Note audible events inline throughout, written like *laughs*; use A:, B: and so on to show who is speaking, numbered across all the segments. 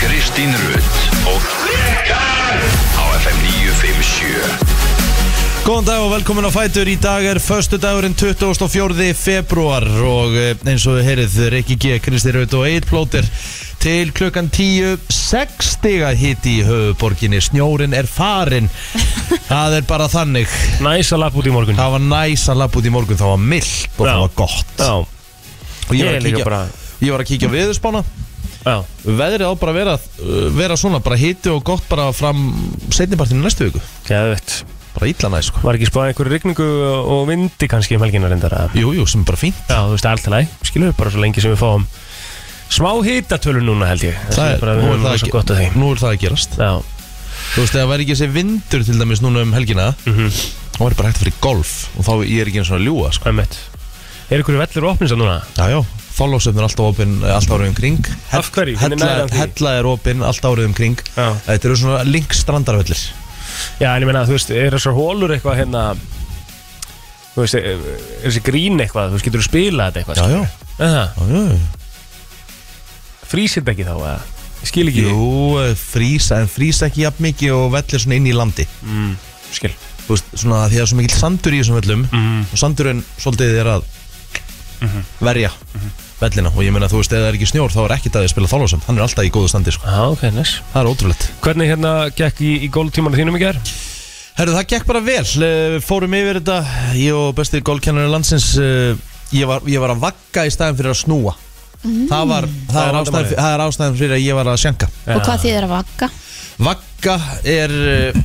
A: Kristín Rutt og á FM 957
B: Góðan dag og velkomin á Fætur. Í dag er förstu dagurinn 24. februar og eh, eins og við heyrið Rikki G, Kristi Raut og Egil Plóter til klukkan 10, 6 stiga hitti í höfuborginni. Snjórin er
C: *laughs*
B: farin. Það er bara þannig.
C: Næs að lappa út í morgun
B: Það var næs að lappa út í morgun, það var mildt og
C: Já.
B: það var gott.
C: Já,
B: Og ég var
C: Ég
B: að
C: líka
B: kíkja,
C: bara-
B: ég var að kíkja viðurspána.
C: já,
B: Veðrið á bara að vera, uh, vera svona, bara hitti og gott bara fram setnipartinu næstu viku.
C: geðvett
B: Bara illa næs, sko.
C: Var ekki spáð einhverju rigningu og vindi kannski um helginna reyndar að
B: Jú, jú, sem er bara fínt.
C: Já, þú veist, allt í lagi, skilur við bara svo lengi sem við fáum Smá hitatölu núna held ég
B: Það er,
C: bara,
B: nú, er
C: við höfum
B: það
C: rosa
B: að,
C: gott að
B: ge-
C: því
B: nú er það að gerast
C: Já,
B: Þú veist, það væri ekki þessi vindur til dæmis núna um helgina mm
C: Mhm.
B: -hmm. þá væri bara hægt að fara í golf og þá ég er ekki eins og að ljúa sko.
C: ömmett Er einhverju vellur opnins að núna?
B: Já, já, þállósöfn er alltaf opinn alltaf árið um kring
C: Af hverju? Hvernig
B: Hella,
C: nær hann því?
B: hella er opinn alltaf árið um kring
C: Já.
B: Þetta eru svona link strandarvellir
C: Já, en ég meina, þú veist, er þessar hólur eitthvað hérna Þú veist, er er þessi grín eitthvað, þú veist, getur þú spilað þetta eitthvað
B: Já, já,
C: já
B: já, já, já.
C: Frísir þetta ekki þá, eða? Ég skil ekki
B: Jú, eh, frísa, en frísa ekki jafn mikið og vellir svona inn í landi
C: Mm, Skil
B: Þú veist, svona að því að það er svo mikill sandur í þessum vellum og sandurinn svolítið er að verja vellina og ég meina þú veist, ef það er ekki snjór þá er ekkert að þið spila þállósöfn hann er alltaf í góðu standi sko.
C: Já, ok, nice
B: Það er ótrúlegt
C: Hvernig hérna gekk í, í gólftímanu þínum í gær?
B: Herru, það gekk bara vel Eh, Fórum yfir þetta Ég og besti gólkennari landsins eh, ég var, ég var að vagga í staðin fyrir að snúa Það, var, það,
C: Mm. Það
B: er
C: var
B: ástæðan,
C: vandamálið.
B: það er ástæðan fyrir að ég var að sjanka
C: Já.
D: Og hvað þýðir að vagga?
B: Vagga er eh,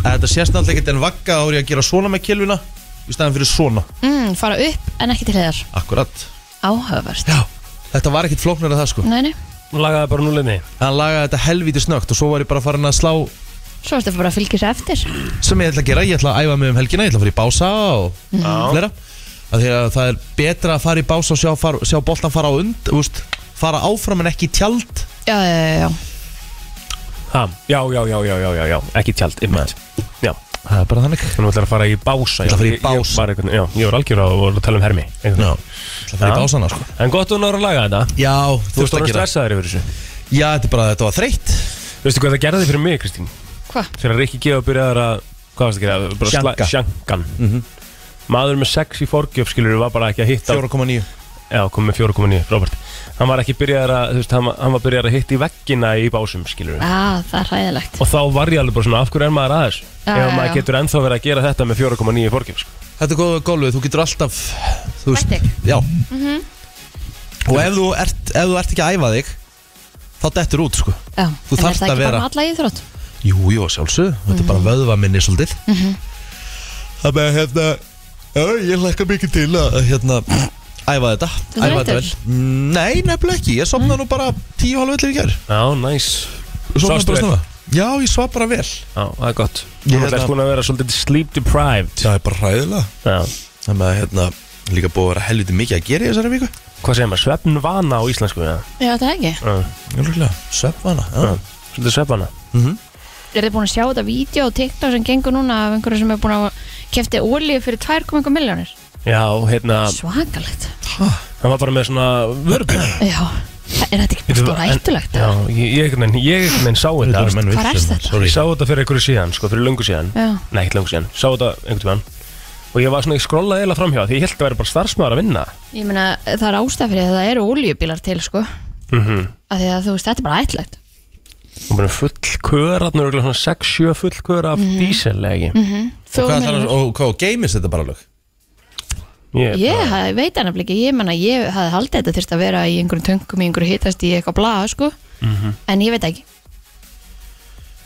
B: að Þetta sést alltaf ekkert en vagga Þá er ég að gera svona með kilvina Í staðin fyrir svona
D: Mm, fara upp en ekki til hliðar
B: Akkurat
D: Áhugavert
B: Já Þetta var ekkert flóknar að það sko
D: Nei, nei,
C: Lagaði bara núliðni
B: Hann lagaði þetta helvíti snögt Og svo var ég bara farin að slá
D: svo ertu bara að fylgja sér eftir
B: Sem ég ætla að gera Ég ætla að æfa mig um helgina Ég ætla að fara í bása og
C: Mhm. Já
B: fleira að því að það er betra að fara í bás og sjá, far, sjá boltan fara á und úst, fara áfram en ekki í tjald
D: Já, já, já, já
C: Ha, Já, já, já, já, já, já, já Ekki tjald, ymmit Já
B: það er bara þannig
C: Þannig að þú ætlar að fara í bása
B: Ætla að fara í
C: Ég-
B: bása.
C: Ég var, einhvern, já, ég var algjör á að tala um hermi einhvern
B: Já,
C: veginn.
B: það fara í
C: Já.
B: básana sko
C: En gott að þú náður að laga þetta
B: Já,
C: Þú
B: þú
C: veist
B: veist
C: að
B: að gera
C: stressaður yfir þessu
B: Já, þetta er bara þetta var þreytt
C: Veistu hvað það gerði fyrir mig, Kristín?
D: Hva?
C: Þegar Rikki G. byrjaði að Hvað varst það að gera? Bara sla-
B: Sjanka.
C: Sjankan Maður með sex í forgjöf skilur var bara ekki að hitta
B: 4,9
C: Já, kom með 4,9, Robert Hann var ekki byrjaður að, þú veist, hann, var- hann var byrjaður að hitta í veggina í básum skilur
D: Já, það er hræðilegt
C: og þá var ég alveg bara svona af hverju er maður aðeins
D: Já,
C: ef
D: já,
C: maður
D: já.
C: getur ennþá verið að gera þetta með 4,9 fórgjum sko.
B: Þetta er góða gólfið, þú getur alltaf þú
D: Bætt þig.
B: Já Og ef þú, ert, ef þú ert ekki að æfa þig þá dettur út sko
D: Já,
B: Þú
D: en
B: þarft
D: er það
B: að
D: ekki
B: vera-
D: bara alla íþrótt?
B: Jú, jú, sjálfsög, þetta er bara
D: Mhm.
B: vöðva minni svolítið Það með hérna Já, ég lækka mikið til að hérna Æfa þetta,
D: Þú Mhm.
B: æfa þetta
D: þreytur?
B: vel Mm, Nei, nefnilega ekki, ég sopnaði nú bara tíu halv öllu í gær
C: Já, næs
B: Sofnaði
C: Svafstu
B: bara
C: vel?
B: snemma. Já, ég svaf bara vel
C: Já, það er gott
B: Ég
C: Þú
B: hérna-
C: ætlast búin að vera svolítið sleep deprived
B: er bara hræðilega
C: Já.
B: Það með hérna, líka búið að vera helviti mikið að gera í þessari viku
C: Hvað segir maður? Svefnvana á íslensku ja.
D: Já, það er ekki
C: Já,
B: Jóluglega, svefvana
C: já. Svolítið svefnvana
D: Er þið búin að sjá þetta vídeo og TikTok sem gengur núna af einhverju sem er búin að kefti ólíu fyrir 2,1 miljónir?
C: Já, hérna
D: Svakalegt
C: Hann var bara með svona vörubíl
D: Já, er þetta ekki bara stóra ættulegt?
C: Já, ég, ég, einhvern veginn- ég, ég, ég sá þetta
D: Hvar erst þetta?
C: Ég sá þetta fyrir einhverju síðan, sko, fyrir löngu síðan
D: Já.
C: Nei, ekki löngu síðan, sá þetta einhvern tímann Og ég var svona, ég skrollaði eila framhjá Því ég held að vera bara starfsmaður að vinna
D: Ég meina, það er ástæð fyrir að það eru ólíubílar til, sko
C: mm
D: af því að þú veist, þetta er bara ættulegt
C: og bara full köra, þannig að svona 6-7 full köra af dísel, eða ekki?
B: Og hvað, þarf- og hvað geimist þetta bara lög?
C: Ég,
D: Ég hafði- veit hann ekki, ég menna ég hafði haldið þetta þurft að vera í einhverjum töngum í einhverju hitast í eitthvað blað sko
C: Mhm.
D: en ég veit ekki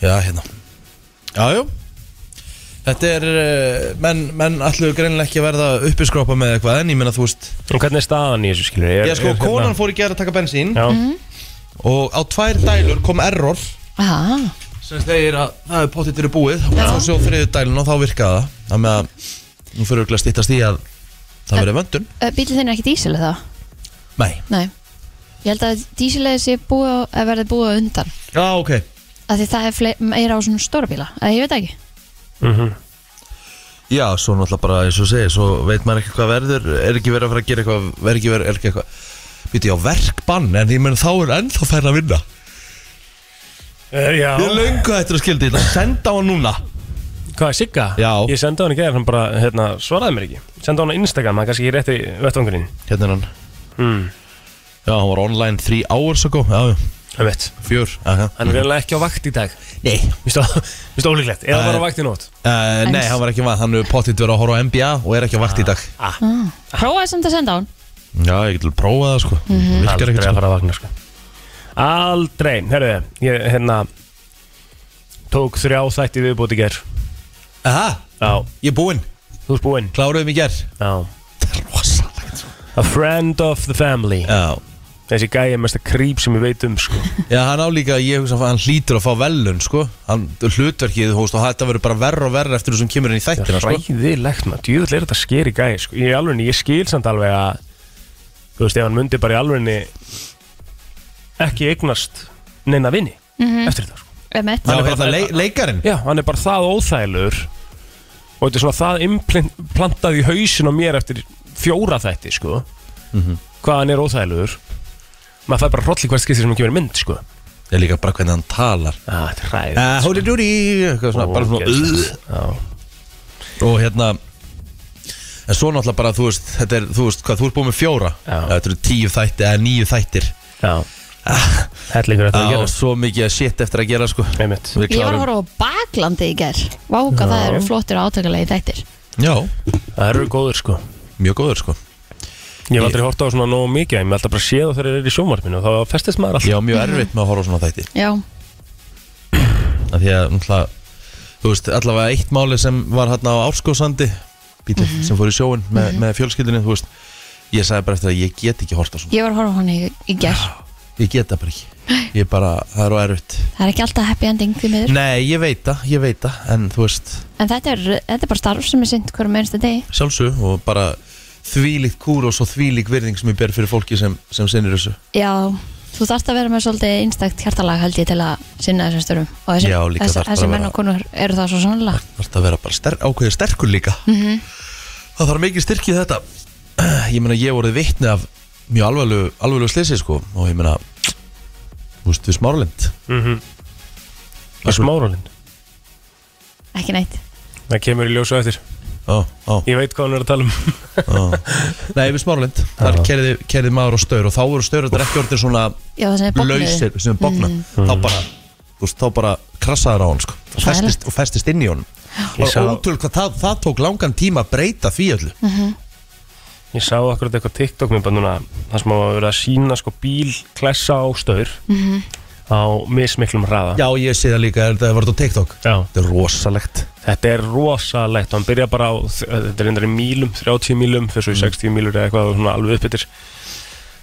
B: Já, hérna Jájú Þetta er, eh, menn, menn allu greinilega ekki að verða uppiskrópa með eitthvað En ég meina þú veist
C: En hvernig er staðan í þessu, skilur ég?
B: Ég sko, konan fór í gera að taka bensín
C: Já,
B: Og á tvær dælur kom error
D: Aha,
B: Sem segir að það er pottit verið búið Og
D: Já.
B: svo sjó þriðu dælun og þá virkaði það Það með að, nú fyrir auðvitað stýttast í að Það verið vöndun
D: Ö, Eh, bíllinn þinn er ekki dísileg þá?
B: Nei
D: Nei, ég held að dísileg sé búið að verði búið á undan
B: Já, ok
D: af því það er fle- meira á svona stóra bíla að ég veit ekki
C: Mhm.
B: Já, svo náttúrulega bara eins og segir Svo veit maður ekki hvað verður Er ekki verið að fara að gera eitthvað Er ekki verið, er ekki eitthvað Býti á verkbann En ég menn þá er ennþá færð að vinna
C: Er, já
B: Ég er löngu hættur að skildi þetta Senda á hann núna
C: Hvað, Sigga?
B: Já.
C: Ég sendi á hann í gæðar, hann bara hérna, svaraði mér ekki Sendi á hann á Instagram, það er kannski ekki rétt í vettvangurinn
B: Hérna er hann
C: mm.
B: Já, hann var online 3 hours ago Já, já,
C: Það veit
B: fjör Aha.
C: Hann er reyðilega ekki á vakt í dag
B: Nei
C: Vistu vistu ólíklegt, eða
B: Það
C: bara
B: er-
C: á vakt í nótt
B: uh, Nei, hann var ekki vant Hann er pottitt verið að horfa á NBA Og er ekki á vakt í dag
C: Ah,
D: Prófaði samt að senda á hann
B: Já, ég getur prófað það sko mm -hmm. Virkar
C: Aldrei
B: ekkert
C: að
B: sko
C: fara að vakna sko. Aldrei, herruðu Ég hérna Tók þrjá þætti viðbúti ger
B: Aha,
C: Já,
B: ég er búinn
C: þú ert búinn
B: Kláruðum í ger
C: Já
B: Það er rosalegt sko.
C: A friend of the family
B: Já
C: Þessi gæi er mesta creep sem ég veit um sko.
B: Já, hann á líka, ég hugsa að hann hlýtur að fá velun, sko Hann, hlutverkið, þú veist, og þetta verður bara verra og verra eftir þessum kemur inn í
C: Það
B: þættina,
C: er
B: sko
C: ræðilegt maður Djöfull er þetta skeri gæi sko. Ég, alveg, ég skil samt alveg að Þú veist, ef hann myndi bara í alveg Ekki eignast Neina vini Eftir þetta sko.
D: Emmett
B: Já,
C: Hann er bara-
B: hérna, le leikarinn
C: Já, hann er bara það óþælur og þetta er svona það implantað í hausin á mér eftir fjóra þætti, sko hvað hann er óþælur maður fær bara hroll í hvert skipti sem hann kemur í mynd, sko
B: Ég er líka bara hvernig hann talar
C: ah, þetta er ræðið
B: Uh, Hóri dúri Eitthvað svona, bara svona uh, Og hérna En svo náttúrulega bara, þú veist, þetta er, þú veist, hvað, þú ert búin með fjóra
C: Já.
B: Þetta eru tíu þættir, eða níu þættir
C: Já, hellingur þetta að
B: Já,
C: gera
B: svo mikið að shit eftir að gera, sko
C: Einmitt.
B: Við
D: Ég var að
B: klárum-
D: horfa á baklandi í ger Váka það eru flottir og átakalegi þættir
B: Já,
C: Það eru góður, sko
B: mjög góður, sko
C: Ég hef aldrei hort á svona nógu mikið ég hef alltaf bara séð og þeir eru í sjónvarpinu og þá festist maður alltaf
B: Ég á mjög erfitt með að horfa á svona þætti
D: Já,
B: af því að náttúrulega þú veist, allavega eitt máli sem var hérna á Árskóðsandi bílinn
D: Mhm.
B: sem fór í sjóin með, með fjölskyldinni, þú veist ég sagði bara eftir að ég get ekki horta svona
D: ég var að horfa á hann í, í ger
B: ég get það bara ekki, ég er bara, það er á erfitt
D: Það er ekki alltaf happy ending því miður
B: nei, ég veit það, ég veit það, en þú veist
D: En þetta er, þetta er bara starf sem er sint hverjum einsta degi
B: sjálfsög og bara þvílíkt kúr og svo þvílíkt virðing sem ég ber fyrir fólki sem, sem sinnir þessu
D: Já, þú þarft að vera með svolítið einstakt hjartalag held ég til að sinna þessum störum og þessi,
B: Já, líka
D: þessi,
B: þarft bara
D: þessi
B: að
D: menn
B: vera-
D: og konur eru það svo sannlega
B: það þarf að vera bara ster ákveðið sterkur líka það þarf mikið styrkið þetta *clears throat* ég meina ég voru vitni af mjög alvarlegu, alvarlegu slisi sko og ég meina þú veist, við smáralind
C: Mhm. í smáralind
D: ekki neitt
C: Það kemur í ljósu eftir
B: Ó, ó,
C: Ég veit hvað hann er að tala um *laughs*
B: ó. Nei, við smáralind Þar kerði, kerði maður á staur og þá voru staur þetta ekki orðin svona
D: Já, það sem er
B: lausir
D: bóknuði
B: sem bogna þá bara, þú veist, þá bara krassaður á hann sko. og,
D: Hræðilegt.
B: festist, og festist inn í honum
C: Ég
B: og
C: sá-
B: ótrúl hvað það, það tók langan tíma að breyta því öllu
C: Ég sá akkurat eitthvað TikTok mér bara núna þar sem að verið að sína sko bíl klessa á staur á mismiklum hraða
B: Já, ég sé það líka, þetta var þetta á TikTok
C: Já.
B: Þetta er rosalegt
C: Þetta er rosalegt og hann byrja bara á, þetta er endari mílum 30 mílum, fyrir svo
B: Mm.
C: í 60 mílur eða eitthvað og svona alveg uppbyttir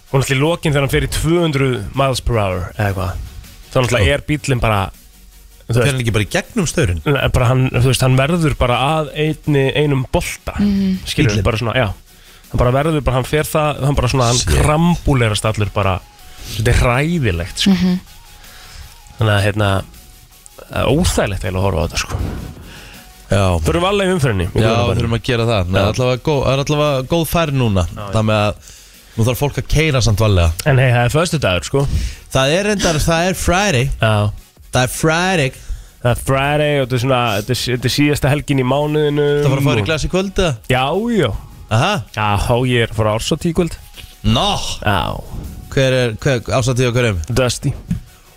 C: og náttúrulega í lokin þegar hann fer í 200 miles per hour eða eitthvað þá náttúrulega er bílinn bara þú
B: Fyrir
C: veist,
B: hann ekki bara í gegnum staurinn
C: Nei, bara hann, þú veist, hann verður bara að einni, einum bolta mm. skilur
B: Bíllinn.
C: bara svona, já hann bara verður, bara, hann fer það, hann bara svona hann
B: Shit.
C: krambulerast allur bara þetta er hræðilegt sko. þannig að hérna það er óþægilegt eiginlega að horfa á þetta sko.
B: Já,
C: þurfum alveg um umfyrinni
B: já þurfum að gera það Nei,
C: Já.
B: allavega góð- Það er allavega góð færð núna Það með að nú þarf fólk að keira samt valega
C: en hei, það er föstu dagur sko.
B: Það er reyndar, það er Friday
C: já
B: Það er Friday
C: það er Friday og þetta er svona þetta er, þetta er síðasta helgin í mánuðinu
B: Það var að fara í glas í kvöld eða?
C: já, já,
B: Aha,
C: já, ég er frá ársatíkvöld
B: no
C: já,
B: Hver er, hver, ásatíð og hverjum?
C: Dusty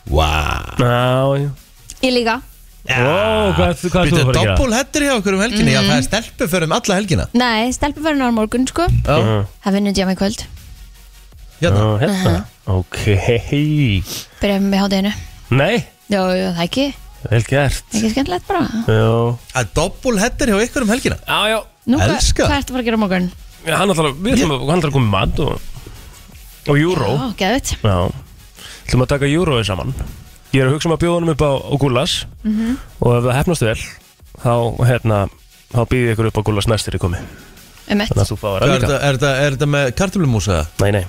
B: Vá
C: já, já
D: Ég líka
C: Ó, hvað ert- hvað ert þú að
B: Býttu
C: fara að gera?
B: doppul hettir hjá okkur um helginni
C: Mhm.
B: Já, það er stelpu fyrir um alla helgina
D: Nei, stelpum verður náður morgun sko
C: Mhm.
B: Já,
D: Það vinnur djáma í kvöld
B: hérna
C: Ó, hérna Ok
D: Byrjaðum með hátæðinu
C: Nei,
D: Já, já, það ekki
C: vel gert
D: Ekki skemmtilegt bara
C: Já,
B: Það er doppul hettir hjá ykkur um helgina
C: já, já
D: Nú, hvað
B: Elska.
D: hvað ertu að fara að gera á morgun?
C: Já, Hann ætlar að, við ætlum að, hann ætlar að koma í mat og Og júró
D: Ó, geðvitt
C: Já ætlum að taka júróið saman Ég er að hugsa um að bjóða honum upp á, á gúlas Og ef það hefnast vel Þá, hérna, þá býði ykkur upp á gúlas næstir í komi
D: Emmett
C: Þannig að þú fáir
B: Hvað
C: að
B: Er
C: líka
B: þetta- er þetta er þetta með kartöflumús eða?
C: Nei, nei,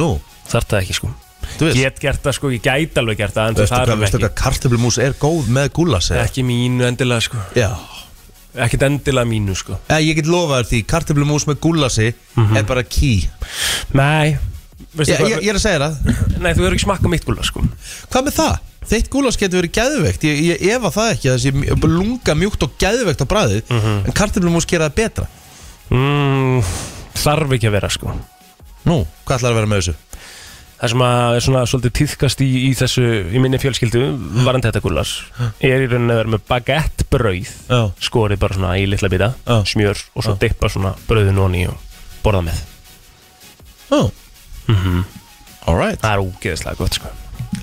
B: Nú,
C: þarf það ekki sko
B: þú veist
C: Get gert það sko, ég gæti alveg gert það En
B: Veistu
C: það
B: hvað,
C: er
B: veistu
C: ekki
B: hvað kartöflumús er góð með gúlas eða?
C: Ekki mínu endilega sko
B: Já
C: Ekkert endilega mínu sko
B: Eða ég get lofað þér því, kartöflumús með gúlasi
C: Mhm.
B: er bara key
C: Nei
B: ég, ég, ég er að segja það
C: Nei, þú verður ekki smakka mitt gula, sko
B: Hvað með það? þitt gúlas getur verið geðveikt ég, ég efa það ekki, þessi lunga mjúkt og geðveikt á bræðið,
C: Mhm.
B: en kartöflumús gera það betra
C: mm, Þarf ekki að vera sko
B: Nú, hvað ætlar að vera með þessu?
C: Það sem að er svona svolítið týðkast í, í þessu í minni fjölskyldu varandi þetta gullas er í rauninni að vera með bagettbrauð
B: Já,
C: skorið bara svona í litla bita
B: Já.
C: smjör og svo
B: Já.
C: dippa svona brauðin onni og borða með
B: já
C: Mhm.
B: All right
C: Það er ógeðislega gott sko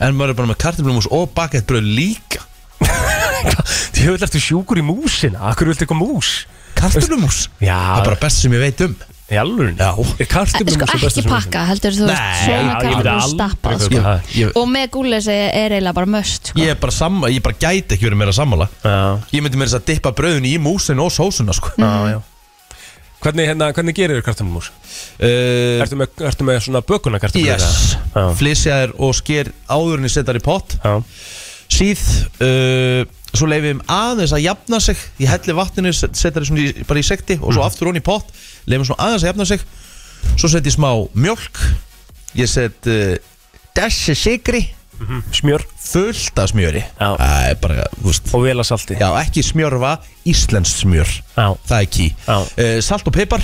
B: En maður er bara með kartöflumús og bakettbröð líka
C: Þið höfðu eftir sjúkur í músina Akkur viltu eitthvað mús?
B: Kartöflumús?
C: Já.
B: Það er bara best sem ég veit um
C: Í alvörin?
B: Já.
C: Er kartöflumús
D: Sko
C: það um besta
D: ekki
C: sem
D: pakka, heldur þú veist,
B: Nei,
C: já,
D: svona
C: ég myndi
D: kartöflur
C: aldrei
D: stappað
C: kaupa
D: sko.
C: það.
B: ég,
D: Og með gúles er er eiginlega bara möst sko.
B: ég, er bara samma, ég bara gæti ekki verið meira sammála
C: Já,
B: Ég myndi meira þess að dippa bröðun í músin og sósuna sko.
C: já, já Hvernig, hérna, hvernig gerir þér kartöflumús?
B: uh,
C: Ertu með, ertu með svona bökuna kartöflumús?
B: Yes
C: Já.
B: Flysjaðir og sker áðurinn í setar í pott
C: Já,
B: Síð uh, Svo leifum við þeim aðeins að jafna sig Ég helli vatninu, setar þessu bara í sekti Og svo
C: Mhm.
B: aftur hún í pott Leifum svona aðeins að jafna sig Svo set ég smá mjölk Ég set uh, Dessi sigri
C: smjör
B: Fullt af smjöri
C: Já.
B: Það er bara, þú veist
C: og vel að salti
B: Já, ekki smjörfa, íslensk smjör
C: Já.
B: Það er ký
C: Já.
B: Eh, Salt og pipar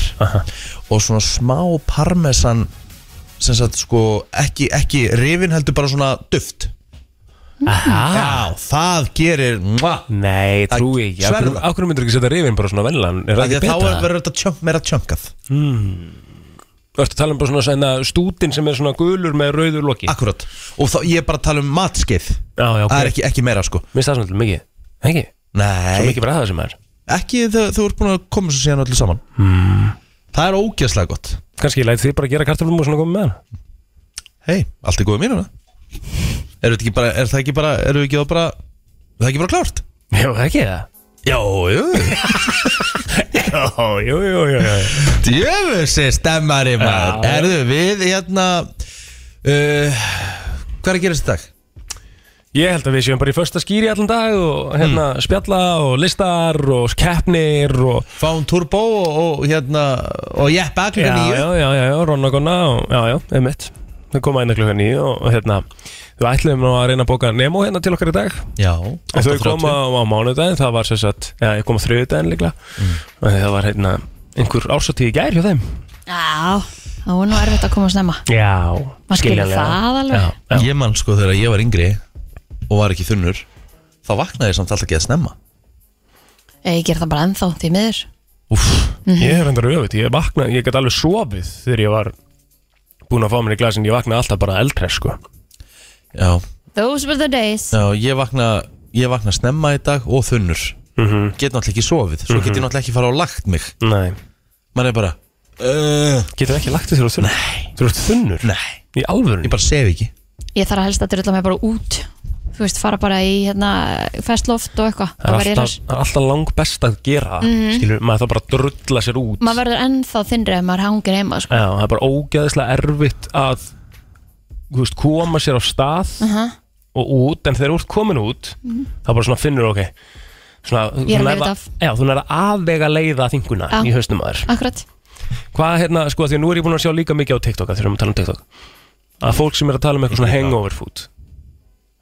B: Og svona smá parmesan sem sagt sko ekki, ekki rifin heldur bara svona duft
C: Aha.
B: Já, það gerir mwah,
C: Nei,
B: Það-
C: trúi ekki Af hverju-
B: Sverða.
C: Af hverju myndur ekki setja rifin bara svona venlan? Er
B: Af því
C: það
B: að
C: ekki
B: Þá er-
C: betra?
B: verður þetta tjönk, meira tjönkað
C: Ertu að tala um bara svona, svona stútin sem er svona gulur með rauður loki?
B: Akkurat Og þá, ég er bara að tala um matskeið
C: Já, já, ok.
B: Það er ekki, ekki meira sko
C: Minnst það svona mikið? Ekki? Svo
B: Nei,
C: mikið bara það sem er
B: ekki þegar þú ert búin að koma svo síðan öllu saman hmm. Það er ógeðslega gott
C: Kanski læt þið bara gera kartaflum og svona komið með *laughs* hann
B: Hei, allt er góð mínuna Er þetta ekki bara, er það ekki bara, er það ekki þá bara Er það ekki bara klárt?
C: Já, það ekki það
B: Já, jú
C: Já, jú, jú, jú, jú.
B: Djöfusi stemmari maður
C: Já.
B: Erðu, við hérna uh, Hvað er að gerast í dag?
C: Ég held að við séum bara í första skýri allan dag og hérna
B: Mm.
C: spjalla og listar og keppnir og
B: Fáum turbo og, og hérna Og jeppa
C: já,
B: klukkan nýju
C: já, já, já, já, ronnagonna og já, já, einmitt Við komum aðeina klukkan nýju og hérna við ætlum nú að reyna að bóka Nemo hérna til okkar í dag
B: Já,
C: En Þau
B: 8:30.
C: koma á, á mánudaginn, það var sem sagt, já, ég kom á þriðudaginn líklega mm. Það var hérna einhver ársatíð í gær hjá þeim
D: Já, þá er nú erfitt að koma að snemma
C: Já,
D: Maður skilur það alveg.
C: já, já.
B: Ég man sko þegar ég var yngri Og var ekki þunnur Þá vaknaði ég samt alltaf ekki að snemma
D: Ég ger það bara ennþá því miður
B: Úff,
D: Mhm.
C: Ég er reyndar öfitt, ég vakna, ég gæti alveg sofið þegar ég var búinn að fá mér í glasin, ég vaknaði alltaf bara eldreið sko.
B: já,
D: Those were the days
B: já ég, vakna, ég vakna snemma í dag og þunnur mm -hmm. Get náttúrulega ekki sofið Svo get ég náttúrulega ekki fara á lagt mig
C: Nei.
B: Man er bara uh,
C: Getur ekki lagt þér á þunnur? Nei. Þú ert þunnur?
B: Nei,
C: Í alvörun?
B: ég bara sef ekki
D: Ég þarf að helst að drölla mig bara út Þú veist, fara bara í hérna, festloft og eitthvað
C: það
D: Það
C: er
D: var ég
C: alltaf,
D: þess
C: það er alltaf lang best að gera það, skilur, maður þarf bara að drulla sér út.
D: Maður verður ennþá þinnri ef maður hangir heima sko.
C: Já, það er bara ógæðislega erfitt að, þú veist, koma sér á stað og út, en þegar þú ert komin út, þá bara svona finnur, ok, svona,
D: Mhm. Ég
C: þú
D: er að
C: nærð að-
D: lifa þetta af.
C: Já, þú nærða aðvega leiða þinguna
D: Já.
C: í haustum aður.
D: Akkurat
C: Hvað hérna, sko, því að nú er ég búin að sjá líka mikið á TikTok að þegar við erum að tala um TikTok að fólk sem er að tala um eitthvað svona hangover food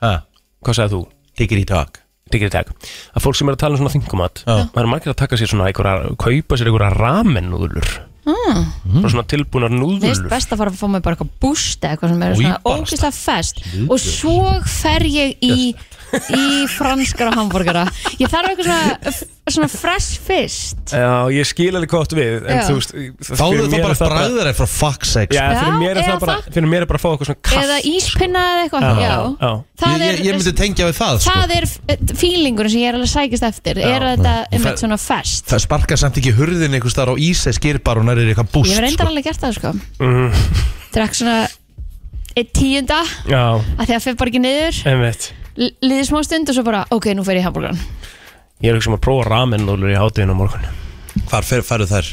B: Ha,
C: hvað sagði þú?
B: Tiggeri talk
C: Digri tag að fólk sem er að tala um svona þingumat
B: Já.
C: það eru margir að taka sér svona einhverja kaupa sér einhverja ramen núðlur mm. svona tilbúnar
D: Mér finnst
C: núðlur
D: best að fara að fá mig bara eitthvað búst eða eitthvað sem er svona
B: bara
D: ógeðslega fest og svo fer ég í í franskara hambúrgara Ég þarf eitthvað svona, svona fresh fyrst
C: Já, ég skil alveg gott við en
D: Já.
C: þú veist
B: Fáðu þá
C: fyrir mér
B: bara sko.
C: er það
B: bræðar for fuck's sake
C: Já,
B: sko.
C: fyrir
D: Já,
C: mér er
D: eða
C: það bara
D: það.
C: fyrir mér er bara að fá eitthvað svona kall
D: eða íspinna eða eitthvað
C: Já,
D: Já.
C: já.
D: Það
B: ég, ég, ég myndi tengja við það sko.
D: það er feelingurinn sem ég er alveg að sækist eftir er þetta einmitt svona fest
B: Það sparkar samt ekki hurðin einhvers þar á ísæ skirbar og nærið eitthvað búst
D: ég hef reyndar
B: sko.
D: alveg gert það sko
C: Mhm.
D: drekk svona eitt tíunda að
C: Já,
D: því að fyrir bara ekki niður
C: einmitt
D: l- liði smá stund og svo bara ok, nú fer ég í hambúrgan
C: Ég er ekki sem að prófa ramen núðlur í hátíðin á morgun
B: Hvar fer, ferðu þær?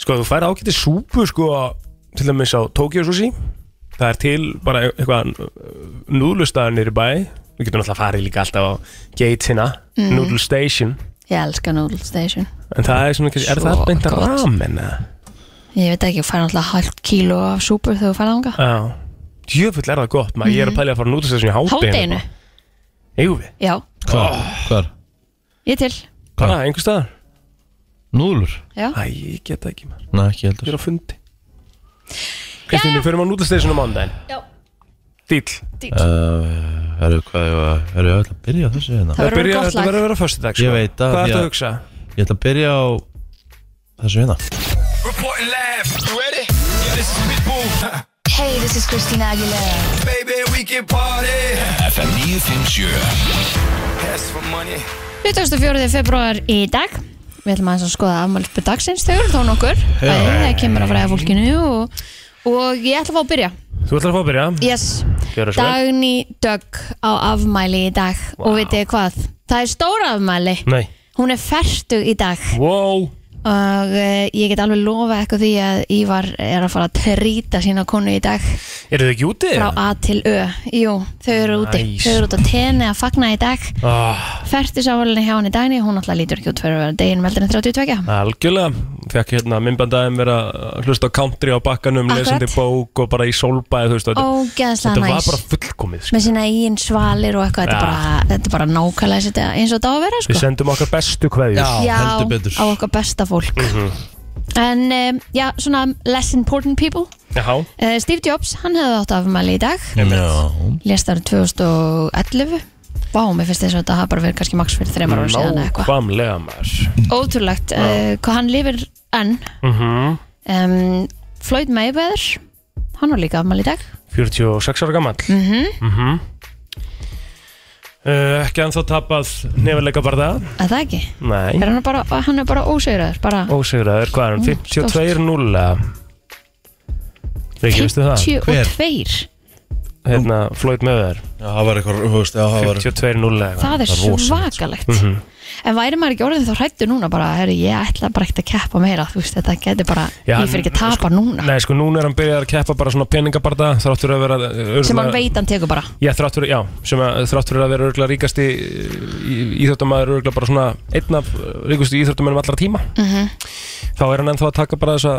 C: Sko þú færi ágæti súpu sko til dæmis á Tokyo Sushi Það er til bara eitthvað uh, núðlustaðar nýri bæ Við getum alltaf farið líka alltaf á geitina
D: Mhm.
C: mm. Noodle Station
D: ég elska Noodle Station
C: En það er svona, kannski- er það
D: Svo
C: beint að
D: gott.
C: ramen eða?
D: ég veit ekki, ég fær náttúrulega hálft kíló af súpur þegar þú færð ánga Mhm.
C: Já Djöfull er það gott, maður ég er að pælja að fara á Noodle Station í hátinu
D: hátdeinu,
C: Eigum við?
D: Já,
B: Hvar? Hvar?
D: ég til
B: Hvað?
C: Hvað, einhver staðar?
B: Núðlur?
D: Já,
C: Æ, ég get það ekki maður
B: Nei, ekki
C: Ég
B: heldur
C: er á fundi Kristín, við förum á nútasteysunum ándaginn
D: Já.
C: Dýll
B: Herru, hvað er það? Herru, ég ætla að byrja á þessu hérna
D: það
C: Það
D: verður
C: byrja,
D: gott
C: þetta
D: lag
C: verður að vera fyrstu dag
B: Ég veit það,
C: Hvað
B: því
C: ertu að
B: að-
C: hugsa?
B: Ég ætla að byrja á þessu hérna
A: Reporting live. You ready? Yeah, this is Pitbull. *laughs*
E: Hey, this is Christina Aguilera.
A: Baby, we can party. FM 957. Pass for money.
D: 24. februar í dag Við ætlum aðeins að skoða afmælsbu dagsins Þau eru þó nokkur Bæði, Það kemur að fræða fólkinu og, og ég ætla að fá að byrja
C: Þú ætlar að fá að byrja
D: yes.
C: Gjörðu svo vel.
D: Dagný Dögg á afmæli í dag Og vitið þið hvað? Það er stóra afmæli
C: Nei
D: Hún er ferstug í dag
C: Wow
D: Og uh, ég get alveg lofa eitthvað því að Ívar er að fara að trýta sína konu í dag
C: Eru þið ekki úti?
D: Frá A til Ö Jú, þau eru úti
C: Nice.
D: Þau eru út að tenni að fagna í dag
C: ah,
D: Fertisáhólinni hjá henni Dagný Hún alltaf lítur ekki út fyrir að vera deginum eldurinn 32
C: Algjörlega Fekk hérna minnbandaðum vera að hlusta á country á bakkanum
D: Akkurat.
C: Lesandi bók og bara í sólbæði Þú veist þetta
D: Ógeðslega
C: Þetta var
D: næs
C: bara fullkomið sko.
D: Með sína eigin svalir og eitthvað þetta, er
C: Ja.
D: bara, þetta er bara nákvæmlega þessi þetta eins og þetta á að vera
C: Við
D: sko.
C: sendum okkar bestu kveðjur
D: Já,
B: heldur betur
D: á okkar besta fólk En um, já, svona less important people
C: Já
D: uh, Steve Jobs, hann hefði átt afmæli í dag
B: Já,
D: Lést árið 2011 Vá, mér finnst þess að þetta hafa bara verið kannski max fyrir þreymar ára síðan eða eitthvað
C: Nákvæmlega maður
D: Ótrúlegt, uh, hvað hann lifir enn
C: Mhm.
D: um, Floyd Mayweather Hann var líka afmæli í dag
C: 46 ára gammal mm
D: Mhm.
C: -hmm. uh, Ekki ennþá tapað nefnilega barða
D: Að það ekki?
C: Nei
D: Er hann, bara, hann er bara ósegraður bara
C: Ósigraður, hvað er
D: Mm,
C: hann? 52-0 Riki, veistu það?
D: 52
C: Hérna, Floyd Mayweather
B: það var eitthvað, þú veist, já, það var
C: 52-0 eða eitthvað
D: Það
B: Það
D: er
B: er rosalegt.
D: svakalegt En væri maður ekki orðin þá hrættu núna bara herri, Ég ætla bara ekkert að keppa meira Þú veist, þetta getur bara,
C: Já,
D: ég fyrir ekki að tapa núna
C: Nei, sko, núna er hann byrjað að keppa bara svona peningabarda þráttur að vera örgla,
D: Sem hann veit hann tekur bara
C: Já, þráttur, já, sem að þráttur að vera örgla ríkasti eh, í- íþróttamaður örgla bara svona einn af uh, ríkustu íþróttamennum allra tíma Þá er hann ennþá að taka bara þessa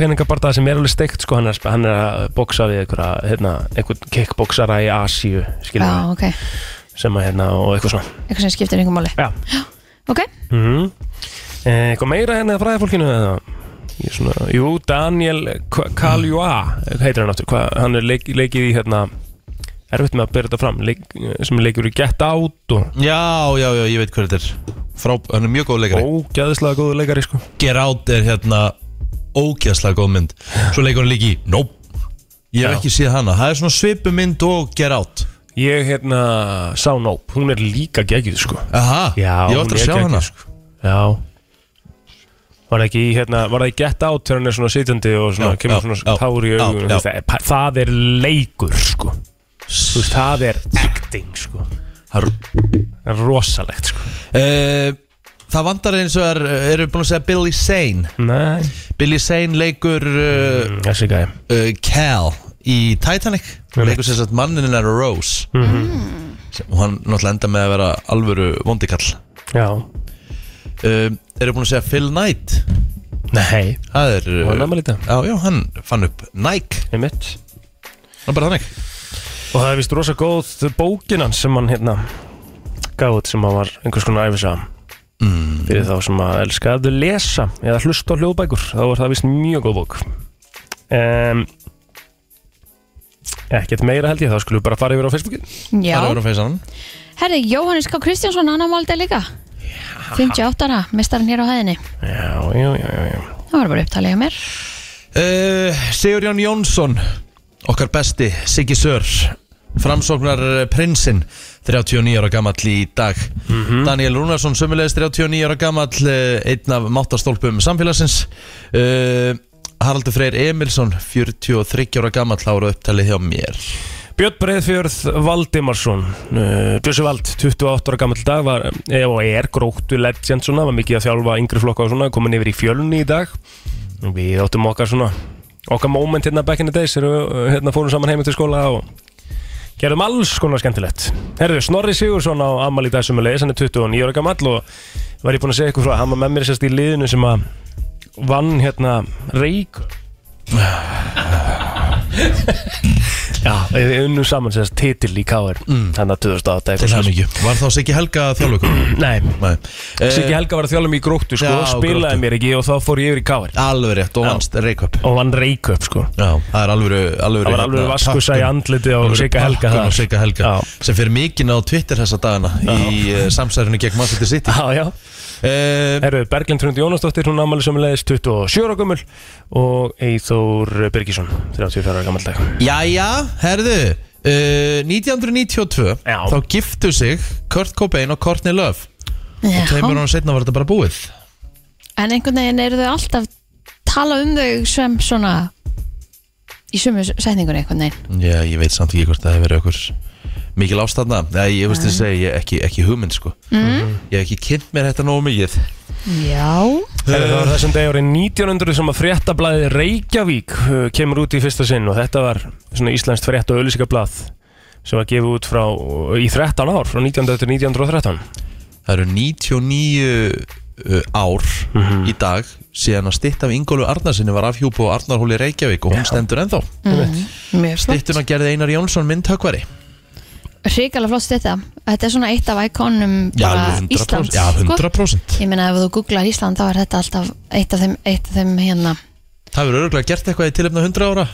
C: peningabarda sem er alveg steikt, sko, hann er, hann er að boksa við einhverja, hérna, einhvern kickboksara í Asíu, skiljum
D: Já, ok,
C: sem að hérna og eitthvað svona
D: eitthvað sem skiptir einhver máli
C: Já
D: Ok,
C: mm Eitthvað meira hérna að fræða fólkinu eða Ég er svona, jú, Daniel K- Kaluá heitir hann áttur, hvað, hann er leik, leikið í hérna erfitt með að byrja þetta fram leik, sem er leikur í Get Out og
B: Já, já, já, ég veit hver þetta er Frá, Hann er mjög góð leikari
C: ógæðislega góðu leikari sko
B: Get Out er hérna ógæslega góð mynd Svo leikur hann líki í Nope Ég hef
C: Já.
B: ekki séð hana Það er svona svipu mynd og Get Out
C: Ég hérna sá Nope, hún er líka geggjuð sko
B: Aha,
C: Já,
B: ég var
C: hún
B: alltaf að
C: er
B: sjá
C: geggjuð,
B: hana
C: sko. Já Var það ekki í, hérna, var það í Get Out þegar hann er svona sitjandi og svona,
B: Já,
C: kemur
B: já,
C: svona
B: já,
C: tár í
B: já,
C: augun
B: já.
C: það, er- það er leikur sko Þú veist, það er acting sko
B: Har-
C: Það er rosalegt sko
B: Eh, Það vandar eins og er, erum við búin að segja Billy Zane
C: Nei,
B: Billy Zane leikur uh,
C: Mm, þessi gæði
B: uh, Cal í Titanic
C: Einmitt. Mhm.
B: hún leikur sér satt mannininn er Rose Sem- og hann náttúrulega enda með að vera alvöru vondikall
C: Já,
B: uh, eru búin að segja Phil Knight
C: nei,
B: það er uh,
C: Og hann afmæli í dag.
B: já, já, hann fann upp Nike
C: einmitt
B: hann bara þannig
C: Og það er vist rosa góð bókin hans sem hann hérna gaf út sem hann var einhvers konar æfisa mm. Fyrir þá sem að elskaðu lesa eða hlusta á hljóðbækur þá var það vist mjög góð bók um, Ekkert meira held ég, þá skulum við bara fara yfir á Facebookin
B: það er
D: já
B: verið að feysa hann
D: Herði, Jóhannes K. Kristjánsson, hann ámaldi líka 58 ára, mestarinn hér á hæðinni
C: Já, já, já, já, já.
D: Það var bara upptalið hjá mér
B: Uh, Sigurjón Jónsson okkar besti, Siggi Sör framsóknar eh, prinsinn 39 ára gamall í dag
C: Mhm.
B: Daniel Rúnarsson sömulegis 39 ára gamall uh, einn af máttastólpum samfélagsins uh, Haraldur Freyr Emilsson 43 ára gamall ára upptalið hjá mér
C: Björn Breiðfjörð Valdimarsson uh, Bjössi Vald, 28 ára gammal dag var, eh, og er gróttu legend svona, var mikið að þjálfa yngri flokka og svona, komin yfir í fjölni í dag við áttum okkar svona okkar moment hérna back in the days erum við eh, hérna fórum saman heim til skóla og gerðum alls konar skemmtilegt Herðu, Snorri Sigursson á Amal í dag sem er leiðis, hann er 29 ára gammal og var ég búinn að segja ykkur frá, hann var með mér sérst í liðinu sem að vann hérna reik Já, Við unnum saman sérst titil í KR Þannig að 2008
B: Mm. Til
C: eitthvað
B: hann ekki Var þá Siggi Helga þjálfur
C: *clears throat* svoleiðis. Nei,
B: Nei Eh,
C: Siggi Helga var að þjálfa mig í gróttu sko,
B: Já,
C: spilaði
B: Gróttu.
C: mér ekki og þá fór ég yfir í KR
B: Alveg rétt og vannst reykvöp
C: og vann Reykjöp sko
B: Já, það er hérna alveg alveg
C: Það var alveg vaskusa í andliti á Sigga Helga
B: og
C: þar.
B: Sigga Helga
C: Já.
B: sem fyrir mikinn á Twitter þessa dagana í uh, samsærinu gegn Manchester City
C: Já, já,
B: uh,
C: Herru, Berglind Trund Jónasdóttir, hún ámæli sömulegis 27 ára gömul og Eithór Birgisson, 34 ára gammal dag
B: Jæja, herðu uh, 1992
C: Já.
B: þá giftu sig Kurt Cobain og Courtney Love og tveimur
D: Já.
B: ára setna var þetta bara búið
D: En einhvern veginn eru þau alltaf tala um þau sem svona í sömu setningunni einhvern veginn
B: Já, ég veit samt ekki hvort það hefur verið okkur mikil ástæðna Nei, ég veist þið að segja, ég ekki, ekki hugmynd sko
C: Mhm.
B: mm. Ég hef ekki kynnt mér þetta nógu mikið
D: Já
C: Herru, það var þessum dag árið 1900 sem að fréttablaði Reykjavík uh, kemur út í fyrsta sinn og þetta var svona íslenskt frétt og öllisikablað sem var gefið út frá, uh, í 13 ár, frá 1900 til 1913
B: Það eru 99 uh, ár
D: Mhm.
B: í dag síðan að stytta af Ingólu Arnarsinni var afhjúp á Arnarhóli í Reykjavík og hún stendur ennþá
D: Mm. Mjög Mhm. flott
B: Styttuna gerði Einar Jónsson myndhökkvari
D: Ríkala flott stetta Þetta er svona eitt af íkonum bara Íslands
B: Já,
D: sko.
B: 100%
D: Ég meina ef þú googlar Ísland þá er þetta alltaf eitt af þeim, eitt af þeim hérna
B: Það hefur örgulega gert eitthvað í tilefna 100 ára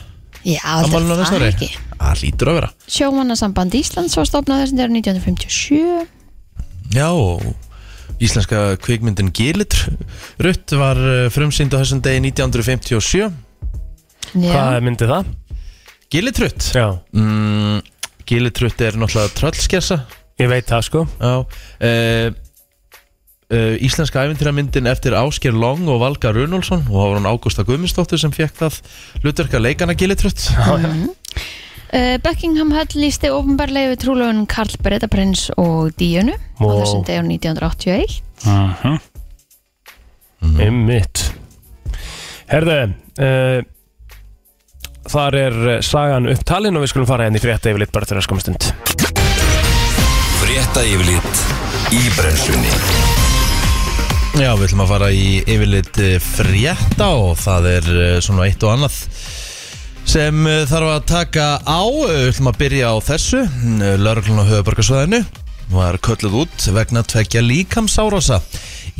D: Já, þetta
B: afmælinu á
D: er
B: næsta
D: það
B: ári.
D: ekki
B: Það lítur að vera
D: Sjómannasamband Íslands var stofnað þessum þegar 1957
B: Já, og íslenska kvikmyndin Gilitr Rutt var uh, frumsýnd á þessum degi 1957
D: Já,
C: Hvað myndi það?
B: Gilitrutt
C: Já,
B: mm, Gilitrutt er náttúrulega tröllskessa
C: ég veit það sko
B: Já uh, uh, Íslenska æfintýramyndin eftir Ásker Long og Valga Runolfsson og það var hún Ágústa Guðmundsdóttir sem fekk það hlutverka leikana gilitrött
D: uh, Buckingham Hall lísti ofnbarlega við trúlöfun Karl Bretaprins og Díunu á
C: Vó.
D: þessum þegar 1981
C: Einmitt Herðu uh, Þar er eh, sagan upptalin og við skulum fara henni frétta yfirleitt bara til að skoma stund
A: Frétta yfirlit í brennslunni
B: Já, við ætlum að fara í yfirleitt frétta og það er eh, svona eitt og annað sem eh, þarf að taka á Eh, við ætlum að byrja á þessu Lörglun á höfuborgarsvæðinu var kölluð út vegna tvekja líkamsárása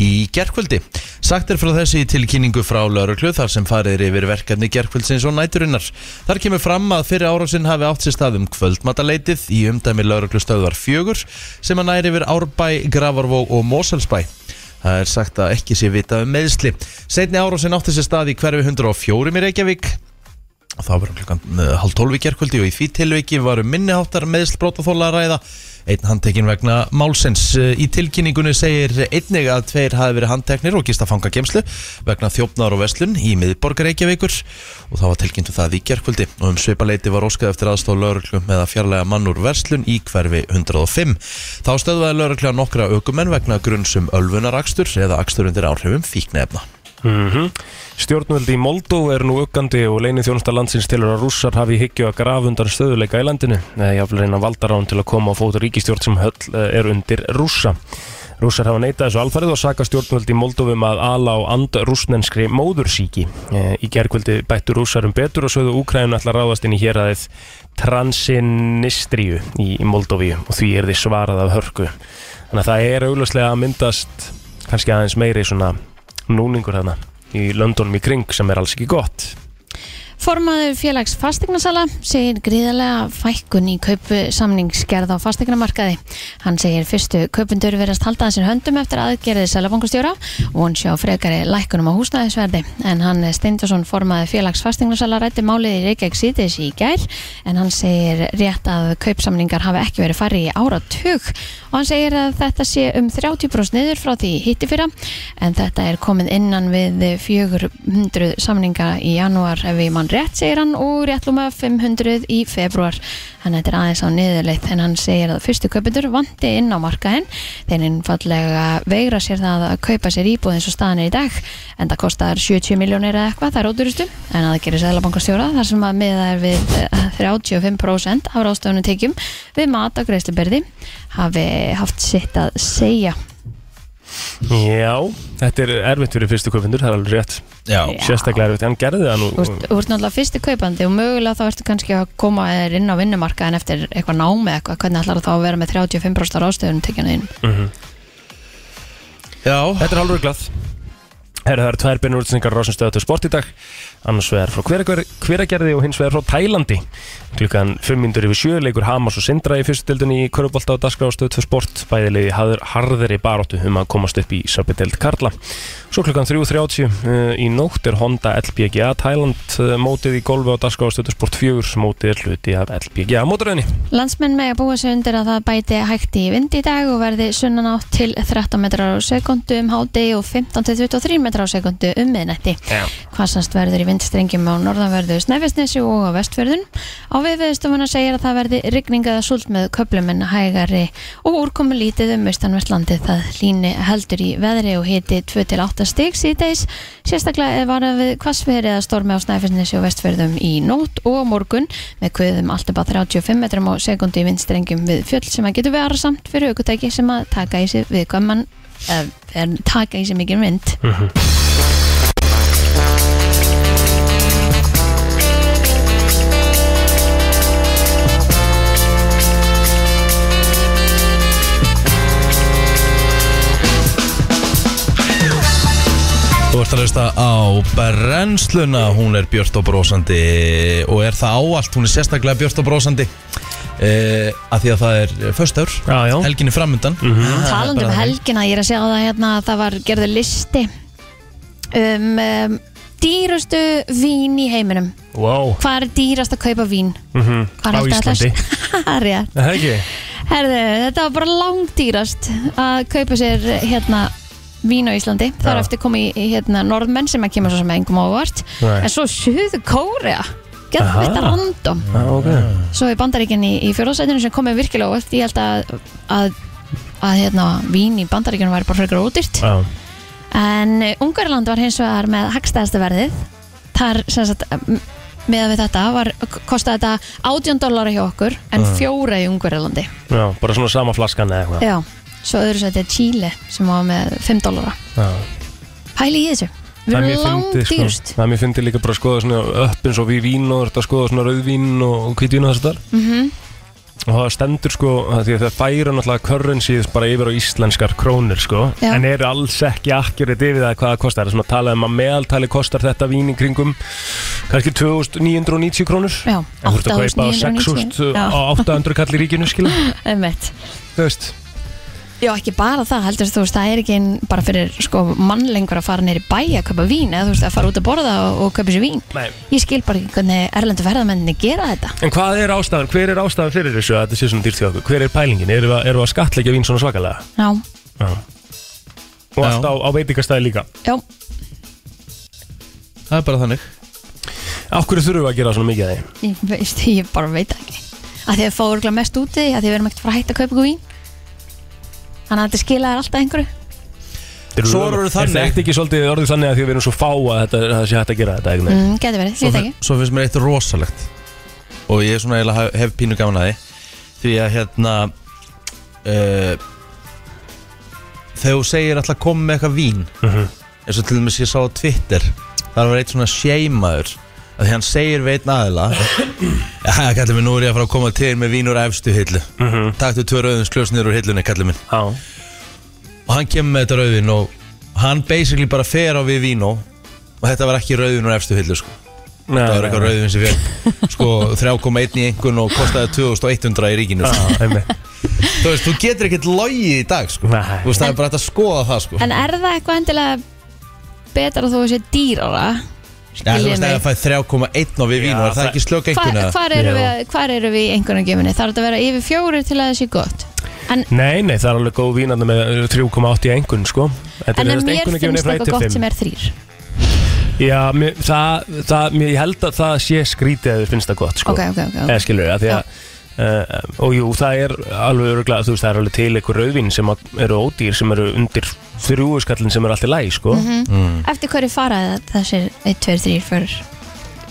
B: í gerkvöldi Sagt er frá þessi í tilkynningu frá Lörglu þar sem farið er yfir verkefni gerkvöldsins og næturinnar. Þar kemur fram að fyrir árásinn hafi átt sér stað um kvöldmataleitið í umdæmi Lörglu stöðvar fjögur sem að næri yfir Árbæ, Gravarvóg og Moselsbæ Það er sagt að ekki sé vitað um meðsli Seinni árásin átti sér stað í hverfi 104 í Reykjavík og það var um klukkan uh, halv tólf í gerkvöldi og í því tilviki var um minniháttar meðslbrótaþóla að ræða einn handtekinn vegna málsins Uh, í tilkynningunni segir einnig að tveir hafi verið handteknir og gista fanga gemslu vegna þjófnar og veslun í miðborgar Reykjavíkur og það var tilkynntu það í gerkvöldi og um sveipaleiti var óskað eftir aðstof lauruglu með að fjarlæga mann úr verslun í hverfi 105 þá stöðvaði laurugla nokkra aukumenn vegna grunnsum ölvunarakstur eða akstur undir áhrifum fíknefna
C: mm Stjórnvöldi í Moldó er nú uggandi og leinið þjónusta landsins tilur að rússar hafi í hyggju að grafa undan stöðuleika í landinu eða jafnvel reyna valdarán til að koma á fótu ríkistjórn sem höll eh, er undir rússa Rússar hafa neitað þessu alfarið og saka stjórnvöldi í Moldófum að ala á and rúsnenskri móðursíki. Eh, Í gerkvöldi bættu rússarum betur og sögðu Úkræðun ætla að ráðast inn í hér aðeins Transinistriu í Moldófíu og því er þið svarað af hörku. Þannig að það er augljóslega að myndast kannski aðeins meiri svona núningur þarna í löndunum í kring sem er alls ekki gott.
D: Formaður félags fastegnasala segir gríðarlega fækkun í kaupu samningsgerð á fastegnamarkaði. Hann segir fyrstu kaupundur verðast halda að sér höndum eftir aðgerðið selabankastjóra og hann sjá frekari lækkunum á húsnæðisverði. En hann Steindorsson formaður félags fastegnasala rætti málið í Reykjavík síðis í gær en hann segir rétt að kaupsamningar hafi ekki verið farið í áratug og hann segir að þetta sé um 30% niður frá því hitti fyrra en þetta er komið innan við 400 samninga í janúar ef við mann rétt segir hann og réttlúma 500 í februar þannig að þetta er aðeins á niðurleitt en hann segir að fyrstu kaupendur vandi inn á markaðinn þeir innfallega veigra sér það að kaupa sér íbúð eins og staðan er í dag en það kostar 70 miljónir eða eitthvað það er ódurustu en að gerir sæðlabankastjóra þar sem að miða er við eh, 35% af ráðstöfunum tekjum við mat á greiðsluberði hafi haft sitt að segja
C: Já, þetta er erfitt fyrir fyrstu kaupendur, það er alveg rétt
B: Já.
C: Sérstaklega erfitt, hann gerði það nú
D: Þú ert þú ert náttúrulega fyrsti kaupandi og mögulega þá ertu kannski að koma þér inn á vinnumarkaðin eftir eitthvað námi eitthvað, hvernig ætlar þá að vera með 35% ástöðunum tekjana inn?
C: Mhm.
B: Já
C: Þetta er hálfur glað Herra, það eru tvær beinur útsendingar á Rásum stöðu til sport í dag annars vegar frá Hveragerði Hveragerði og hins vegar frá Tælandi klukkan 5 mindur yfir 7 leikur Hamas og Sindra í fyrstu dildinni í Körubolt á Daskra og stöðu til sport bæðilegi hafður harðari baróttu um að komast upp í Sabidild Karla svo klukkan 3.30 uh, í nótt er Honda LPGA Tæland uh, mótið í golfi á Daskra og stöðu til sport 4 mótið er hluti af LPGA móturöðinni
D: Landsmenn með að búa sig undir að það bæti hægt í vind í dag og verði sunnan átt til 13 metrar á sekundu um hádegi og 15 til 23 metrar á sekundu um miðnætti.
C: Já.
D: Hvassast verður í vindstrengjum á norðanverðu Snæfisnesi og á vestfjörðun. Á viðveðstofuna segir að það verði rigning eða súld með köplum en hægari og úrkomu lítið um austanvertlandi það líni heldur í veðri og hiti 2-8 stig síðdeis. Sérstaklega er varað við hvassviðri eða stormi á Snæfisnesi og vestfjörðum í nótt og á morgun með kveðum allt upp að 35 metrum á sekundi í vindstrengjum við fjöll sem að getur vera samt fyrir aukutæki sem að taka í sig viðkvæman eh, en taka í sig mikið vind
B: Þú ert að hlusta á brennsluna, hún er björt og brósandi og er það á allt, hún er sérstaklega björt og brósandi eh, að því að það er föstaur, helginni framundan mm
C: Ah,
B: -hmm.
D: Talandi um helgina, ég er að segja það hérna að það var gerður listi um, um dýrastu vín í heiminum
C: Wow
D: Hvað er dýrast að kaupa vín?
C: mm -hmm.
D: Hvað er
C: Á
D: alltaf *laughs*
C: Íslandi
D: Það er rétt.
C: Er Það ekki?
D: Herðu, þetta var bara langdýrast að kaupa sér hérna vín á Íslandi, þar
C: Já.
D: eftir kom í í, hérna norðmenn sem að kemur svo sem engum ávart
C: Nei.
D: en svo suðu Kórea gerð
C: Aha.
D: þetta random
C: Ah, okay.
D: svo í bandaríkjan í, í fjórðarsætinu sem komið virkilega óvart, ég held að að, að hérna, vín í bandaríkjunum væri bara frekar ódýrt
C: Já.
D: en eh, Ungarland var hins vegar með hagstæðasta verðið þar sem sagt m- miðað við þetta var, kostaði þetta 18 dólar hjá okkur en
C: Já.
D: fjóra í Ungarlandi
C: Já, bara svona sama flaskan eða eitthvað
D: Já, svo öðru sætti er Chile sem var með 5 dólara
C: Já.
D: Pæli í þessu, við
C: Það er
D: erum
C: mjög
D: langt
C: fyndið, sko.
D: dýrst
C: Það er mér fyndi líka bara að skoða svona upp eins og við vín og þetta að skoða svona rauðvín og hvítvín og þess að þar
D: mm -hmm.
C: og það stendur sko, að því að það færa náttúrulega currencies bara yfir á íslenskar krónir sko,
D: Já.
C: en eru alls ekki akkurat yfir það hvað það kostar, það er svona að tala um að meðaltali kostar þetta vín í kringum kannski 2990 krónur
D: Já,
C: en þú ert að kaupa á
D: 8.990.
C: 6.000
D: Já.
C: á 800 kall í ríkinu skilur,
D: sko. *laughs* Einmitt.
C: þú veist
D: Já, ekki bara það, heldur þú veist, það er ekki ein- bara fyrir sko, mann lengur að fara neyri bæ að kaupa vín eða þú veist að fara út að borða og, og kaupa sér vín
C: Nei.
D: Ég skil bara ekki hvernig erlendu ferðamenninni gera þetta
C: En hvað er ástæðan, hver er ástæðan fyrir þessu að þetta sé svona dýrt hjá okkur? Hver er pælingin? Erum við, erum við að skattleggja vín svona svakalega?
D: Já,
C: Já. Og allt á, á veitingastæði líka.
D: já,
B: Það er bara þannig
C: Af hverju þurfum við að gera svona mikið af því?
D: ég, veist, ég bara veit það ekki að því að fá örgulega mest úti, að því að við erum ekkert að fara að hætta að kaupa ykkur vín Þannig að þetta skila þér alltaf einhverju
C: Þeir
B: Svo eru þannig-
C: Er þetta ekki svolítið orðið þannig að því að við erum svo fá að þetta að það sé hægt að gera þetta? Mm.
D: mm, Gæti verið, því
B: svo,
D: þetta
B: fin-
D: ekki
B: svo finnst mér eitt rosalegt og ég er svona eiginlega hef, hef pínu gaman að því því að hérna uh, þegar þú segir alltaf koma með eitthvað vín eins og til dæmis ég sá á Twitter þar var eitt svona seimaður að því hann segir við einn aðila ja, kallið minn, nú er ég að fara að koma til þér með vín úr efstu hillu mm -hmm. taktu tvö rauðins kljósnir úr hillunni, kallið minn
C: Á.
B: og hann kemur með þetta rauðin og hann basically bara fer á við vín og þetta var ekki rauðin úr efstu hillu sko
C: Nei,
B: það var eitthvað rauðvinn sem fekk sko 3,1 í einhvern og kostaði 2100 í ríkinu sko.
C: Ah,
B: þú veist, þú getur ekkert logið í dag sko.
C: Nei.
B: þú veist, það er bara hægt að skoða það sko.
D: En er það eitthvað endilega betra þó að sé dýrara?
B: ja, þú veist,
D: mig.
B: ef það fæði 3,1 á við vínu,
C: Já,
B: er það
C: það-
B: ekki slök
D: Hvar,
B: einhvern eða?
D: hvar, eru
C: Já.
D: við, hvar eru við í einhvernagjöfunni? Þarf þetta að vera yfir fjóri til að það sé gott? En,
C: Nei, nei, það er alveg góð vínandi með uh, 3,8 í engun, sko. Þetta
D: en
C: er
D: ef
C: þess-
D: mér
C: einkunnagjöfin er
D: finnst
C: frá 1
D: eitthvað
C: til
D: gott
C: 5.
D: sem er þrýr
C: Já, mér, það, það, mér, ég held að það sé skrítið að þið finnst það gott sko.
D: Ok, ok, ok, ok.
C: Eða skilur að því að Uh, og jú, það er alveg öruglega, þú veist, það er alveg til einhver rauðvín sem að, eru ódýr, sem eru undir þrjúuskallin sem eru allt í læg, sko mm
D: Mhm. Eftir hverju fara það- þessir 1, 2, 3, 4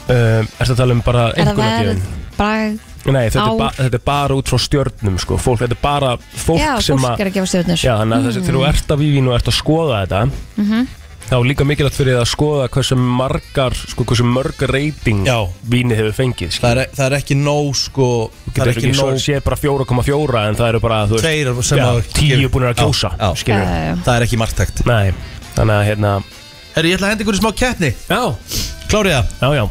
C: Ertu að tala um bara
D: Er það
C: einhverja
D: verð,
C: gefin?
D: bragð
C: Nei, þetta,
D: Ár.
C: er ba, þetta er bara út frá stjörnum sko. fólk, Þetta er bara fólk
D: Já,
C: sem
D: fólk er að gefa stjörnur.
C: Já, þannig að þessi, þegar þú ert að vívín og ert að skoða þetta
D: Mhm.
C: þá er líka mikilvægt fyrir þið að skoða hversu margar sko, hversu mörg reyting
B: Já.
C: vínið hefur fengið
B: það
C: skilur.
B: er, það er ekki nóg sko Það
C: Getur
B: er ekki nóg
C: sé bara 4,4 en það eru bara þú veist,
B: Tveir sem
C: já,
B: að-
C: tíu búinir að
B: Já,
C: kjósa
B: já.
C: skilur.
D: Já, já, já.
B: Það er ekki margtækt
C: Nei, þannig að hérna
B: Herri, ég ætla að henda ykkur í smá keppni
C: Já,
B: Klárið það
C: já, já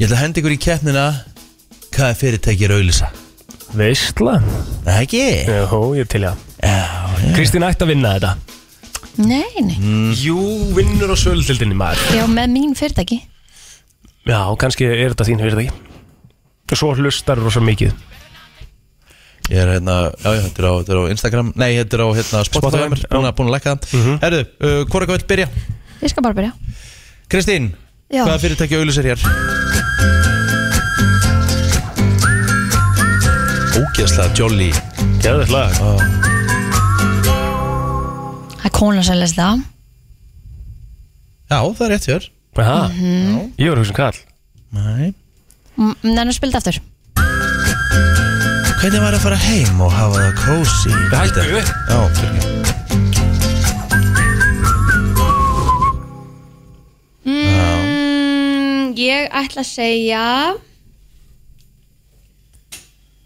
B: Ég ætla að henda ykkur í keppnina Hvað er fyrirtækir auðlýsa?
C: Veistla
B: Það er ekki
C: Jó, ég til ég að
B: Já, Mm.
C: Kristín ætti að vinna þetta
D: Nei, nei,
C: Mm. Jú, vinnur á sölutildinni maður
D: já með mín fyrirtæki
C: Já, kannski er þetta þín fyrirtæki Og svo hlustar rosa mikið
B: Ég er hérna, já, já, þetta er á, þetta er á Instagram Nei, þetta er á hérna, Spotify
C: Spotify, já.
B: Búin að, búin að lækka það Herru, uh, hvora hvað vil byrja?
D: Ég skal bara byrja
B: Kristín,
D: Já.
B: hvaða fyrirtæki auðlýsir hér? Ógæslega jolly
C: Gæðið lag
D: Það er kona sem lesi það
B: Já, það er rétt hér
C: Aha, ég var hugsun kall
B: Nei
D: Nennu spildi aftur
B: Hvernig var að fara heim og hafa það kósi?
C: Hættu.
B: Já, fyrir
F: Mm, Ég ætla að segja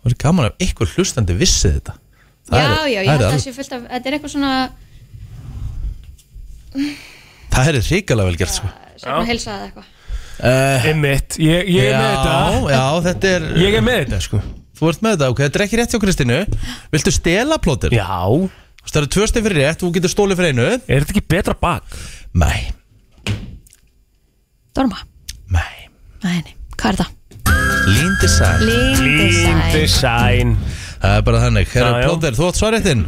B: Það er gaman að ykkur hlustandi vissi þetta Það
F: Já,
B: er-
F: já, ég
B: það er
F: ætla að
B: alveg-
F: sé fullt af Þetta er eitthvað svona
B: Það er hrikalega vel gert sko.
F: Svona heilsaði eitthvað
B: uh,
C: Einmitt, ég, ég er með þetta
B: Já, þetta er
C: Ég er með þetta sko
B: Þú ert með þetta, ok, þetta er ekki rétt hjá Kristínu Viltu stela plótir?
C: Já,
B: Það eru tvö stið fyrir rétt, þú getur stólið fyrir einu
C: er þetta ekki betra bak?
B: Nei,
D: Dorma
B: nei
D: Nei, nei, hvað er það?
B: Lean Design
D: Lean
C: Lean
D: Design
C: design
B: Það er bara þannig, herra
C: Já, Mhm. já.
B: plótir, þú átt svarréttin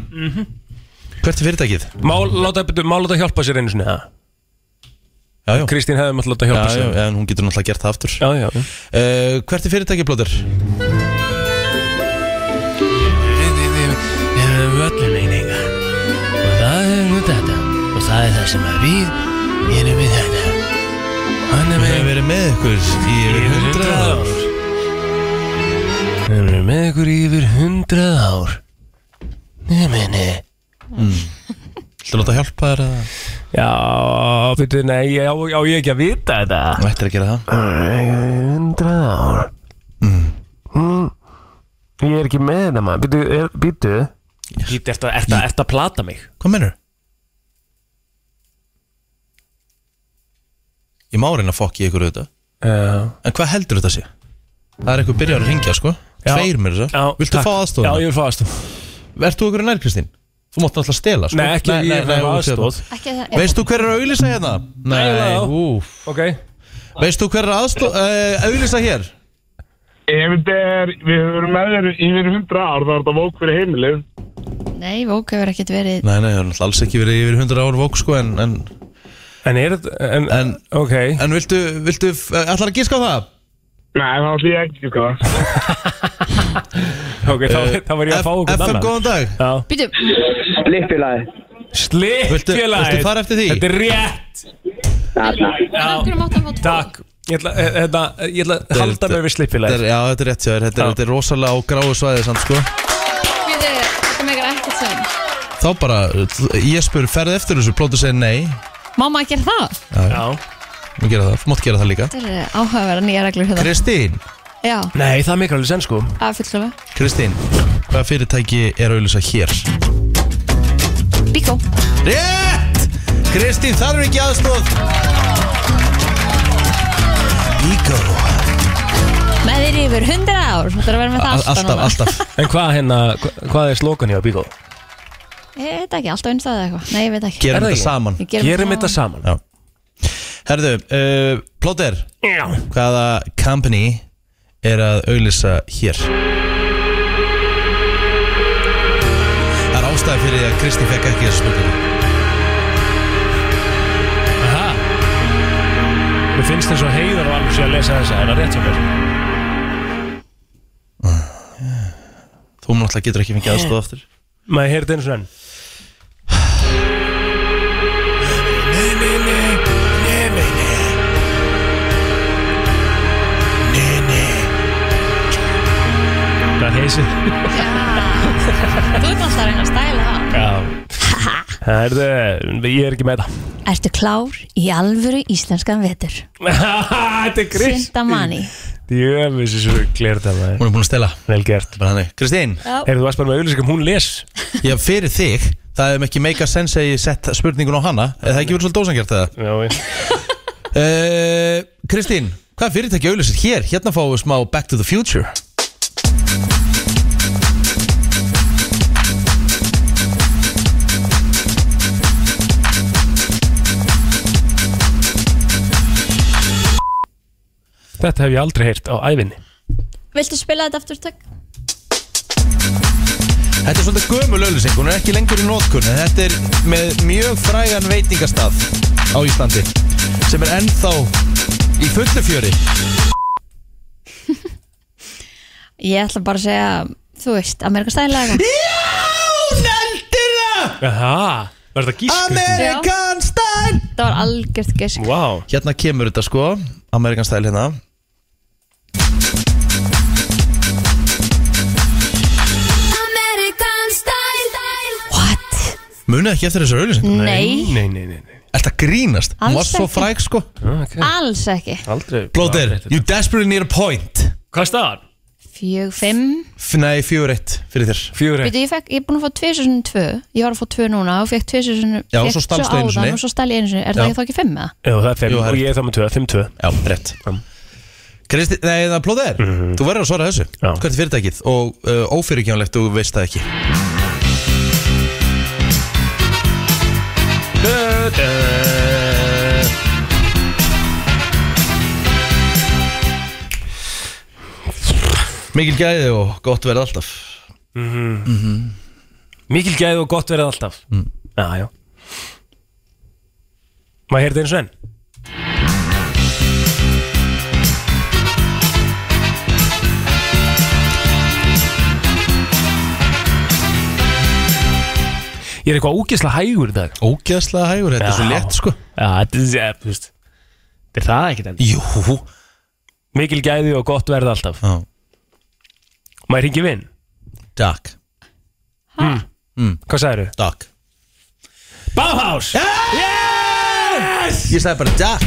B: Hvert er fyrirtækið?
C: Má láta, byrju, má láta hjálpa sér einu sinni það
B: Já, já,
C: Kristín hefði mátt láta
B: já,
C: hjálpa
B: já,
C: sér
B: en hún getur náttúrulega gert það aftur
C: Já, já, já.
B: uh, Hvert er fyrirtækið plótir?
C: Við höfum öllu meiningar Og það er nú þetta Og það er það sem að við erum við þetta Hann er
B: Við hefum verið með ykkur í yfir hundrað ár
C: Við erum með ykkur í yfir hundrað ár Nei, meni
B: Þú láta hjálpa þér að
C: Já, byrju, nei, já, já, ég ekki að vita þetta
B: Þú ættir að gera það
C: Hundrað ár mm. Ég er ekki með þetta maður Býtu, er, býtu Býtu, ertu ert, ert að plata mig?
B: Hvað mennur? Ég má reyna að fokki ykkur auðvitað
C: Já
B: En hvað heldur þetta sé? Það er eitthvað byrjar að ringja sko
C: Já.
B: Tveir mér þess að Viltu fá aðstóð?
C: Já, ég vil fá aðstóð
B: Ert þú ykkur nær Kristín? Þú mátt náttúrulega stela sko
C: Nei, ekki, ég vil fá
B: þú ert
C: aðstóð
D: Ekki það
B: hérna. Veist þú hver er að auðlýsa hérna?
C: Nei, já.
B: úf
C: Ok
B: Veist þú hver er aðstóð? Auðlýsa hér?
G: Ef þetta er, við höfum verið með þér yfir 100 ár, þá er þetta vók fyrir heimilið.
D: Nei, Vók hefur ekkert verið
B: Nei, nei, það er náttúrulega alls ekki verið yfir 100 ár vók sko En, en,
C: En er þetta, en,
B: en,
C: ok
B: en viltu, viltu, eh, ætlar að gíska á það?
G: Nei, þá ætlum ég ekki, sko.
C: Ok, þá, þá var ég að fá okkur
B: FM, góðan dag
C: Já
D: Býtu,
C: Slitt
B: Viltu-
C: félagi
B: viltu fara eftir því?
C: Þetta er rétt
D: hann
C: Já,
D: hverju mátt hann fá tvo?
C: takk Ég ætla, eh, hérna, ég ætla að halda mig við
B: Þetta
C: slippfélagi
B: er- Já, þetta er rétt hjá þér, þetta er,
C: Já.
B: þetta er rosalega á gráu svæði samt sko
D: Býtu, þetta megar ekkert sem
B: Þá bara, ég spur, ferð eftir þessu, plótu segir nei
D: Má maður gera það?
C: Já
B: Má gera það, þú mátt gera það líka
D: Þetta er áhugaverða nýja reglur hérna
B: Kristín,
D: Já,
C: Nei, það er mikilvægt sen sko
D: að fullklálega
B: Kristín, hvaða fyrirtæki er auðvitað hér?
D: Bíkó
B: Rétt! Kristín þarf ekki aðstóð Bíkó
D: Með þér yfir 100 ár Þú þarf að vera með það alltaf
B: Alltaf,
D: núna.
B: alltaf
C: En hvað hérna, hva- hvað er slogan hjá Bíkó?
D: *laughs* Ég veit ekki, alltaf einnstæðið eitthvað Nei, ég veit ekki
B: Gerum
C: Er það
B: þetta
C: ekki?
B: saman
D: Ég
C: Gerum þetta saman
B: Já. Herðu, uh, plóter,
C: Já
B: hvaða company er að auðlýsa hér? Það er ástæði fyrir því að Kristi fekk ekki þessu spurningu
C: Aha. Mér finnst eins og heiðar var alveg sé að lesa þessa, er það rétt hjá mér?
B: Þú náttúrulega getur ekki
D: Eh.
B: fengið aðstóð aftur
C: Maður heyrði eins og enn Nei, nei, nei, nei, nei, nei Nei, nei Þetta er heysi
D: Þú ert alltaf að reyna að stæla það
C: Það er, ég er ekki með það *laughs*
D: Ertu klár í alvöru íslenskan vetur?
C: Þetta er Krist
D: Sindamanni
C: Jöfis, þessu glert að maður
B: Hún er búin að stela
C: Vel gert
B: Bara þannig. Kristín,
C: Heyrðu, þú varst bara með auðlýsingum, hún les
B: ég fyrir þig Það hefum ekki meika sense að ég sett spurningun á hana Eða það ekki verið svolítið ósangjart eða
C: Já, ég
B: Eh, Kristín, hvað fyrirtæki auðlýsir hér? Hérna fáum við smá Back to the Future
C: Þetta hef ég aldrei heyrt á ævinni
F: Viltu spila þetta aftur takk?
B: Þetta er svolítið gömul auðlýsing, hún er ekki lengur í nótkunni Þetta er með mjög frægan veitingastað á Íslandi sem er ennþá í fullu fjöri
D: Ég ætla bara að segja, þú veist, Amerika stæla *laughs* eitthvað.
B: Já, neldir það!
C: Aha, var þetta gísk?
B: American style!
D: Það var algjört gisk
C: Vá wow.
B: Hérna kemur þetta sko, American style hérna
E: American style.
D: What?
B: Munið ekki eftir þessu auðlýsing
D: Nei,
C: Nei, nei, nei, nei.
B: Þetta grínast, hún var
D: Alls
B: svo
D: ekki.
B: fræg sko
C: Okay.
D: alls ekki
C: Aldrei
B: Blóðir,
C: aldrei-
B: you desperately need a point
C: Hvað staðan?
D: Fjög, fimm
B: F- Nei, fjögur eitt fyrir þér
C: Fjögur eitt
D: Veitu, ég, fekk, ég er búin að fá 2002 Ég var að fá 2 núna og fekk 2000
B: Já, og svo stalstu einu sinni.
D: Og svo stæl ég einu sinni Er
B: Já.
D: það ekki þá ekki 5 eða?
C: Já, það er fimm
B: Jú, það er-
C: og ég er það með tvö, fimm tvö
B: Já, Mhm. rétt
C: Mm.
B: Kristi, nei, það plóðið er Þú verður að svara þessu
C: Já.
B: Hvert er fyrirtækið og uh, ófyrirkjánlegt þú veist það ekki Mikil gæði og gott verð alltaf
C: Mikil gæði og gott verið alltaf mm. Já, já Maður heyrði eins og enn Ég er eitthvað ógisla hægur í dag
B: Ógæðslega hægur, þetta er svo
C: Já.
B: létt sko
C: Já, þetta er, ja, þú veist Þetta er það ekkert enn
B: Jú,
C: Mikil gæði og gott verð alltaf
B: Já.
C: Maður hringir vinn,
B: Dag,
C: hvað sagðirðu?
B: dag
C: Bauhaus! Yes!
B: Ég sagði bara dag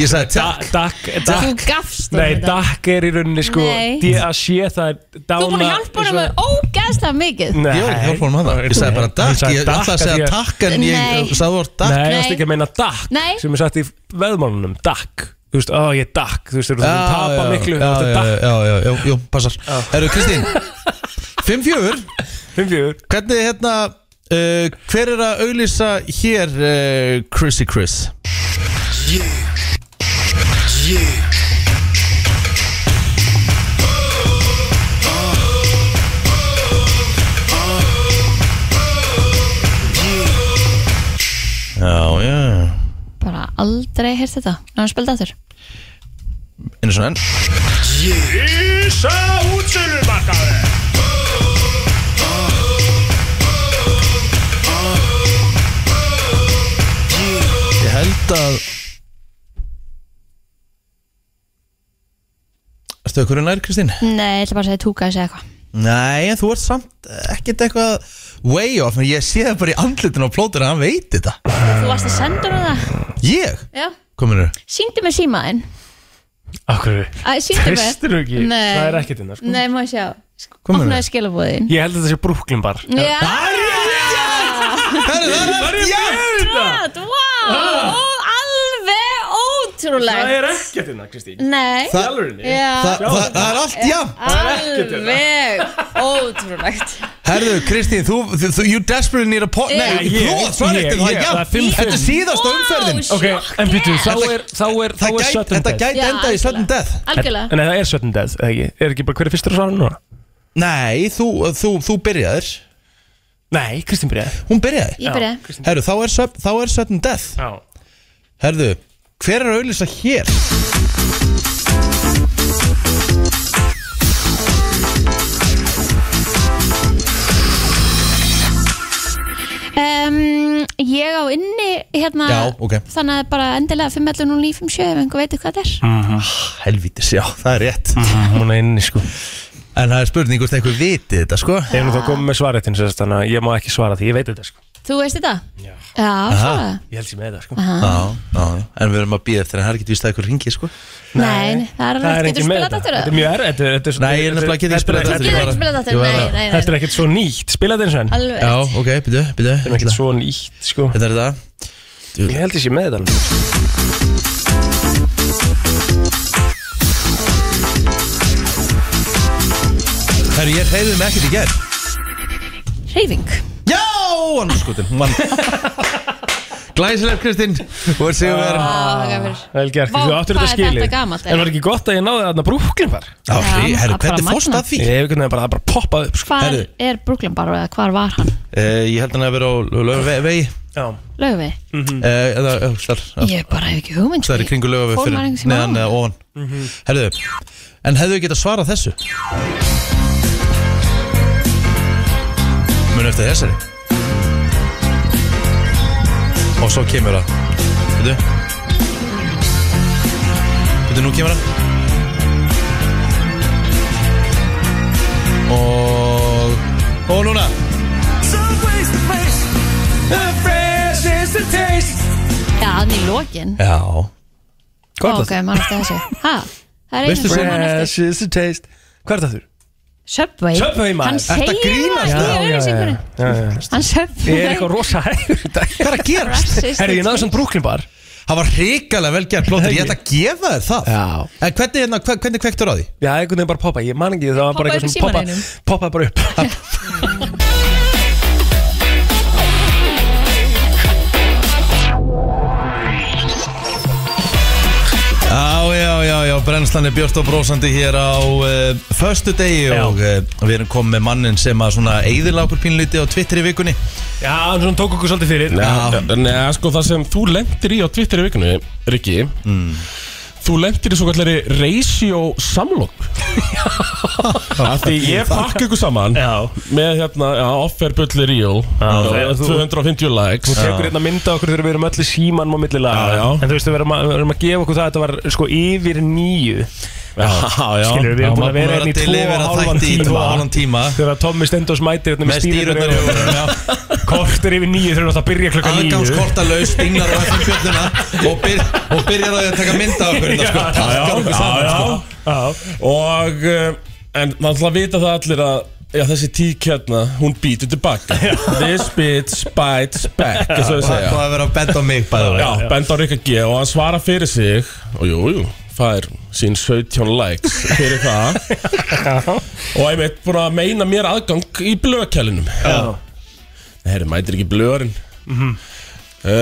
B: Ég sagði dag
C: Dakk,
D: Þú
C: dakk
D: gafst
C: Ah. Nei, dakk er í rauninni sko
D: Nei.
C: D.A.C. það er dána
D: Þú er búin að hjálpa honum
C: eins og-
D: með ógeðslega mikið
C: Nei,
B: Ég var ekki hjálpa honum að það Ég sagði bara
C: Ég
B: dag
C: sagði
B: Ég ætlaði að
C: dakk,
B: segja
C: ég-
B: takk en
D: Nei.
B: ég sagði voru dag
C: Nei, ég
D: Nei.
C: veist ekki að meina dakk
D: Nei.
C: Sem er satt í veðmálunum, dakk Þú veist, ó ég er dakk Þú veist, þú
B: Já,
C: tapa
B: já,
C: miklu
B: já,
C: Þetta
B: já,
C: er dakk,
B: já, já, já, já, passar Herru, *laughs* Kristín 5-4
C: fimm fjögur
B: Hvernig, hérna uh, Hver er að auglýsa hér uh, Chrissy Chris Já, já
D: Bara aldrei heyrt þetta Ná, hann spildi aftur
B: Einu svona enn
C: Ísa útsölumarkaði
B: Ég held að Ertu ykkur nær, Kristín?
D: Nei, ég ætla bara að segja túka þessi eitthvað
B: Nei, en þú ert samt ekkert eitthvað way off En ég sé það bara í andlitin á plótur að hann veit þetta
D: Þú varst að senda honum það
B: Ég?
D: Já
B: Kominu
D: Sýndu mér símaðinn
C: Akkur,
D: Æ, Sýndu mér
C: tristir þú ekki
D: Nei.
C: Það er ekkert innan, sko
D: Nei, má ég sjá
B: Hvað meinarðu?
D: Opnaði skilabóðin
C: Ég held að þetta sé brúklin bar
D: Já,
B: Herri, það er rétt, já
D: hvað, wow Ó, Alveg
C: Ah. Það
D: ótrúlegt
C: er ekkert innan, Kristín
D: Nei
B: Það-
C: Þjálfurinni
D: Já
B: Það, það, það er allt, já
D: Alveg ótrúlegt
B: Herðu, Kristín, þú, þú, þú You desperately need a point Nei,
C: Ég- ég-
B: plóð, svar
C: ég-
B: eftir það,
C: ég-
B: já
C: það er fimm-
B: Þetta er
C: fimm.
B: síðasta umferðin
D: Wow,
C: Ok, en býtu, þá
B: Þetta-
C: er, þá er, þá
B: Það
C: er
B: gæti-
C: sudden
B: Þetta
C: death
B: gæti
D: Já,
B: enda í
D: algjörlega.
B: sudden death
D: Algjörlega
C: En nei, það er sudden death, eða ekki? Er ekki bara hver er fyrstur að svara núna?
B: Nei, þú, þú, þú byrjaðir
C: Nei, Kristín Bríði
B: Hún byrjaði
D: Ég byrja
B: Herru, þá er, sub- þá er sudden death
C: Já
B: Herðu, hver er að auðlýsa hér?
D: um, Ég á inni hérna
B: Já, ok.
D: Þannig að bara endilega 511 og 957 ef einhver veitir hvað þetta er
C: Mm.
B: Helvítis, já, það er rétt
C: Hún er inni sko
B: En það er spurning hvort einhver viti þetta sko
C: Þeir eru þá komið með svaretin sérst, þannig að ég má ekki svara því, ég veit þetta sko
F: Þú veist þetta?
C: Já.
D: Já, svona
C: Ég held sem með þetta sko
B: Já,
D: Aha.
B: já, já. En við erum að býða eftir en það er ekki víst að ykkur ringi sko
D: Nei, það er
C: Það er
D: alveg, getur
C: engin með
D: spilað
C: þetta
D: aftur
C: Þetta er mjög erfitt þetta er- þetta er-
B: Nei, ég er nefnilega ekki því að spila
C: þetta
B: þetta
F: Getur
B: aftur, ég
C: er-
F: ekki
B: var-
F: spilað þetta?
B: ég var
F: Nei, nei,
B: að-
F: nei,
C: Þetta er ekkert svo nýtt, spila þetta eins og enn Þetta
F: Alveg
B: Já, ok, byrju, byrju
C: er ekkert
B: ætla-
C: svo nýtt sko
B: Þetta er þetta
C: Ég held ég sé með þetta alveg.
B: Herru, ég hreyfði mig ekkert í gerð
D: Reyfing
B: Já, hann er skotin Hún *laughs* vann Glæsileg Kristinn Þú er sigur verið
C: Vel gert,
D: Vá,
C: þú áttur þetta
D: hvað er þetta
C: skilið
D: gamalt,
C: En var ekki gott að ég náði þarna brúklinn bara
B: Já, hri- herru,
D: það er bara
B: hvernig fórst
D: magnað.
B: að því?
C: Ég hef einhvern veginn bara, það bara poppað upp sko
D: Hvar
B: Herðu.
D: er Brooklyn bara eða hvar var hann?
B: Eh, Ég held hann að vera á lögavegi
C: Já,
D: Löfi?
B: Eða, eh, þar já.
D: Ég bara hef ekki hugmynd
B: Það er í kringu lögafi
D: Fór
B: fyrir
D: maður einhvers
B: neðan eða
D: tímann á?
B: ofan Herðu, en hefðu þið getað svarað þessu? Munu eftir þessari Og svo kemur það Veitu Veitu, nú kemur það Og Og núna
D: Já, hann í lokin
B: Já
C: hvað er
D: Ok,
C: það?
D: mann eftir þessu Ha? Það er
B: Veistu
D: einu sem mann eftir
C: Fresh is the taste Hvað er það þurr?
D: Subway
C: Subway, maður.
D: Hann
C: Ertu
B: að
D: segir
B: grínast?
D: það í auðlýsingunni Hann
C: Ég er
D: Subway
C: eitthvað rosa hægur í dag
B: Hvað er að gerast?
D: Fresh is the
C: Herri, ég náði samt brúklinn bara
B: Það var hrikalega vel gert plóttir, ég ætla að gefa þér það
C: Já.
B: En hvernig, hérna, hve- hvernig kvektur á því?
C: Já, einhvern veginn bara poppa, ég man ekki, það var bara
F: Poppaði upp í
C: eitthvað sem poppa,
F: símanum.
C: poppaði bara
F: *laughs*
C: upp
B: Já, já, já, já, brennslan er björt og brósandi hér á uh, Föstu degi
C: Já.
B: og uh, við erum komið með mannin sem að svona eyðila okkur pínlíti á Twitter í vikunni
C: Já, hann svona tók okkur svolítið fyrir
B: Já.
H: Nei, sko það sem þú lendir í á Twitter í vikunni, Rikki Þú lendir í svo kallari ratio samlokk Af því ég pakka ykkur saman
C: Já.
H: Með hérna, já, offer bulli real
C: þegar
H: og
C: þú-
H: 250 likes
C: Þú
H: *laughs*
C: tekur hérna mynda okkur þegar við erum öll í símanum á
H: Já,
C: millilega
H: já.
C: En þú veistu, við erum, að, við erum að gefa okkur það að þetta var sko yfir nýju
H: Já, já
C: Skilur, við
B: Já,
C: erum
B: maður
C: búin að vera
B: búin
C: hérna í
B: að
C: tvo
B: delivera
C: og hálfan
B: þætti í tvo og hálfan tíma.
C: Þegar Tommi Stendos mætir hérna
B: Með
C: með
B: stýrurnar
C: stýrunar
B: í augunum,
C: Kortur yfir nýju þegar það byrja klukka nýju
B: Aðgangskorta laus, stinglar á FM bjölluna og, byr, og byrjar á því að taka mynda af okkur hérna, sko, pakkar okkur saman
H: já,
B: sko.
H: já. Og, eh, en maður ætla að vita það allir að Já, þessi tík hérna, hún býtur tilbaka This bitch bites back eins og
B: Það
H: þau
B: er
H: segja
B: búið að vera að benda á mig bæður
H: Já, benda á Rikka G og hann svarar fyrir sig og jú, jú, fær sín 17 likes fyrir það og einmitt búin að meina mér aðgang í blökjælinum Nei, herri, mætir ekki blörin uh,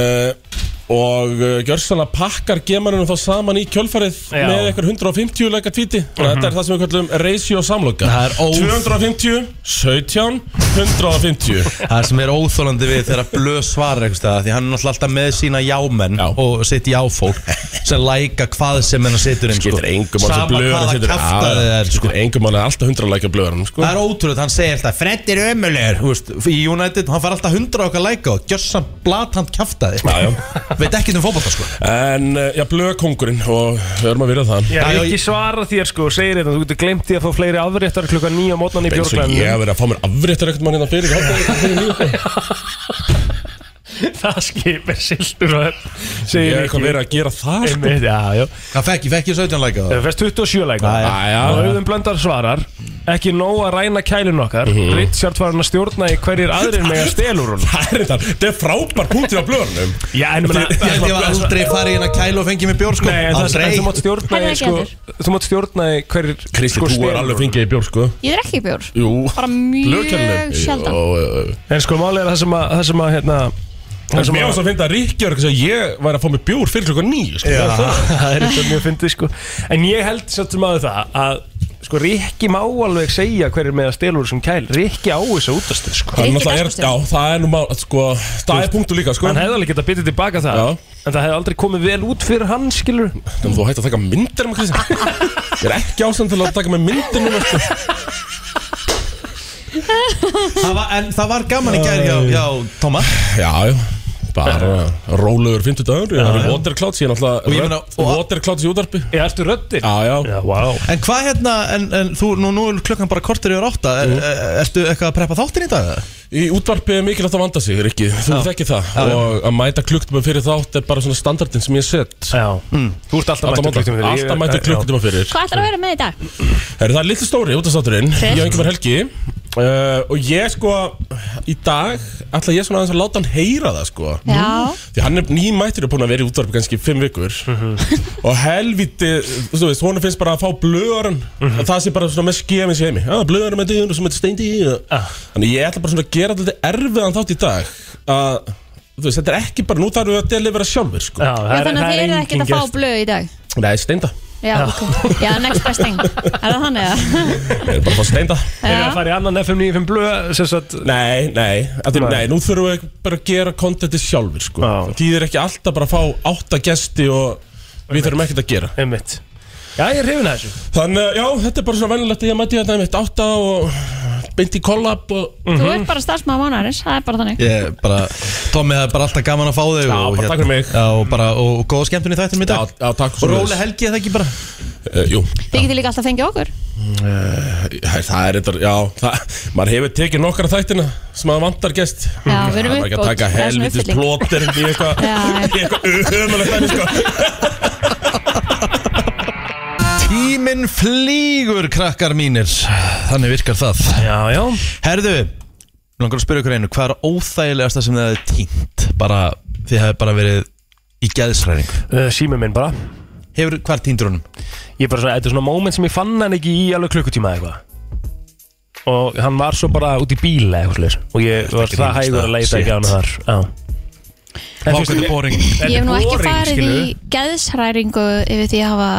H: og uh, gjörsanna pakkar gemanunum þá saman í kjölfarið
C: Já.
H: með eitthvað 150 leika tvíti og þetta er það sem við kallum ratio samloka
B: Það er óf-
H: 250, 17, 150
B: Það sem er óþólandi við þegar blöð svarar einhvers staðar, því hann er náttúrulega alltaf með sína jámenn
H: Já.
B: og sitt jáfólk sem læka hvað sem hennar situr inn sko.
H: Skiptir engum mann sem
B: Sama
H: blöður
B: hvaða kjaftaði það er sko.
H: Skiptir engum mann er alltaf hundra lækja blöður sko.
B: Það er ótrúlega, hann segir alltaf Fred er ömulegur, þú veist, í United hann fær alltaf 100 okkar læka og gjössan blatant kjaftaði
H: Já, já.
B: Veit ekki um fótbolta sko
H: En eh, já, blöður kongurinn Og við erum að virða það
C: Já,
B: Já, já,
C: ekki
B: ég-
C: svara þér sko og segir þetta, þú getur glemt því að fá fleiri afréttar klukka nýja mótnan í
H: Eins og
C: björglæðinu
H: ég hef verið að fá mér afréttar ekkert mann hérna fyrir hádegi, fyrir níu.
C: *laughs* Það skipir sildur og öll,
H: Ég
C: segir
H: hef eitthvað
C: Rikki.
H: verið að gera það sko.
C: Einmitt, Já, já
B: Hann fekk, ég fekk ég 17 læka
C: Það fæst 27 læka
B: Já,
H: já.
C: Og auðvun blöndar svarar Ekki nóg að ræna kælun okkar
H: Mhm.
C: Richard var hann að stjórna í hverjir aðrir
H: *laughs*
C: með að stelur hún
H: *laughs* Það er þetta Það er frábær punktur á blöðunum
C: Já, en menna
B: Ég held ég var aldrei farið inn að kæla og fengið mér bjór sko
C: Nei, en það er
B: Aldrei
C: þú mátt stjórna
F: Hann er
C: í
F: ekki
C: sko
F: heldur.
C: Þú mátt stjórna í hverjir sko,
H: Kristi, þú er alveg fengið í bjór sko
D: Ég er ekki bjór
H: Jú
D: Bara mjög sjaldan
H: sjaldan
C: En sko málið er það sem að Það sem að hérna
H: Mér
C: Það sem
H: finnst
C: að
H: að finna að Rikki var eitthvað að ég væri að fá mér bjór fyrir klokkan nýju sko.
C: Já,
B: *laughs*
C: það er þetta mjög fyndið sko En ég held samt sem að það að Sko, Rikki má alveg segja hverjir með að stelur sem kæl Rikki á þessu útastu sko
H: Það er
F: Rikki
H: náttúrulega- er- Já,
F: Dagbjörnsson.
H: það er nú mál sko, Það er punktur líka sko
C: Hann hefði alveg getað byttið tilbaka það
H: Já.
C: En það hefði aldrei komið vel út fyrir hann, skilur
H: Þannig þú hætti að taka myndir um að Kristján Ég er ekki ástand til að taka með myndir núna sko.
B: Það var- En það var gaman í gær hjá, hjá Tóma
H: Já, já bara rólegur 50 dagur Það eru waterclouds, ég er
B: Og ég
H: náttúrulega
B: meina,
H: rödd-
B: og-
H: waterclouds í útarpi
C: Ég ertu röddin?
H: Já, já,
C: Já, vá
B: En hvað hérna, en, en þú, nú, nú er klukkan bara kortur yfir átta er, er, Ertu eitthvað að preppa þáttin í dag? eða?
H: Í útvarpi er mikilvægt að vanda sig, Rikki, þú
B: Já.
H: þekkir það
B: Já, já.
H: Og að mæta klukkdum fyrir þátt er bara svona standardin sem ég set
C: Já Þú ert alltaf
H: Alltaf
C: mættur
H: mæta-
C: klukkutíma fyrir. Ég- Já.
H: alltaf mæta klukkdum fyrir
F: Hvað ætlar að vera með í dag?
H: Herri, það er litli stóri út af státturinn Ég og einhver helgi uh, Og ég sko, í dag ætla ég svona aðeins að láta hann heyra það sko
D: Já,
H: Því hann er nýmættur og búin að vera í útvarpi kannski fimm vikur
C: Mhm.
H: Og helviti, þú veist, honum finnst bara að fá blöðarinn
C: Mhm.
H: að Það sé bara svona með skefins í heimi Já, blöðarinn með dýðun og sem heitir steindi í
C: Ah.
H: Þannig ég ætla bara svona að gera þetta erfiðan þátt í dag Að, þú veist, þetta er ekki bara, nú þarf við að delivera sjálfur sko
C: Já, það
D: já
C: er-
D: þannig að
C: það
D: þið
C: er
D: eru
C: engin
D: ekkert að
C: gestur.
D: fá blöð í dag
H: Nei, steinda,
D: Já, ok Já, next best thing Er það þannig að?
H: ég er bara að fá steinda
C: *laughs* Þeir eru að fara í annan FM 95 blöð sem sagt
H: Nei, nei, þetta, nei.
C: Nei.
H: nei, nú þurfum við bara að gera kontentið sjálfur sko.
C: Já.
H: Það þýðir ekki alltaf bara að fá átta gesti og við þurfum ekkert að gera
C: Einmitt Já, ég er hrifin að þessu
H: Þannig, já, þetta er bara svona venjulegt að ég mæti þetta einmitt átta og beint í kollab og
D: Þú ert bara starfsmaður mánarins Það er bara þannig
B: Ég bara, Tommi, það er bara alltaf gaman að fá þig Já, og, hérna-
H: bara takk fyrir mig.
B: Já, og bara, og, og góða skemmtun í þættinum í
H: Já,
B: dag
H: já, takk
B: Og róleg helgi, er það ekki bara
H: uh, Jú,
D: Þið getið líka alltaf fengið okkur
H: Æ, það er þetta, já, það, maður hefur tekið nokkra þættina sem að vantar gest
D: Já, við erum
H: Það er ekki að
D: uppbót.
H: taka
D: Það er svona
H: helvitis
D: uppfylling.
H: plóter í eitthvað
D: Já.
H: *laughs* í eitthvað ömulegt dæmi, sko.
B: Tíminn flýgur, krakkar mínir Þannig virkar það
C: Já, já
B: Herðu, mig langar að spyrja ykkur einu Hvað er óþægilegasta sem það er týnt? Bara, þið hefði bara verið í geðsræning
C: Uh, Sími minn bara
B: Hefur, hvað er týndur honum?
C: Ég er bara svona, þetta er svona moment sem ég fann hann ekki í alveg klukkutíma eða eitthvað Og hann var svo bara út í bíl eða eitthvað slis Og ég var
B: ekki
C: það
B: grínast,
C: hægur að leita
B: shit.
C: ekki á hann þar Já En þú veist,
B: Vákvæmdu
C: ég-
B: bóring
C: þetta er
D: Ég hef nú ekki
C: boring,
D: farið í
C: skilurðu.
D: geðshræringu yfir því að hafa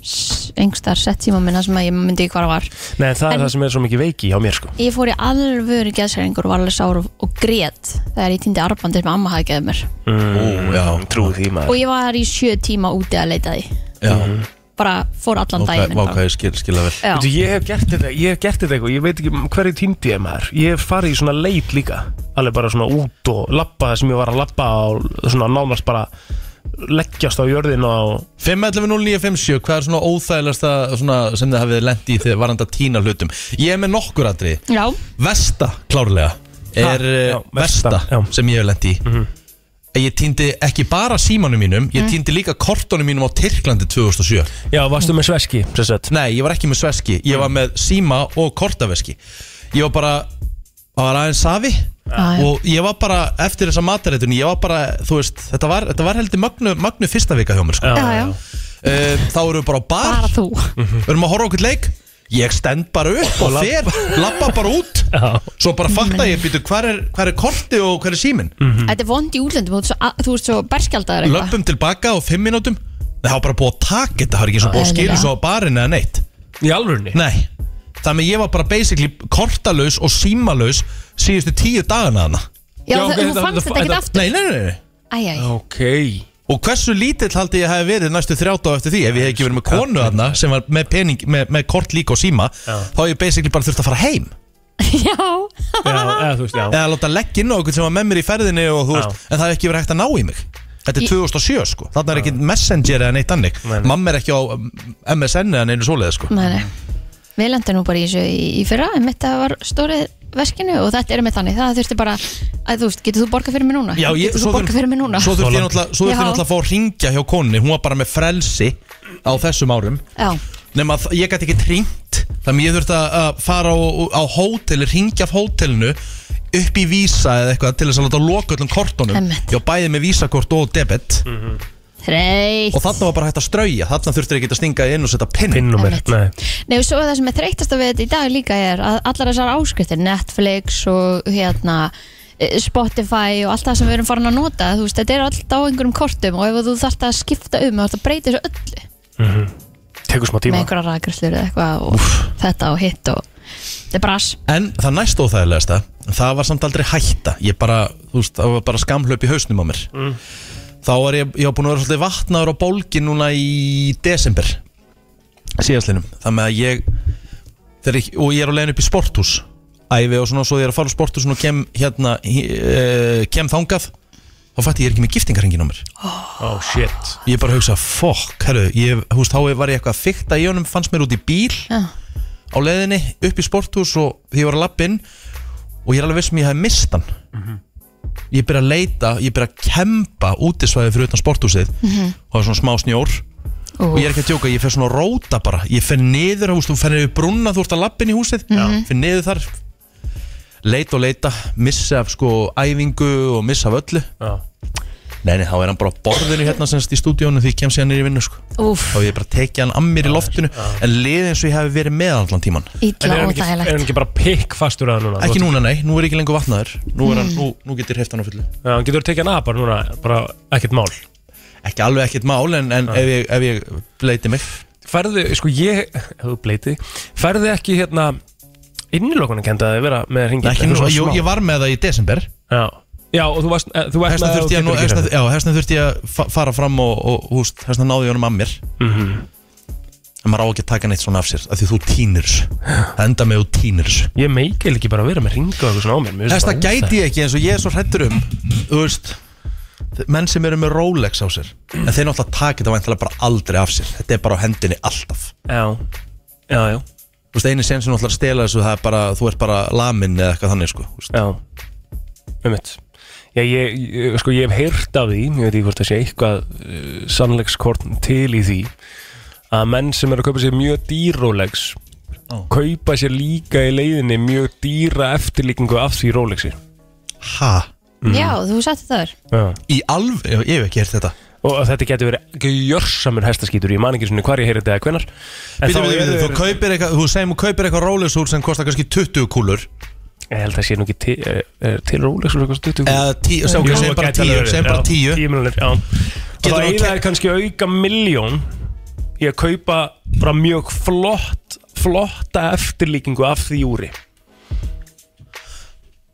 D: s- einhverstar sett tíma minna sem að ég myndi ekki hvað var
C: Nei, það er
D: En-
C: það sem er svo mikið veiki hjá mér sko
D: Ég fór í alvöru geðshræringur og var alveg sár og- og grét þegar ég týndi arbandir sem amma hafði gefið mér
B: Ó, já,
C: Trúi því maður
D: og ég var í sjö tíma úti að leita að því
B: já
D: bara fór allan
B: Vákvæði,
D: daginn bara.
B: vákvæði, skil, skilja vel
D: Já.
C: Veitu, ég hef gert þetta, ég hef gert þetta eitthvað, ég veit ekki hverju týndi ég maður Ég hef farið í svona leit líka Alveg bara svona út og lappa það sem ég var að lappa og svona nánast bara leggjast á jörðin og
B: 5.11.09.57, hvað er svona óþægilegasta svona, sem þið hafið lent í þegar varanda tína hlutum? Ég er með nokkur atrið
D: Já,
B: Vesta, klárlega er
C: Ha, já,
B: já, Vesta,
C: Vesta, já.
B: sem ég hef lent í En Ég týndi ekki bara símanum mínum Ég týndi líka kortunum mínum á Tyrklandi 2007
C: Já, varstu með sveski, sem sagt
B: Nei, ég var ekki með sveski Ég var með síma og kortaveski Ég var bara Það var aðeins safi
D: Ah, Já, já.
B: Og ég var bara, eftir þessa matarétun Ég var bara, þú veist, þetta var, þetta var heldur magnu, magnu fyrsta vika hjá mér sko.
D: já, já,
B: uh, Þá erum við bara á bar
D: bara þú
B: Við erum að horfa okkur leik Ég stend bara upp og fer Lappa bara út
C: Já.
B: Svo bara fatta ég býtu hver er, hver er korti og hver er símin
D: Þetta er vond í útlöndum, þú ert svo, að- þú ert svo berskjaldar eitthvað
B: Löppum tilbaka á fimm mínútum Það hafa bara búið að taka þetta Það har ekki eins og búið að skilja
D: Eðlilega.
B: svo á barinn eða neitt
C: Í alvörunni?
B: Nei Þannig að ég var bara basically kortalaus og símalaus Síðustu tíu dagana þarna
C: Já,
D: Já, það-
C: ok,
D: þú
C: þetta-
D: fannst
C: þetta-
D: þetta ekkert
C: þetta-
D: aftur
B: Nei, nei, nei, nei
D: Æ, æ, æ.
C: Ok
B: Og hversu lítill haldi ég hafi verið næstu þrjáta á eftir því Ef ég hef ekki verið með konu þarna sem var með pening, með, með kort líka og síma Þá hef ég basically bara þurft að fara heim
D: *laughs* Já,
C: Já, eða þú veist, já
B: eða láta leggja inn á okkur sem var með mér í ferðinni og þú
C: Já.
B: veist, en það er ekki verið hægt að ná í mig Þetta er
D: Í-
B: 2007 sko, þarna er ekki messenger eða neitt annik
C: Nei, nei.
B: Mamma er ekki á um, MSN eða neinu svoleiði sko
D: nei, nei Við lendum nú bara í þessu í, í fyrra en þetta var stórið veskinu og þetta er með þannig það þurfti bara, að, þú veist, getur þú borgað fyrir mig núna?
B: Já, ég-
D: getur þú
B: svo þurf-
D: borgað fyrir mig núna?
B: Svo þurfti ég
C: langt.
B: náttúrulega svo þurfti ég
D: Já.
B: náttúrulega að fá að ringja hjá konni Hún var bara með frelsi á þessum árum
D: Já,
B: Nefn að ég gæti ekki ringt Þannig ég þurfti að- að fara á, á hótel Ringja af hótelinu upp í vísa eða eitthvað til þess að láta loka öllum kortunum
D: Einmitt.
B: Ég á bæði með vísakort og debit
D: þreitt
B: og þarna var bara hægt að strauja þarna þurftir ekki að stinga inn og setja pinn
C: Pinnúmer,
D: Einmitt.
C: nei
D: Nei, og svo það sem er þreytast að við þetta í dag líka er að allar þessar áskriftir, Netflix og hérna eh, Spotify og allt það sem við erum farin að nota þú veist, þetta er alltaf á einhverjum kortum og ef þú þarft að skipta um, þú þarft að breyta þessu öllu
C: Tekur smá
D: með
C: tíma
D: einhverja rækrislur eða eitthvað og þetta og hitt og þetta er bras
B: En það næst óþægilegasta Það var samt aldrei hætta Ég bara, þú veist, það var bara skamhlaup í hausnum á mér
C: Mm.
B: Þá var ég, ég var búin að vera svolítið vatnaður á bólgi núna í desember Síðastlinum Þannig að ég, þegar ég Og ég er á leiðin upp í sporthús Ævi og svona, svo ég er að fara á sporthúsin og kem hérna, uh, kem e, þangað þá fætti ég er ekki með giftingarhengin á mér
C: Oh shit
B: ég bara hugsa, fokk, herru ég, húst, þá var ég eitthvað að fykta í honum fannst mér út í bíl
D: Já.
B: á leiðinni upp í sporthús og því ég var að lappa inn og ég er alveg viss sem ég hafði mist hann ég byrja að leita, ég byrja að kempa útisvæði fyrir utan sporthúsið og það er svona smá snjór og ég er ekki að djóka, ég fer svona að róta bara ég fer niður, þú veist, þú fer niður brunna þú ert að lappin í húsið, fer niður þar leita og leita missa af sko æfingu og missa af öllu
C: Já.
B: nei, nei, þá er hann bara á borðinu hérna semst í stúdíónu því ég kem síðan niður í vinnu sko
D: Úf,
B: þá hef ég bara tekið hann að mér í loftinu en liðið eins og ég hef verið með allan tíman
C: En
D: illa
C: er hann
D: og
C: ekki, er hann
D: þægilegt
C: ekki bara pikk fastur að það núna?
B: ekki núna nei, nú er ekki lengur vatnaður nú, er hann, nú, nú getur hreift hann á fullu
C: Já, hann getur tekið hann að bara núna, bara ekkert mál
B: ekki alveg ekkert mál en, en ef, ég, ef ég bleiti mig
C: Færðu, sko ég, ef þú bleiti Færðu ekki hérna Innilokuna kenda að vera með hringin
B: Nei, ekki nú, jú, ég var með það í desember
C: Já, já og þú varst, eh, þú varst
B: hestan þurfti ég, að nú- hestan- já, hestan þurfti ég að fa- fara fram og, og húst, hestan náði ég honum að mér Mhm. en maður á ekki að taka neitt svona af sér af því þú tínir þessu. það enda með þú tínir þessu.
C: Ég meikil ekki bara að vera með hringa og eitthvað svona á mér Mér finnst
B: Þess
C: bara
B: að gæti ég ekki eins og ég er svo hrættur um Þú veist Menn sem eru með Rolex á sér En þeir náttúrulega taka þetta væntalega bara aldrei af sér Þetta er bara á hendinni alltaf
C: Já, já, já,
B: Þú veist, eini sen sem náttúrulega stela þessu Það er bara, þú ert bara lamin eða eitthvað þannig sko Þú veist.
C: já Ummitt Já, ég, ég, sko, ég hef heyrt af því, ég veit ekki hvort það sé eitthvað uh, sannleikskorn til í því að menn sem eru að kaupa sér mjög dýrólegs
B: Ó.
C: kaupa sér líka í leiðinni mjög dýra eftirlíkingu af því rólexi
B: Ha?
D: Já, þú sætti það þar
C: Já.
B: Í alveg, já, ég hef ekki hert þetta
C: og þetta getur verið gjörsamur hestaskítur ég man ekki svona hvar ég heyri þetta eða hvenar en
B: Býtum við,
C: eru-
B: þú kaupir eitthvað, þú segir, þú kaupir eitthvað Rolex úr sem kostar kannski 20 kúlur
C: ég held að það sé nú ekki til, er- er til rólegs og eitthvað stuttu
B: Eða 10, sem
C: Jú,
B: okkur segir bara
C: gæti
B: 10
C: alveg
B: Segir
C: verið,
B: bara
C: já,
B: 10
C: 10 miljonir, já Og
B: Getur
C: það
B: þú
C: eina
B: ke-
C: er kannski auka miljón í að kaupa bara mjög flott flotta eftirlíkingu af því úri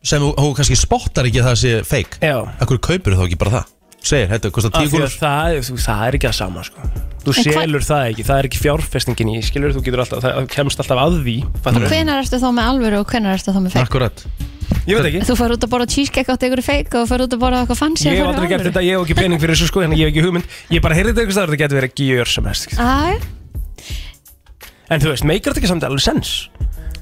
B: Sem þú- þú kannski spottar ekki að það sé fake
C: Já.
B: Akkur kaupir þá ekki bara það Segir, þetta kostar
C: af
B: 10
C: því að
B: kúlur
C: það, þú- það er ekki að sama sko. þú
D: En hva-
C: selur það ekki, það er ekki fjárfestingin í skilur, þú getur alltaf, það kemst alltaf að því fattar við?
D: Hvenær ertu þá með alvöru og hvenær ertu þá með feik?
B: Akkurat
C: ég veit ekki
D: Þú fær út að borða cheesecake átt ykkur feik og þú fær út að borða eitthvað fancy
C: Ég hef aldrei gert þetta, ég hef ekki pening fyrir þessu sko Þannig að ég hef ekki hugmynd Ég bara heyrði þetta einhvers staðar að Þetta getur verið gjör sem helst
D: Æ,
C: En þú veist, meikar þetta ekki samt alveg sens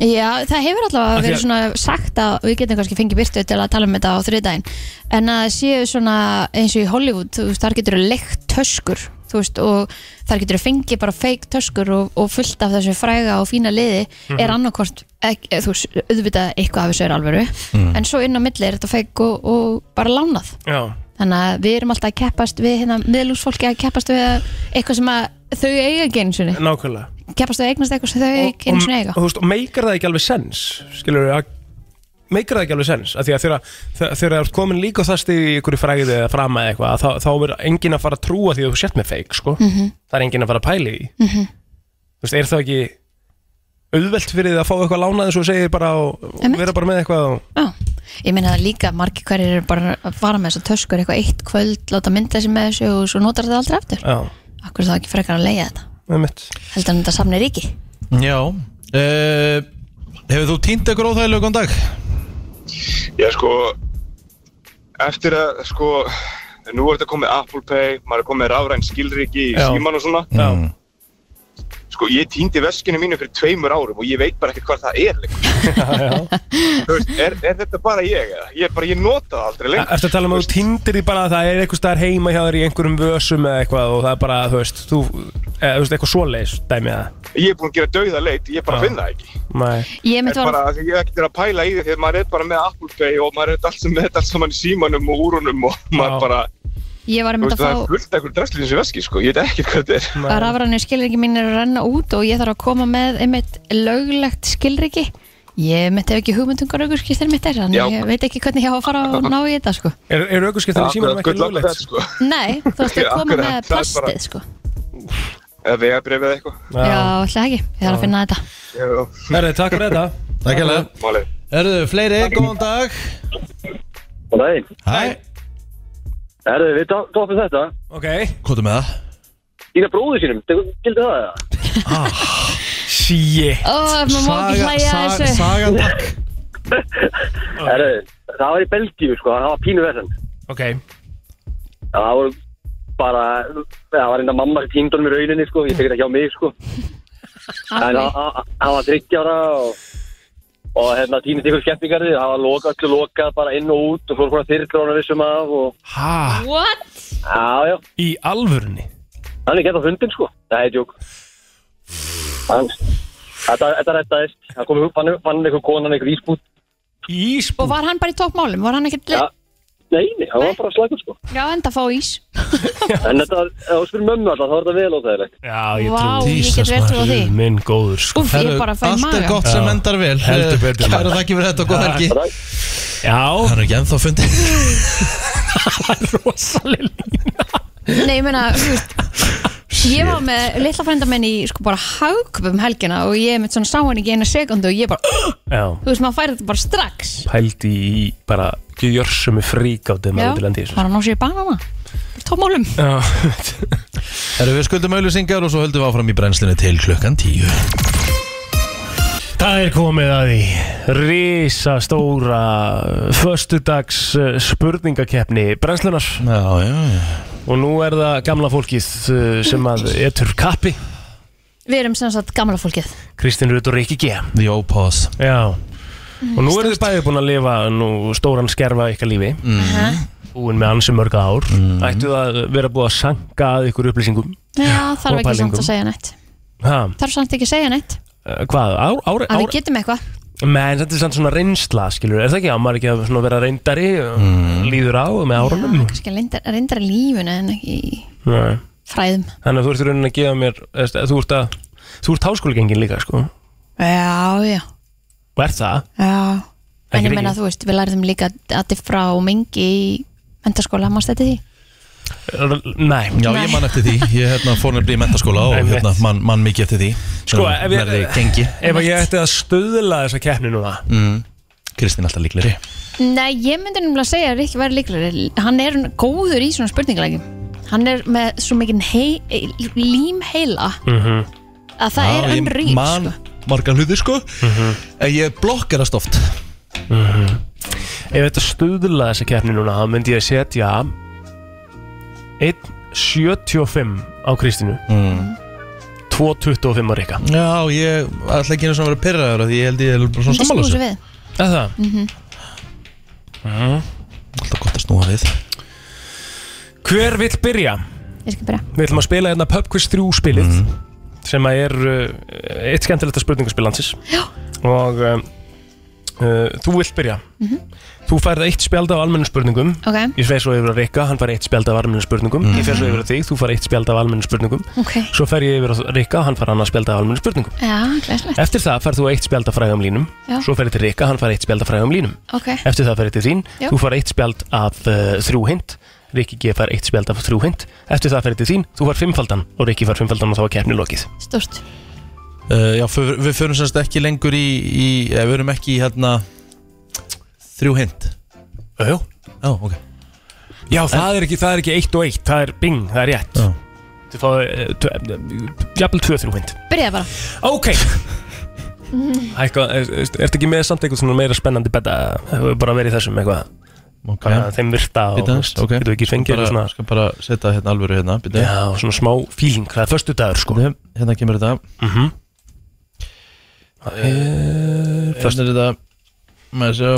D: Já, það hefur
C: Af
D: allavega
C: því
D: verið
C: að-
D: svona sagt að við getum kannski fengið byrtu til að tala um þetta á þriðdægin en að séu svona eins og í Hollywood þú veist, þar getur þú leikt töskur þú veist, og þar getur þú fengið bara fake töskur og, og fullt af þessu fræga og fína liði
C: Mhm.
D: er annarkort ek, eh, þú veist, auðvitað eitthvað af þessu er alvöru en svo inn á milli er þetta fake og, og bara lánað
C: Já
D: þannig að við erum alltaf að keppast við hérna, miðlúsfólki að keppast við að- eitthvað sem að þau eiga ekki einu sinni
C: Nákvæmlega
D: keppast við að eignast eitthvað sem þau
C: Og-
D: ekki einu sinni eiga
C: Og þú veist, og meikar það ekki alveg sens Skilur við, meikar það ekki alveg sens af Því að þegar- þegar þegar það er komin líka á það stið í einhverju fræði eða frama eða eitthvað þá, þá er enginn að fara að trúa því að þú sért með feik sko. Það er enginn að fara að pæli því mm Þú veist, er það ekki auðvelt fyrir þið að fá eitthvað lánað eins og þú segir bara og, og
D: Einmitt.
C: vera bara með eitthvað og,
D: Já, ég meina það líka margir hverjir eru bara að fara með þessar töskur eitthvað eitt kvöld, láta mynda sig með þessu og svo notar það aldrei aftur.
C: Já,
D: Akkur er það ekki frekar að leiða þetta?
C: með
D: Heldur hann þetta samni ríki?
B: Já uh, Hefur þú týnt eitthvað óþægilega góðan dag?
I: Ég sko, eftir að sko, nú er þetta komið Apple Pay, maður er komið rafræn skilriki í
C: Já.
I: síman og svona.
C: Já
I: Sko, ég týndi veskinu mínu fyrir tveimur árum og ég veit bara ekkert hvað það er lengur.
C: *laughs*
I: Þú veist, er, er þetta bara ég eða? Ég, er bara, ég nota það aldrei lengur.
C: Ertu að tala um að þú tindir því bara að það er eitthvað staðar heima hjá þér í einhverjum vösum eða eitthvað og það er bara, þú veist, þú, eða, þú veist, eitthvað svoleiðis dæmið það?
I: Ég er búin að gera dauða leit, ég bara
C: Já.
I: finn það ekki.
C: Nei.
D: Ég
I: Er
D: myndi var
I: bara, af því ég hef ekkert verið að pæla í því þegar maður er bara með Apple Pay og maður er þetta allt sem með þetta allt saman í símanum og úrunum og maður
C: Já.
I: bara,
D: ég var
I: þú
D: einmitt
I: veist,
D: að
I: það er
D: fá
I: fullt ekkur drastlið eins og veski, sko, ég veit ekkert hvað þetta er.
D: að rafrænir skilriki mín er að renna út og ég þarf að koma með einmitt löglegt skilriki. Ég myndi hef ekki hugmyndungar aukur skýrtir mitt er, þannig
I: Já.
D: ég veit ekki hvernig ég á að fara og ná í þetta sko.
C: Er, er aukurskiptan í símanum ekki
I: Akkurat, gull
C: löglegt?
I: akkurat, sko.
D: Nei, þú ætti að
I: *laughs* Já,
D: koma
I: akkurat,
D: með
I: það er bara-
D: plastið sko.
I: Eða vegabrif eða eitthvað.
D: Já, ætla ekki, ég þarf að finna þetta.
I: Já,
C: Herði, takk fyrir þetta.
B: Takk hella
I: málið.
B: Erðu fleiri, góðan dag
J: Góðan daginn.
B: Hæ,
J: Herðu, við toppum þetta.
C: Ok.
B: hvað er með það?
J: Dýna bróður sínum, tekur- gildi það eða?
C: Shit.
D: Ó, maður má ekki hlæja að
B: saga,
D: þessu.
B: sagan takk
J: Herðu, það var í Belgíu sko, það var pínu verðan.
C: Ok.
J: það voru bara, það var enda mamma sem tímdónum í rauninni sko, ég tekið það hjá mig sko. En það- það það var 30 ára og, og hérna tímið til ykkur skemmtingarði, það var loka, öllu lokað bara inn og út og fór svona þyrrgrána vissum af og,
C: Hæ?
F: What?
J: já, já.
C: Í alvörunni?
J: Þannig geta fundin sko, það er djók. Þannig, þetta, þetta rettaðist, það kom, fann, fann einhver konan einhver ísbút.
C: Ísbút?
D: Og var hann bara í toppmálum? Var hann ekkert...
J: Ja. Nei, nei, það var bara slagur sko.
D: Já, enda að fá ís.
J: En þetta, ef þú spyrir mömmu alltaf, þá er þetta vel óþægilegt.
C: Já,
D: ég Vá, trúi. ég get Jesus, vel trúið á því. maður
C: minn góður sko.
D: Úff, ég Herru, bara fæ allt er magann.
B: gott sem
C: Já.
B: endar vel. Eh,
C: Heldur betur
B: Kærar þakkir fyrir þetta og góða helgi.
C: Já
D: *laughs*
B: Það er ekki ennþá fundið
D: Nei, ég meina, þú veist, ég var með litla frænda minn í sko bara hagkupum helgina og ég mitt svona sá hann ekki eina sekundu og ég bara,
C: Já,
D: þú veist, maður færi þetta bara strax.
C: pældi í bara gjörsumi fríkáttu
D: Já,
C: maður til endi í þessu
D: bara að ná sér í banana. Tómálum.
B: Herru, við skuldum auðlýsingar og svo höldum við áfram í brennslinu til klukkan tíu
C: *laughs* Það er komið að því risastóra föstudags eh, spurningakeppni brennslunar
B: já, já, já.
C: og nú er það gamla fólkið eh, sem að etur kappi
D: Við erum sem sagt gamla fólkið.
C: Kristín Rut og Rikki G
B: The O-Pause
C: Já Og nú eru þið bæði búin að lifa nú stóran skerfa af ykkar lífi
D: Mhm.
C: mm. Búin með ansi mörg ár Ættu að vera búið að sanka að ykkur upplýsingum
D: Já,
C: Og
D: þarf ekki
C: pælingum.
D: samt að segja neitt.
C: ha,
D: Þarf samt ekki að segja neitt.
C: eh, Hvað? Ár, ár,
D: Að við
C: ár,
D: getum eitthvað.
C: menn þetta er samt svona reynsla skilur, er það ekki? Á maður ekki að svona vera reyndari mm. líður á með árunum
D: Kannski að reyndar í lífuna en ekki í
C: Nei.
D: fræðum.
C: Þannig að þú ert í rauninni að gefa mér eða, st- þú ert, að, þú ert háskóligengin líka sko.
D: Já, já,
C: og er það
D: já. En
C: Ekki
D: ég meina,
C: Rikki?
D: þú veist, við lærðum líka að diffra og mengi í mentaskóla, mást þetta því?
C: R- Nei
B: Já, ég man eftir því, ég hérna, fór nefnilega í mentaskóla og
C: Einmitt.
B: hérna, man, man mikið eftir því
C: Sko,
B: Sem
C: ef ég-
B: verði gengi
C: Ef að ég ætti að stöðla þessa keppni núna
B: mm. Kristín alltaf líklegri
D: Nei, ég myndi nefnilega að segja að Rikki væri líklegri. Hann er góður í svona spurningalægjum. Hann er með svo mikinn hei, límheila
B: -hmm.
D: að það er unrýt.
B: Man margar hluti sko En ég blokkerast oft
C: Ef þetta stuðla þessa keppni núna þá myndi ég setja 1.75 á Kristínu
B: mm.
C: 2.25 á Rikka
B: Já, ég ætla ekki einu svona að vera pyrraður Því ég held ég er bara svona sammála
D: þessu.
B: þessu
D: við.
C: Er það?
D: Mm
B: Alltaf gott að snúa við
C: Hver vill byrja?
D: Ég skal byrja.
C: Við ætlum að spila hérna Pub Quiz 3 spilið
D: Mm.
C: sem að er uh, eitt skemmtilegt spurningaspilansis
D: Já.
C: og um, uh, þú vilt byrja
D: Mhm.
C: Þú færð eitt spjald af almennum spurningum
D: Ok.
C: Ég sveið svo yfir að Rikka, hann fær eitt spjald af almennum spurningum Ég fer svo
D: Mhm.
C: yfir að þig, þú fær eitt spjald af almennum spurningum
D: Ok.
C: Svo fer ég yfir að Rikka, hann fær annað spjald af almennum spurningum
D: Já, glæslegt.
C: Eftir það færð þú eitt spjald af fræðum línum
D: Já.
C: Svo fer ég til Rikka, hann fær eitt spjald af fræðum línum
D: Ok.
C: Eftir það fer ég til þín,
D: Já.
C: þú fær eitt spjald af uh, þrjú hint Rikki G fær eitt spjald af þrjú hint Eftir það fer ég til þín, þú fær fimmfaldan Og Rikki fær fimmfaldan og þá er keppni lokið
D: Stort.
B: uh, Já, för, við förum semst ekki lengur í, í eh, Við erum ekki í hérna Þrjú hint
C: Jú
B: Já, ok
C: Já, það er, ekki, það er ekki eitt og eitt, það er bing, það er rétt Þú fáið eh, tvö- eh, jafnvel tvö þrjú hint
D: Byrjaði bara. *laughs*
C: Ok Ækka, er, er, ertu ekki með samt eitthvað svona meira spennandi betta Hefur bara verið í þessum eitthvað
B: Ok.
C: Bara Þeim virta og
B: Bíddu aðeins, ok.
C: Getur ekki fengið
B: Bara-
C: eitthvað svona
B: Skal bara setja hérna alvöru hérna bíddu.
C: Já, svona smá fíling, það er förstu dagur sko
B: Bíddu, Hérna kemur þetta
C: mm -hmm.
B: Hérna er þetta Maður sjá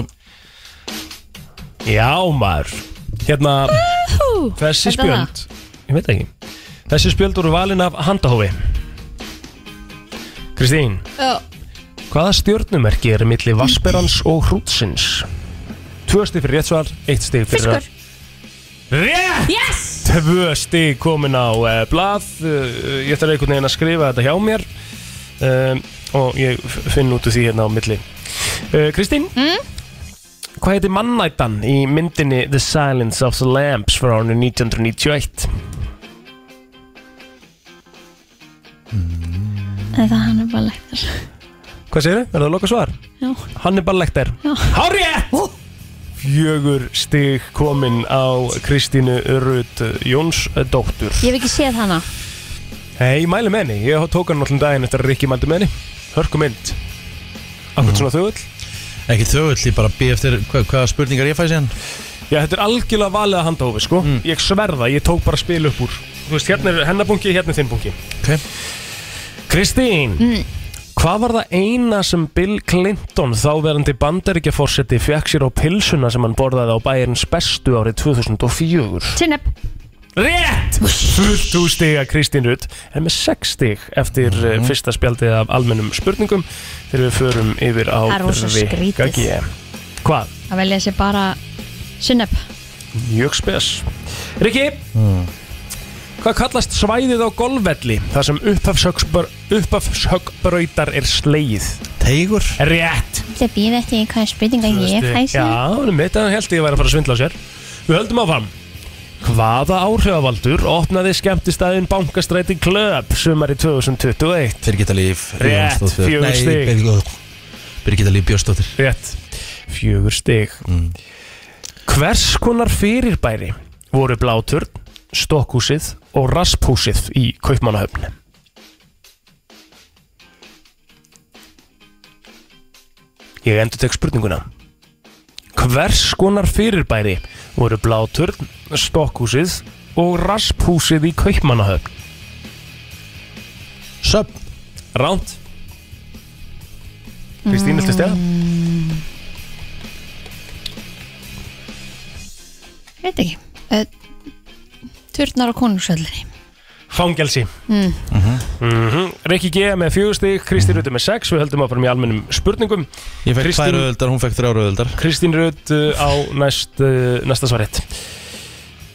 C: Já maður Hérna Þessi
D: Þetta var
C: spjöld Ég veit ekki Þessi spjöld voru valin af handahófi Kristín
D: Já.
C: Hvaða stjörnumerki er milli Vasperans og Hrútsins? Tvö stig fyrir rétt svar, eitt stig fyrir
D: Fiskur.
C: Rétt!
D: Yes!
C: Tvö stig komin á uh, blað uh, Ég þarf einhvern veginn að skrifa þetta hjá mér um, Og ég f- finn út úr því hérna á milli uh, Kristín
D: Mm?
C: Hvað heiti mannættan í myndinni The Silence of the Lambs frá árinu 1991?
D: En það hann er bara lektar.
C: Hvað segir þau? Er það að loka svar?
D: Já.
C: Hannibal Lecter
D: Já.
C: Hárið! Fjögur stig komin á Kristínu Rut Jónsdóttur
D: Ég hef ekki séð hana.
C: Hei, ég mæli með henni, ég tók hann allan daginn eftir að Rikki mældi með henni Hörku mynd Akkur svona þögull
B: Ekki þögull, ég bara býð eftir hva, hvaða spurningar ég fæ sér hann
C: Já, þetta er algjörlega valið að handa hófi, sko Ég sverða, ég tók bara spil upp úr Þú veist, hérna er hennabungi, hérna er þinn bungi
B: Ok
C: Kristín Hvað var það eina sem Bill Clinton þáverandi bandaríkjaforseti fekk sér á pilsuna sem hann borðaði á bæjarins bestu árið 2004?
D: Sinnepp
C: Rétt! Fullt úr stiga Kristín Rutt er með 6 stig eftir
D: Mhm.
C: mm. fyrsta spjaldið af almennum spurningum þegar við förum yfir á
D: Það er rosa
C: Rikka
D: skrítið.
C: G. Hvað?
D: að velja sér bara Sinnepp
C: Mjög spes Rikki
D: Hmm.
C: Hvað kallast svæðið á golfvelli þar sem uppafsökbrautar er sleið?
B: Teigur
C: Rétt
D: Það býð eftir hvað spurninga ég fæsi
C: Já, um mitt að hann held ég væri að fara að svindla á sér Við höldum áfram Hvaða áhrifavaldur opnaði skemmtistæðin Bankastræti Klöp sumari 2021?
B: Birgitta Líf
C: Rétt,
B: Jónsdóttir.
C: fjögur
B: Nei,
C: stig.
B: Birg- Birgitta Líf Björnsdóttir
C: Rétt Fjögur stig Hvers konar fyrirbæri voru blátur, stokkhúsið og raspúsið í Kaupmannahöfni? Ég endur tek spurninguna Hvers konar fyrirbæri voru blátur, stokkhúsið og raspúsið í Kaupmannahöfn?
B: Söp
C: Ránt Kristín, viltu stega?
D: Veit ekki uh, Turnar á konungsöllinni
C: Fangelsi
D: mm.
C: Mm Rikki G með fjögur stig, Kristi Rutt með sex Við höldum að fara með almennum spurningum
B: Ég fekk tvær auðvöldar, hún fekk þrjár auðvöldar
C: Kristín Rutt á næst, uh, næsta svarett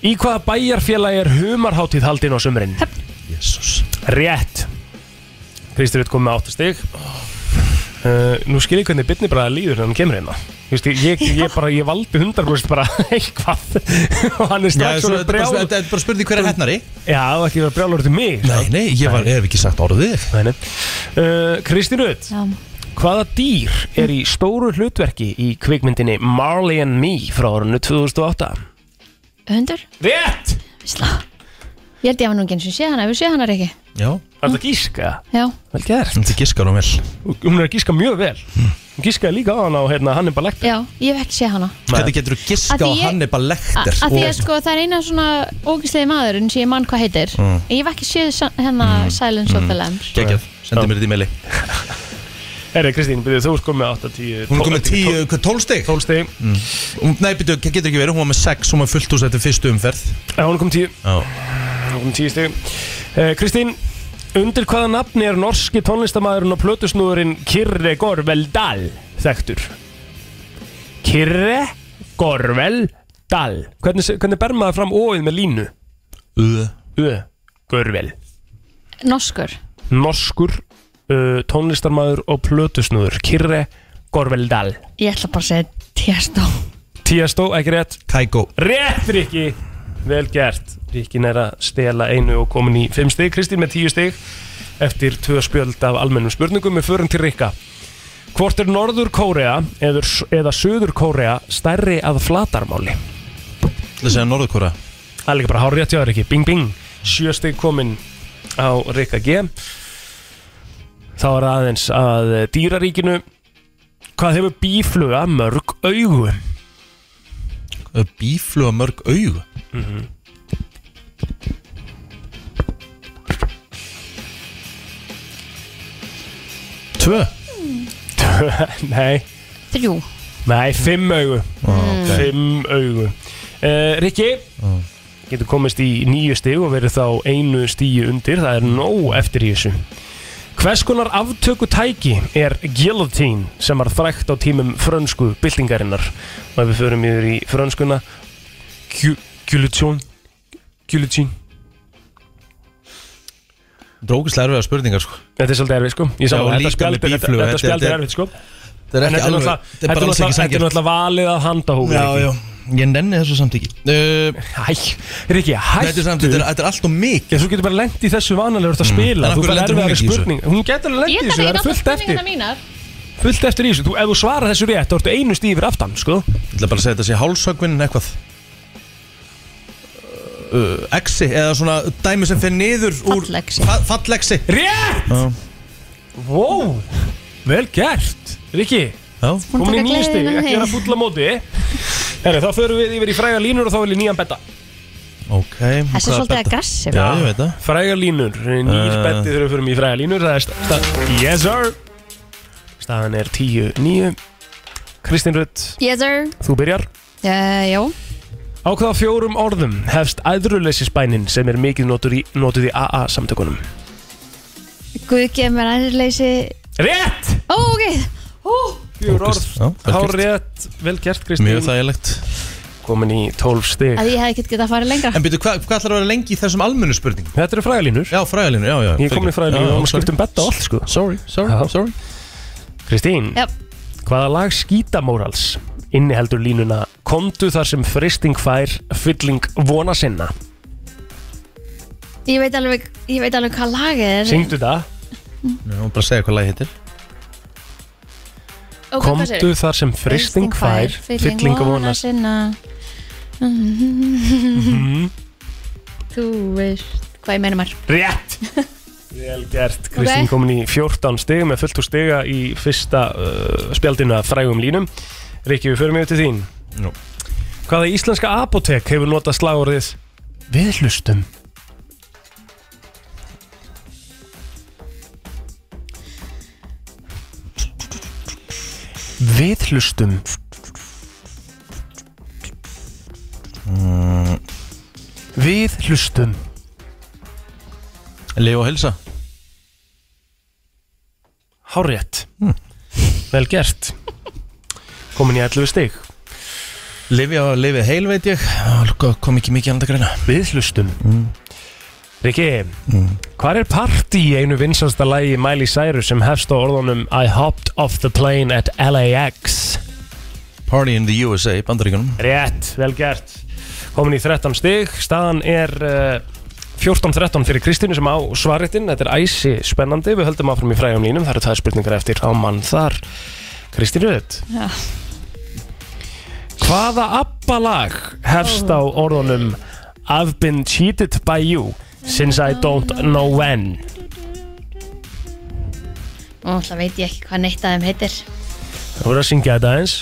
C: Í hvaða bæjarfélagi er humarháttíð haldin á sumurinn?
B: Jesus.
C: Rétt Kristi Rutt kom með áttu stig uh, Nú skil ég hvernig Byrni bara líður þegar hann kemur hérna Þú veist, ég, ég, ég, bara, ég valdi hundarbrúst bara *laughs* eitthvað og hann
B: Já,
C: er strax
B: svo þetta er
C: svona
B: bara-
C: brjál
B: þetta er bara spurning hver er hennari
C: Já, það var ekki verið að brjála orðið mig sko,
B: Nei, nei, ég var, hef ekki sagt orðið
C: Nei, nei Uh, Kristi Rutt Hvaða dýr er í stóru hlutverki í kvikmyndinni Marley and Me frá árunnu 2008?
D: Hundur
C: Rétt!
D: Vísla Ég held ég hafa nú ekki eins og sé hana, við sé hana ekki
B: Já
C: Það er að gíska
D: Já,
C: Vel gert
B: Þetta gískar hún vel
C: Hún er að gíska mjög vel Hún gískaði líka á hann á hérna, Hannibal Lecter
D: já, ég hef ekki sé hana
B: Hvernig getur þú
D: Af
B: gíska
D: því
B: á
D: ég-
B: Hannibal Lecter
D: Af því að sko það er eina svona ógislegi maðurinn sem ég mann hvað heitir
B: Mm.
D: Ég hef ekki séð sa- hérna Silence of the Lambs
B: Gekjað, sendi mér þetta í meili
C: Herri Kristín, byrjuð þú ert komið 8, 10
B: Hún er komið 10, hvað, 12 stig?
C: 12 stig
B: mm. Nei, byrju, hvað getur ekki verið, hún var með 6, hún var fullt úr þetta fyrstu umferð
C: Já, hún er komið 10
B: Já
C: Hún er komið 10 um stig Eh, Kristín, undir hvaða nafni er norski tónlistamæðurinn og plötusnúðurinn Kyrre Gorvel Dahl þekktur? Kyrre Gorvel Dahl Hvernig, hvernig ber maður fram óið með línu?
B: Ö
C: Ö, Gorvel
D: Norskur
C: Norskur uh, tónlistarmæður og plötusnúður Kyrre Gorvel Dahl
D: Ég ætla bara að segja Tiesto
C: Tiesto, ekki rétt
B: Kækó
C: Rétt, Rikki Vel gert Rikkin er að stela einu og komin í 5 stig Kristín með 10 stig Eftir tvö spjöld af almennum spurningum Við förum til Rikka Hvort er Norður Kórea eða, eða Suður Kórea stærri að flatarmáli?
B: Það segja Norðkóra
C: Það er líka bara hár rétt hjá þér ekki Bing bing Sjö stig komin á Rikka G Þá er aðeins að dýraríkinu Hvað hefur bífluga mörg augu?
B: Bífluga mörg aug Tvö
C: *laughs* Nei
D: Þrjú
C: Nei, fimm augu
B: ok.
C: Fimm augu uh, Rikki Getur komist í nýju stig og verið þá einu stíu undir Það er nóg eftir í þessu Hvers konar aftöku tæki er guillotine sem var þrækt á tímum frönsku byltingarinnar og ef við förum yfir í frönskuna gu- guillotine guillotine
B: Drókislega erfiða spurningar sko
C: Þetta er svolítið erfið sko Ég
B: Já, líka
C: sagði þetta
B: með
C: spjald er-
B: bíflugu,
C: þetta
B: þetta-
C: spjald er
B: þetta-
C: erfið sko
B: þetta er
C: En
B: ekki
C: þetta
B: alveg-
C: náttúrulega-
B: þetta er bara
C: þetta
B: alls ekki
C: náttúrulega- Þetta er
B: sanngjarnt.
C: náttúrulega valið að handa hófi
B: Ég nenni þessu samt ekki uh,
C: Hæ, Riki, hættu
B: Þetta er samt, þetta er, þetta er allt og mikið
C: Já, þú getur bara lengt í þessu vanalega Þú ert að spila,
B: Mm. En af
C: þú
B: hverju
C: bara
B: lendir hún
C: erfiðari
B: ekki í þessu?
C: spurning Hún getur alveg
D: Ég
C: lengt í
D: ætla
C: þessu, það
D: ekki
C: er
D: alltaf
C: fullt eftir
D: spurningina mínar
C: Fullt eftir í þessu, þú, ef þú svarar þessu rétt Þú ertu einu stíð yfir aftan, sko
B: Ég ætla bara að segja þetta sé hálsögvinn en eitthvað uh, Exi, eða svona dæmi sem fer niður úr
D: Fallexi.
B: fa Fallexi
C: Rétt!
B: Já.
C: Vó, vel gert Riki,
B: Já,
D: Hún
C: komin í
D: taka
C: nýju stíð
D: gleðina
C: Ekki
D: heim.
C: vera að fúlla móti Herru, þá förum við yfir í fræga línur og þá vil ég nýjan betta
B: Ok
D: Þessi er svolítið aggressiv.
B: Já, ég veit það
C: Fræga línur, nýr
B: Eh.
C: betti þegar við förum í fræga línur Það er sta- sta- Yes sir Staðan er 10-9 Kristín Rutt,
D: Yes sir
C: þú byrjar
D: uh, Jó
C: Á hvaða fjórum orðum hefst æðruleysisbænin sem er mikið notur í, notuð í AA samtökunum?
D: Guð gefur mér aðeinsleysi
C: Rétt!
D: Ó, ok Ó,
C: Fjór orð,
B: Já, vel
C: hár
B: gert.
C: rétt, vel gert Kristín
B: Mjög þægilegt
C: Komin í 12 stig
D: að ég hef ekkert getað að fara lengra
B: En byrju, hvað hva ætlar að vera lengi í þessum almennu spurningum?
C: Þetta eru fræðalínur
B: Já, fræðalínu, já, já
C: Ég kom í fræðalínu og
B: sorry.
C: skiptum betta á allt sko
B: Sorry, sorry,
C: Já.
B: sorry
C: Kristín,
D: Já,
C: hvaða lag skítamórals inniheldur línuna Komdu þar sem fristing fær, fylling vona sinna
D: ég veit alveg, ég veit alveg hvað lagið er
C: Syngdu það
B: Nú, hún bara að segja hvað lagi hittir
D: Ok, hvað
C: Komdu
D: segirðu?
C: þar sem fristing fær, fylling vona sinna
D: sinna
C: Mhm.
D: Þú veist hvað ég meina maður
C: Rétt Vel gert, Kristín komin í 14 stig með fullt úr stiga í fyrsta uh, spjaldinu að frægum línum Rikki, við förum yfir til þín
B: Nú.
C: Hvaða íslenska apotek hefur notað slagorðið Við hlustum Við hlustum Við hlustum
B: Leif og helsa
C: Hárétt Vel gert Komin í 11 stig
B: Lifi á lifi heil, veit ég Lúka, kom ekki mikið annað að greina
C: Við hlustum Riki, hvar er party í einu vinsansta lagi Miley Cyrus sem hefst á orðunum I hopped off the plane at LAX
B: Party in the USA, bandaríkunum
C: Rétt, vel gert Komin í 13 stig Staðan er uh, 14-13 fyrir Kristínu sem á svaritinn Þetta er æsi spennandi Við höldum áfram í frægjum línum Það eru það spurningar eftir á mann þar Kristínu Rödd
D: Já.
C: Hvaða abbalag hefst á orðunum I've been cheated by you Since I don't know when
D: Ó, það veit ég ekki hvað neitt að þeim heitir
C: Það voru að syngja þetta eins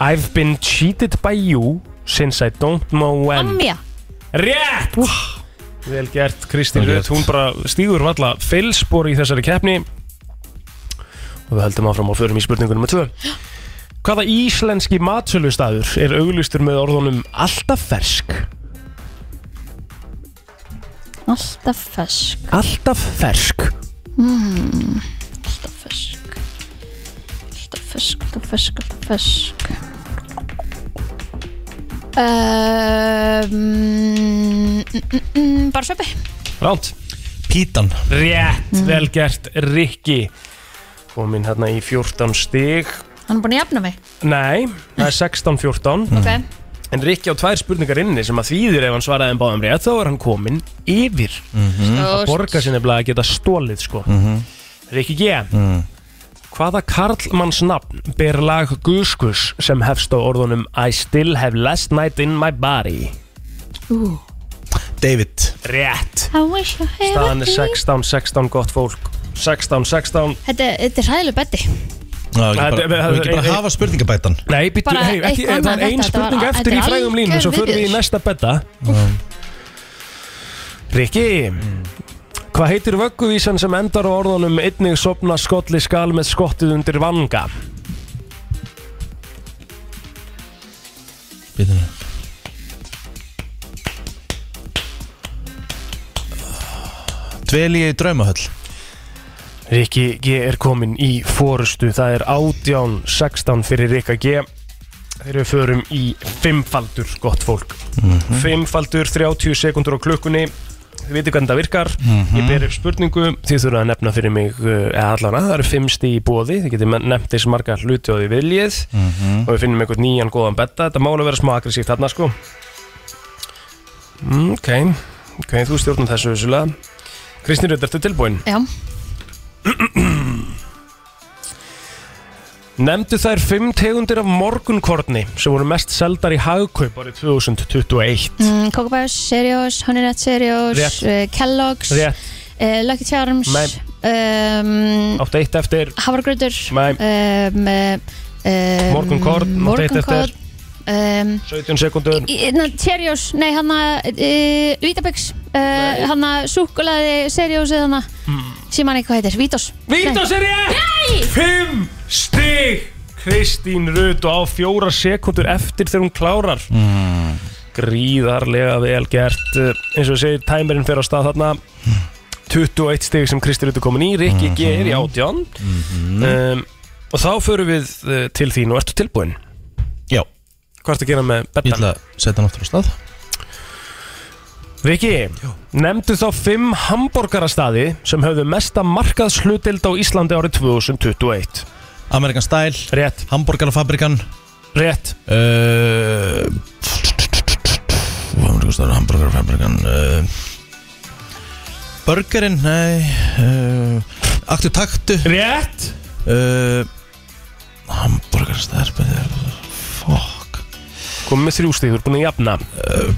C: I've been cheated by you Since I don't know when
D: Amja
C: Rétt! Vel gert, Kristín
B: Vel
C: Rut,
B: gert.
C: hún bara stígur valla fylspor í þessari keppni og við höldum áfram og förum í spurningu nr. 2 Hvaða íslenski matsölustafur er auglistur með orðunum alltaf fersk?
D: Alltaf fersk
C: Alltaf fersk
D: Alltaf fersk Alltaf fersk, alltaf fersk, alltaf fersk Um, Ehm, mm, mm, bara sveppi
C: Ránt
B: Pítan
C: Rétt, vel gert, Rikki Komin hérna í 14 stig
D: Hann er búin að jafna mig
C: Nei, það er 16-14
B: Mm.
D: okay.
C: En Rikki á tvær spurningar inni sem að þýðir ef hann svaraði en báðum rétt þá er hann komin yfir
D: mm.
C: Borga sinni að geta stólið sko Rikki G Hvaða karlmanns nafn ber lag Guskus sem hefst á orðunum I still have last night in my body
B: David
C: Rétt
D: I wish I had
C: Staðan
D: a
C: er 16-16 gott fólk 16-16
D: Þetta, þetta er hræðileg betti
B: Já, ekki bara,
C: Þetta- þetta-
B: við ekki bara
C: þetta-
B: hafa spurningabætan
C: Nei, býttu,
D: Bara
C: hey, ekki,
D: eitt
C: það
D: annað
C: er ein
D: þetta, þetta
C: spurning
D: var-
C: eftir
D: þetta
C: í
D: er
C: frægum línu
D: algjör
C: Svo förum við í
D: viðbjóður.
C: næsta betta Rikki Hvað heitir vögguvísan sem endar á orðunum einnig sopna skolli skal með skottið undir vanga?
B: Býtum við Dveli ég í draumahöll
C: Rikki G er komin í fórustu Það er átján 16 fyrir Rikka G Þegar við förum í fimmfaldur, gott fólk Fimmfaldur, 30 sekundur á klukkunni Þið veitir hvernig það virkar Ég ber upp spurningu Þið þurfa að nefna fyrir mig uh, eða allana, það eru fimmsti í bóði Þið getið men- nefnt þess marga hluti og þið viljið Og við finnum einhvern nýjan góðan betta Þetta mála vera smá aggressíft þarna sko mm, Ok, ok, þú stjórnum þessu vissulega Kristín Rödd, ertu tilbúin?
D: Já,
C: Nemndu þær fimm tegundir af morgunkorni sem voru mest seldar í hagkaup árið 2021
D: mm, Coco Bajos, Serios, Honey Nut Serios
C: Rétt.
D: uh, eh, Kellogg's,
C: Rétt,
D: uh, Lucky Charms
C: Nei.
D: um,
C: Áttu eitt eftir
D: Hafragröður
C: Nei.
D: um, um,
C: Morgunkorn, áttu eitt eftir.
D: Morgunkorn um,
C: 17 sekundur
D: í- na, Cheerios, nei e, hann að Vítabix, hann að Súkulaði, Seriós eða hann að Sér mann eitthvað heitir, Vítós
C: Vítós er ég! Nei! Fimm stig Kristín Rut og á fjóra sekundur eftir þegar hún klárar
B: Mm.
C: Gríðarlega vel gert Uh, eins og ég segir, tæmirinn fer á stað þarna 21 stig sem Kristín Rut er komin í
B: Mhm.
C: Rikki G er í átján um, og þá förum við uh, til þín og ertu tilbúin?
B: Já
C: Hvað ertu að gera með
B: Ég ætla
C: betan?
B: að setja hann aftur á stað
C: Rikki, nefndu þá fimm hambúrgarastaði sem höfðu mesta markaðslutild á Íslandi árið 2021
B: Amerikan Style
C: Rétt
B: Hamburgerfabrikan
C: Rétt
B: uh, Amerikan Style Hamburgerfabrikan uh, Burgerin Nei uh, Aktu taktu
C: Rétt
B: uh, Hamburger Style byrju, Fuck
C: Komum með þrjú stíð, þú ert búin að jafna uh,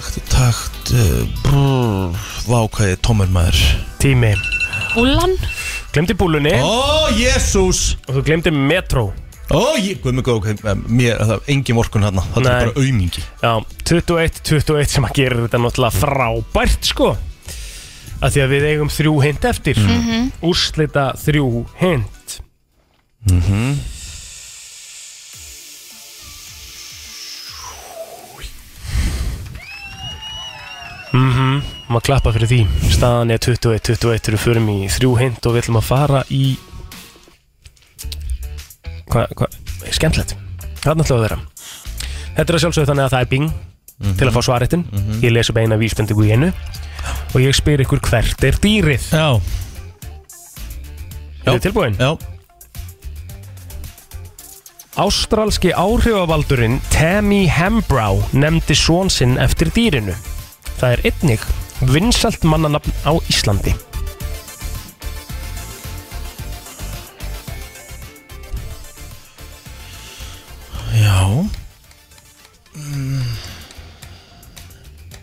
B: Aktu taktu brr, Vá hvað ég er tómur maður
C: Tími
D: Úlan
C: Glemdi búlunni
B: Ó, jésús
C: Og þú glemdi metro
B: Ó, ég, guð mig góð, ok, mér, það er engin vorkun hérna, þetta er
C: Nei.
B: bara aumingi
C: Já, 21-21 sem að gera þetta náttúrulega frábært sko að Því að við eigum þrjú hint eftir
D: Mhm.
C: Úrslita þrjú hint
B: mm -hmm.
C: Mhm, maður klappa fyrir því Staðan er 21-21 þegar við förum í þrjú hint og við ætlum að fara í Hvað, hvað, skemmtilegt Það er náttúrulega að vera Þetta er að sjálfsögðu þannig að það er bing til að fá svarettin Ég les upp eina vísbendingu í einu og ég spyr ykkur hvert er dýrið
B: Já
C: Er þið tilbúin?
B: Já
C: Ástralski áhrifavaldurinn Tammy Hambrow nefndi són sinn eftir dýrinu Það er einnig vinsalt mannanafn á Íslandi
B: Já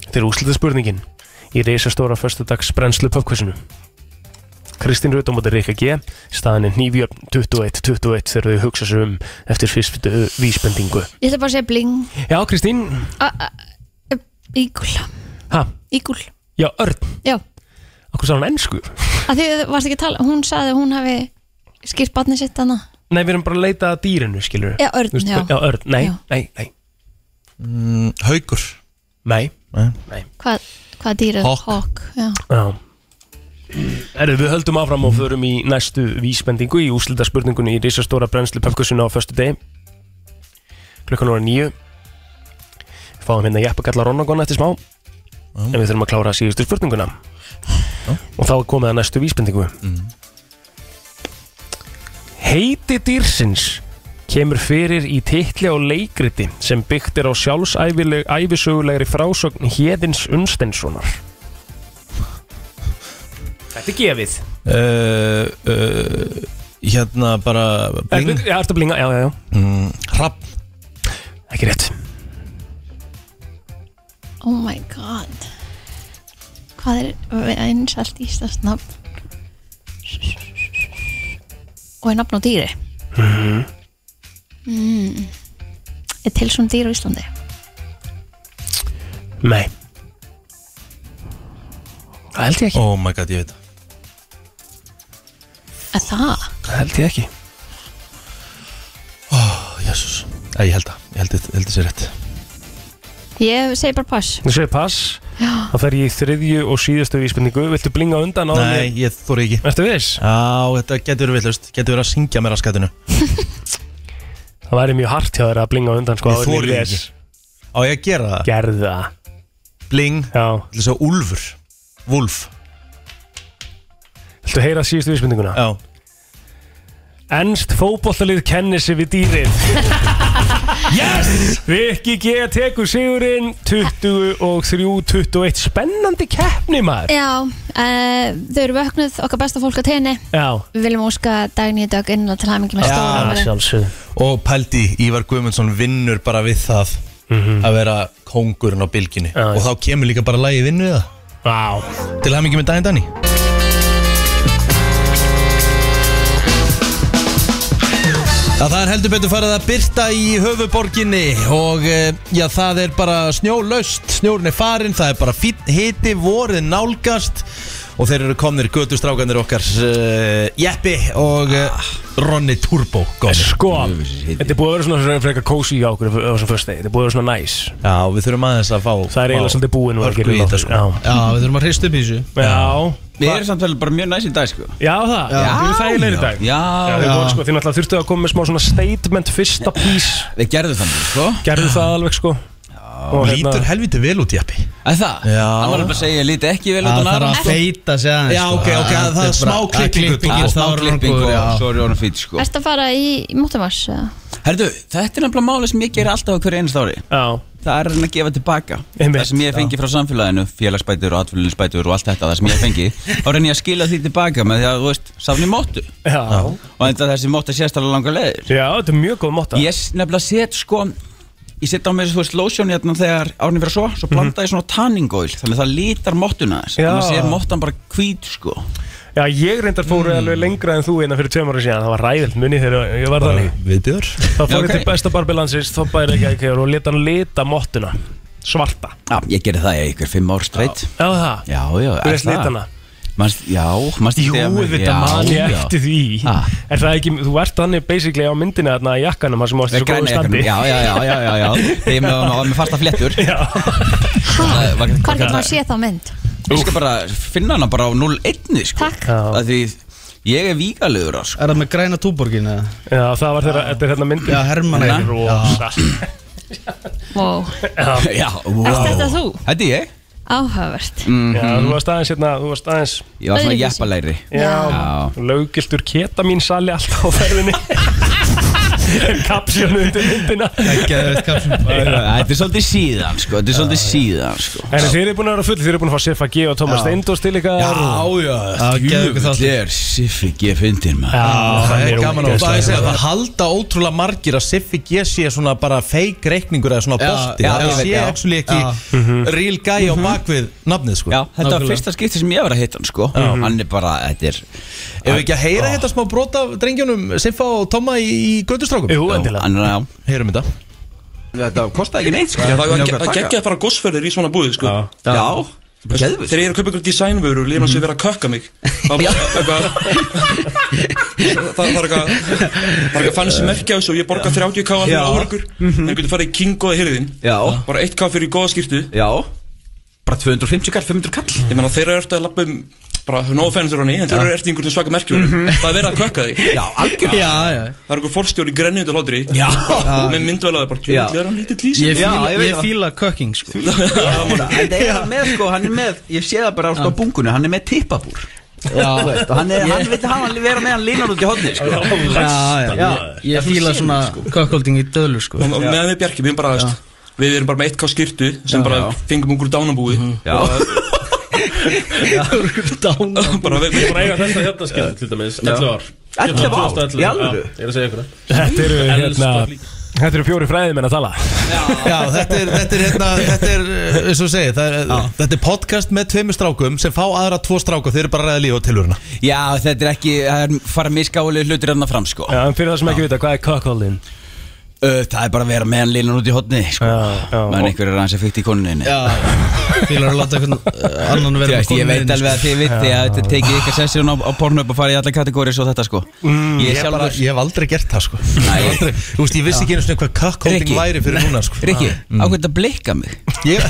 C: Þetta er úslita spurningin í reysastóra föstudags brennslu pökkvísinu. Kristín Rut á móti Rikka G. Staðan er nýfjörn 21-21 þegar þau hugsa sér um eftir fyrstu vísbendingu.
D: Ég ætla bara að segja bling
C: Já, Kristín.
D: A- a- e, a- Ígul,
C: Hæ?
D: ígul
C: Já, Örn.
D: Já,
C: Akkur sá hann ennsku?
D: að því þú varst ekki að tala Hún sagði að hún hafi skýrt batni sitt hana
C: Nei, við erum bara að leita að dýrinu, skilur
D: Já, Örn, já.
C: Já, Örn. Nei,
D: Já.
C: nei, nei.
B: Mm, haukur
C: Nei
B: Nei,
C: nei.
D: Hvað, hvað dýrið?
C: Hawk.
D: Hawk já.
C: Já. Erðu, við höldum áfram og förum í næstu vísbendingu í úslita spurningunni í risastóra brennslu pökkvísinu á föstu degi. Klukkan voru nýju. Við fáum hérna jeppakalla Ronagona eftir smá. En við þurfum að klára síðustu spurninguna. Og þá er komið að næstu vísbendingu. Heiti dýrsins kemur fyrir í titli á leikriti sem byggt er á sjálfsæfileg- ævisögulegri frásögn Héðins Unstenssonar. Þetta er gefið.
B: uh, uh, Hérna bara
C: Eh, Bling.
B: bling
C: Já, ertu að blinga, já, já, já.
B: mm, Hrapp
C: Ekki rétt
D: Oh my god Hvað er einsalt íslenskt nafn? Og er nafn á dýri
K: Mhm.
D: mm. Er til svona dýr á Íslandi?
C: Nei Það held ég ekki
B: Oh my god, ég veit það
D: Er það?
C: Það held ég ekki
B: oh, Jésús Æ, ég held það, ég held þetta- held þetta sér rétt
D: Ég segi bara pass
C: Þú segir pass
D: Já.
C: Það fer ég í þriðju og síðustu vísbendingu Viltu blinga undan á
B: Nei, ég þóri ekki
C: Ertu viss?
B: Já, þetta getur verið villust Getur verið að syngja mér að skatinu
C: Það væri mjög hart hjá þér að blinga undan sko,
B: Ég
C: áður en
B: þori
C: les.
B: ekki Á ég að gera það?
C: Gerðu það
B: Bling
C: Já
B: Þess að úlfur Vúlf
C: Viltu heyra síðustu vísbendinguna?
B: Já
C: Ennst fótbollalið kennir sig við dýrið *laughs* Yes! Rikki G. tekur sigurinn 23-21 Spennandi keppni maður
D: Já, uh, þau eru vöknuð okkar besta fólk á teginni
C: Já
D: Við viljum óska daginn í dag innan til hamingi með stóra
C: sjálfsög
B: Og pældi Ívar Guðmundsson vinnur bara við það að vera kóngurinn á bylginni
C: Mhm. Já, já.
B: og þá kemur líka bara lagið inn við það
C: Vá.
B: Til hann ekki með daginn Danni Já, það er heldur betur farið að byrta í höfuborginni og eh, já, það er bara snjólaust, snjórn er farinn, það er bara fínn hiti, vorið nálgast og þeir eru komnir götustrákanir okkar uh, Jeppi og uh, Ronni Turbo komnir.
C: Ah. Sko, þetta er búið að vera svona svona frekar kósi hjá okkur á þessum fyrst degi, þetta er búið að vera svona næs
B: Já, við þurfum aðeins að fá
C: Það er eiginlega svolítið búið nú að
B: Hörku
C: gera
B: í þetta,
C: þetta
B: sko. Já, við þurfum að hrista upp í þessu
C: Já
K: Við erum samt vel bara mjög næs í dag sko
C: Já það,
K: Já.
C: við erum þægilegir í dag
K: Já,
C: Þið
K: já.
C: voru sko, þið náttúrulega þurftu að koma með smá svona statement fyrsta pís
K: Við gerðum það sko
C: Gerðu það alveg sko Og hérna-
B: Lítur helviti vel út, Jeppi
K: Að það? Já Það var bara að segja, lítið ekki vel út
B: Það
K: á
B: þarf
K: nára
B: að feita sig aðeins,
K: Já,
B: sko.
K: ok, ok,
B: Það-
K: það
B: þetta
K: er
B: er
K: smá
B: bara-
K: klippingu
B: klippingu, já,
K: Smá
B: þá er hann
K: klippingu,
B: góður,
K: já,
B: já.
K: svo er hann fýtt sko
D: Ertu að fara í mótumars?
K: Herðu, þetta er nefnilega málið sem ég ger alltaf á hverju einast ári
C: Já
K: Það er hann að gefa tilbaka Það sem ég fengi frá samfélaginu, félagsbætur og atfélaginsbætur og allt þetta, það sem ég fengi Þá reyni ég að skila því tilbaka með því að, þú veist, safni móttu
C: Já
K: Og þetta þessi mótta sést alveg langar leiðir
C: Já, þetta er mjög góð mótta
K: Ég s- nefnilega set sko Ég set á mig, þú veist, lotion hérna þegar árni fyrir svo Svo blanda ég svona tanning oil Þannig að það lítar móttuna þess Þannig að
C: Já.
K: sér móttan bara hvít sko
C: Já, ég reyndar
K: Mm.
C: fóru alveg lengra en þú einna fyrir tveim ára síðan Það var ræðilt munni þegar ég var þannig
B: Viðbjör
C: Þá fór ég til besta barbilansins, þá bæri ekki ekki og leta hann lita móttuna Svarta
K: Já, ég gerði það í ykkur fimm ár streitt
C: Já, það
K: Já, já,
C: Þú veist litana
K: Manst, Já, manst
C: Jú, þetta man ég eftir því Er það ekki, þú ert þannig basically á myndinu þarna í jakkanum þar sem ástu svo
K: Græna
C: góðu
K: jakkanum,
C: standi
K: já, já, já, já, já, já. Þegar ég með- var með fasta fléttur
C: Já
K: Hvað
D: Hvar getur maður séð þá mynd?
K: Ég skal bara finna hana bara á 0-1 sko.
D: Takk
K: Af Því ég er vígalegur á sko.
L: Er það með græna túborgin eða?
C: Já, það var þeirra, þetta er hérna myndin
L: Já, Hermann
C: Þetta er
K: Hérna.
L: Einar.
C: rosa.
D: Wow.
K: Já, wow.
D: Erst þetta þú?
K: Þetta er ég
D: Áhugavert
K: Mhm.
C: Já, þú varst aðeins hérna, þú varst aðeins
K: Ég var svona jeppalegri
C: Já, löggiltur ketamin sali alltaf á ferðinni *laughs* Kapsjónu undir myndina
K: *laughs* Þetta er svolítið síðan sko. Þetta er svolítið síðan sko.
C: En þið eru búin að vera fulli, þið eru búin að fá Siffa G og
K: Já.
C: Thomas Steindors til ykkar
K: Já,
C: og-
K: já, djúvill er Siffi G fyndin maður
C: Já,
B: Það er gaman að það, segja,
K: það
B: það halda ótrúlega margir að Siffi G sé svona bara feik reikningur eða svona
K: Já,
B: bolti
K: já,
B: það
K: ég veit,
B: sé
K: já.
B: actually
K: Já.
B: ekki
M: Mhm.
B: real guy á bakvið nafnið sko
K: Já, þetta var
B: Nákvæmlega.
K: fyrsta skipti sem ég var að hitta hann sko Hann er bara, þetta er
B: Ef við ekki að heyra þetta smá brot af drengjónum Siffa og Tomma í, í göttustrákum
C: Jú,
K: endilega
B: Heyrum þetta
K: Þetta kostaði ekki neitt sko
M: Já, það er geggjað að fara á gossferðir í svona búið, sko.
K: Já, Mhm.
M: Geðvist. Þegar ég er að kaupa einhverjum designvöru og liðan að sé vera að kökka mig Það er bara eitthvað Það það er eitthvað Það er eitthvað fancy merki á þessu og ég borga 30k að
K: Já.
M: fyrir árakur
L: Mhm.
M: En getur farið í king góða hirðin
K: Já.
M: Bara 1k fyrir góða skýrtu
K: Já Bara 250 kall, 500 kall
M: Ég meina þeirra ertu að lappa um Bara no offense Ronny En þeirra ertu í einhvern svaka merkjum
K: Mhm.
M: Það er verið að kökka þig
K: Já, algjörlega. Já, já.
M: Það er einhver fórstjóri grennið undir hlátri
K: Já.
M: Með myndvælaði bara
L: Já.
M: Tjóðlega er hann lítið lýsing
L: Ég fíla, ég fíla kökking sko
K: Þetta er hann með sko, hann er með Ég sé það bara á sko bungunni, hann er með tippabúr Já, þú veist, og hann, er, hann veit að hann vera með hann línar út í hodni sko.
L: Já, já, já Ég fíla svona
B: sko.
L: kökkolding í dölu sko
M: og meðan við Bjarki, við erum bara veist, við erum bara með 1k skýrtu sem
L: Já.
M: bara fengum okkur dánabúi
K: Já.
M: bara við
H: Ég er bara að eiga þetta hérna skilur til dæmis 11 ár
M: 11 ár? Í alvöru?
H: Já, Ég er að segja ykkur það.
C: Þetta eru
H: Elska
C: hérna
H: líka.
C: Þetta eru fjóri fræðið menn að tala
B: Já, þetta er, þetta er, hérna, þetta er, uh, eins og ég segi, það er, þetta er podcast með tveimur strákum sem fá aðra tvo stráka, þeir eru bara að ræða líf og tilvöruna.
K: Já, þetta er ekki, það er fara miskálega hlutir hann fram sko
C: Já, en fyrir það sem ekki vita, hvað er kökkoldin?
K: Ö, Það er bara að vera með hann línar út í hodni sko. Menn einhver er hans að fyrta í konuninni
L: Fílar að láta einhvern uh, annan
K: Þú
L: vera
K: veist, ég veit alveg að þið viti
B: sko.
K: að þetta tekið ykkar sessjón á, á pornhub og farið í alla kategóri svo þetta sko
B: *laughs* ég,
K: sjálfur-
B: bara, ég hef aldrei gert það sko Ég hef aldrei, Þú veist, ég vissi ekki einu svona hvað kakkolding
K: Rikki.
B: væri fyrir
K: Nei.
B: núna sko
K: Rikki, á
B: Mm.
K: hvernig að blikka mig?
B: Ég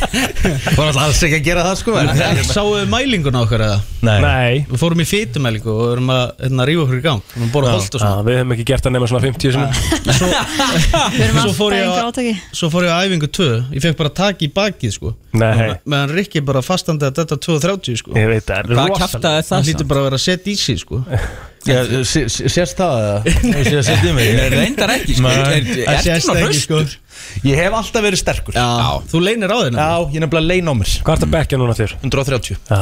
B: *laughs* var alltaf alls ekki að gera það sko en-
L: Sáuðu mælingun á okkur eða?
B: Nei.
L: Við fórum í fytumælingu og erum að hérna, rífa okkur í gang Við erum að bóra holt og
C: Já,
L: svona
C: Við hefum ekki gert það nema svona 50 sinni
D: Við erum
L: Svo
D: alltaf
L: fór ég
D: einhver
L: að-
D: átaki
L: Svo fór ég á æfingu 2 Ég fekk bara tak í bakið sko
C: *laughs* Nei,
L: Meðan Rikki bara fastandi að þetta 2.30 sko
C: Ég veit það, það er Hvað rosalegt. kjaftaði það
L: Hann hlýtur
C: samt?
L: bara að vera að setja í sig sko
B: Já,
K: *laughs*
B: sé- sé- Sést það eða? Þú sé að setja í mig
K: Nei, reyndar ekki, sko.
B: Nei.
K: Er- er-
B: Það
K: ertu
B: sést
K: svona
B: ekki, sko.
K: hraustur?
H: Ég hef alltaf verið sterkur Já,
B: þú leynir á þér
H: Já, ég er nefnilega leyn á mér
C: Hvað er þetta bekkja núna þér?
H: 130
C: Já,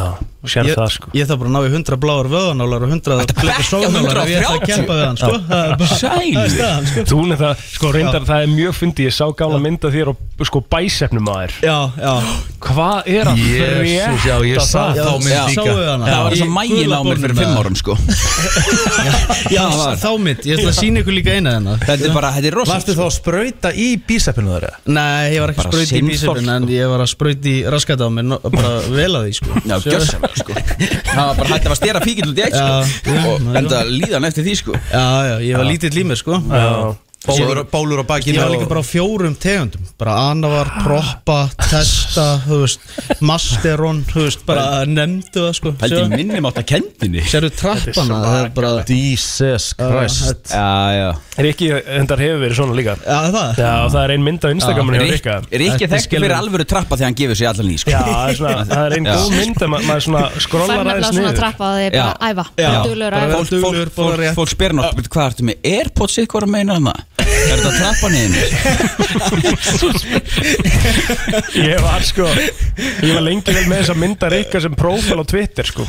C: sér
B: Ég-
C: það sko
B: Ég þarf bara að ná í 100 bláar vöðanálar og 100 bleika sóðanálar ef ég ætla að keppa við hann sko. Það er bara- það er staðan, sko.
C: Þú nefnir það, sko reyndar það er mjög fyndi Ég sá gála mynda þér og sko bæsefnum að þér
B: Já, já
C: Hvað er að
H: Jesús, já, ég sá þá mynd líka.
K: Það var þess að mægin á mér fyrir fimm árum sko
B: Já,
K: Það var.
B: þá mitt, ég ætla að sína ykkur líka eina
L: hérna.
B: þennan
K: Þetta er bara, þetta er sko. rosa
H: Varstu þá að sprauta í bísepinu þar?
B: Nei, ég var ekki
K: Bara
B: spröyt í
K: sinnþorst,
B: bísefin
H: sko.
B: En ég var að spröyt í raskat á mig no- Bara vel að því sko
K: Já, gjörsamlega,
B: sko
K: Það var bara hægt að stera píkil út í eitt sko Og enda líðan eftir því sko
B: Já, já, ég var lítill í mér sko
K: Já.
H: Bólur- bólur á bakinu
B: Ég var líka
H: og-
B: bara á fjórum tegundum Bara anavar, proppa, testa Þú veist, masteron Þú veist, bara nefndu það sko
K: Pældi minni mátt að kendinni
B: Sérðu trappana, það er bara Ah,
H: Jesus
B: Christ.
K: Já, já
C: Rikki endar hefur verið svona líka
B: Já, það
C: Já, það er ein mynd á Instagraminu hjá Rikka
K: Rikki er þekkt fyrir alvöru trappa þegar hann gefur sér allan í sko
C: Já, það er svona- það er ein góð mynd að ma- maður svona
D: Fær nefnilega svona trappa að þið bara
K: Já.
D: æfa
K: Já.
D: Duglegur að
K: Bara
D: æfa
K: fólk- fólk- fólk- Fólk spyrir náttúrulega Hvað ertu með Airpods sitt hvora meina hann það? Er þetta trappa niður?
C: Ég var sko Ég var lengi vel með þess að mynda Rikka sem prófæl á Twitter sko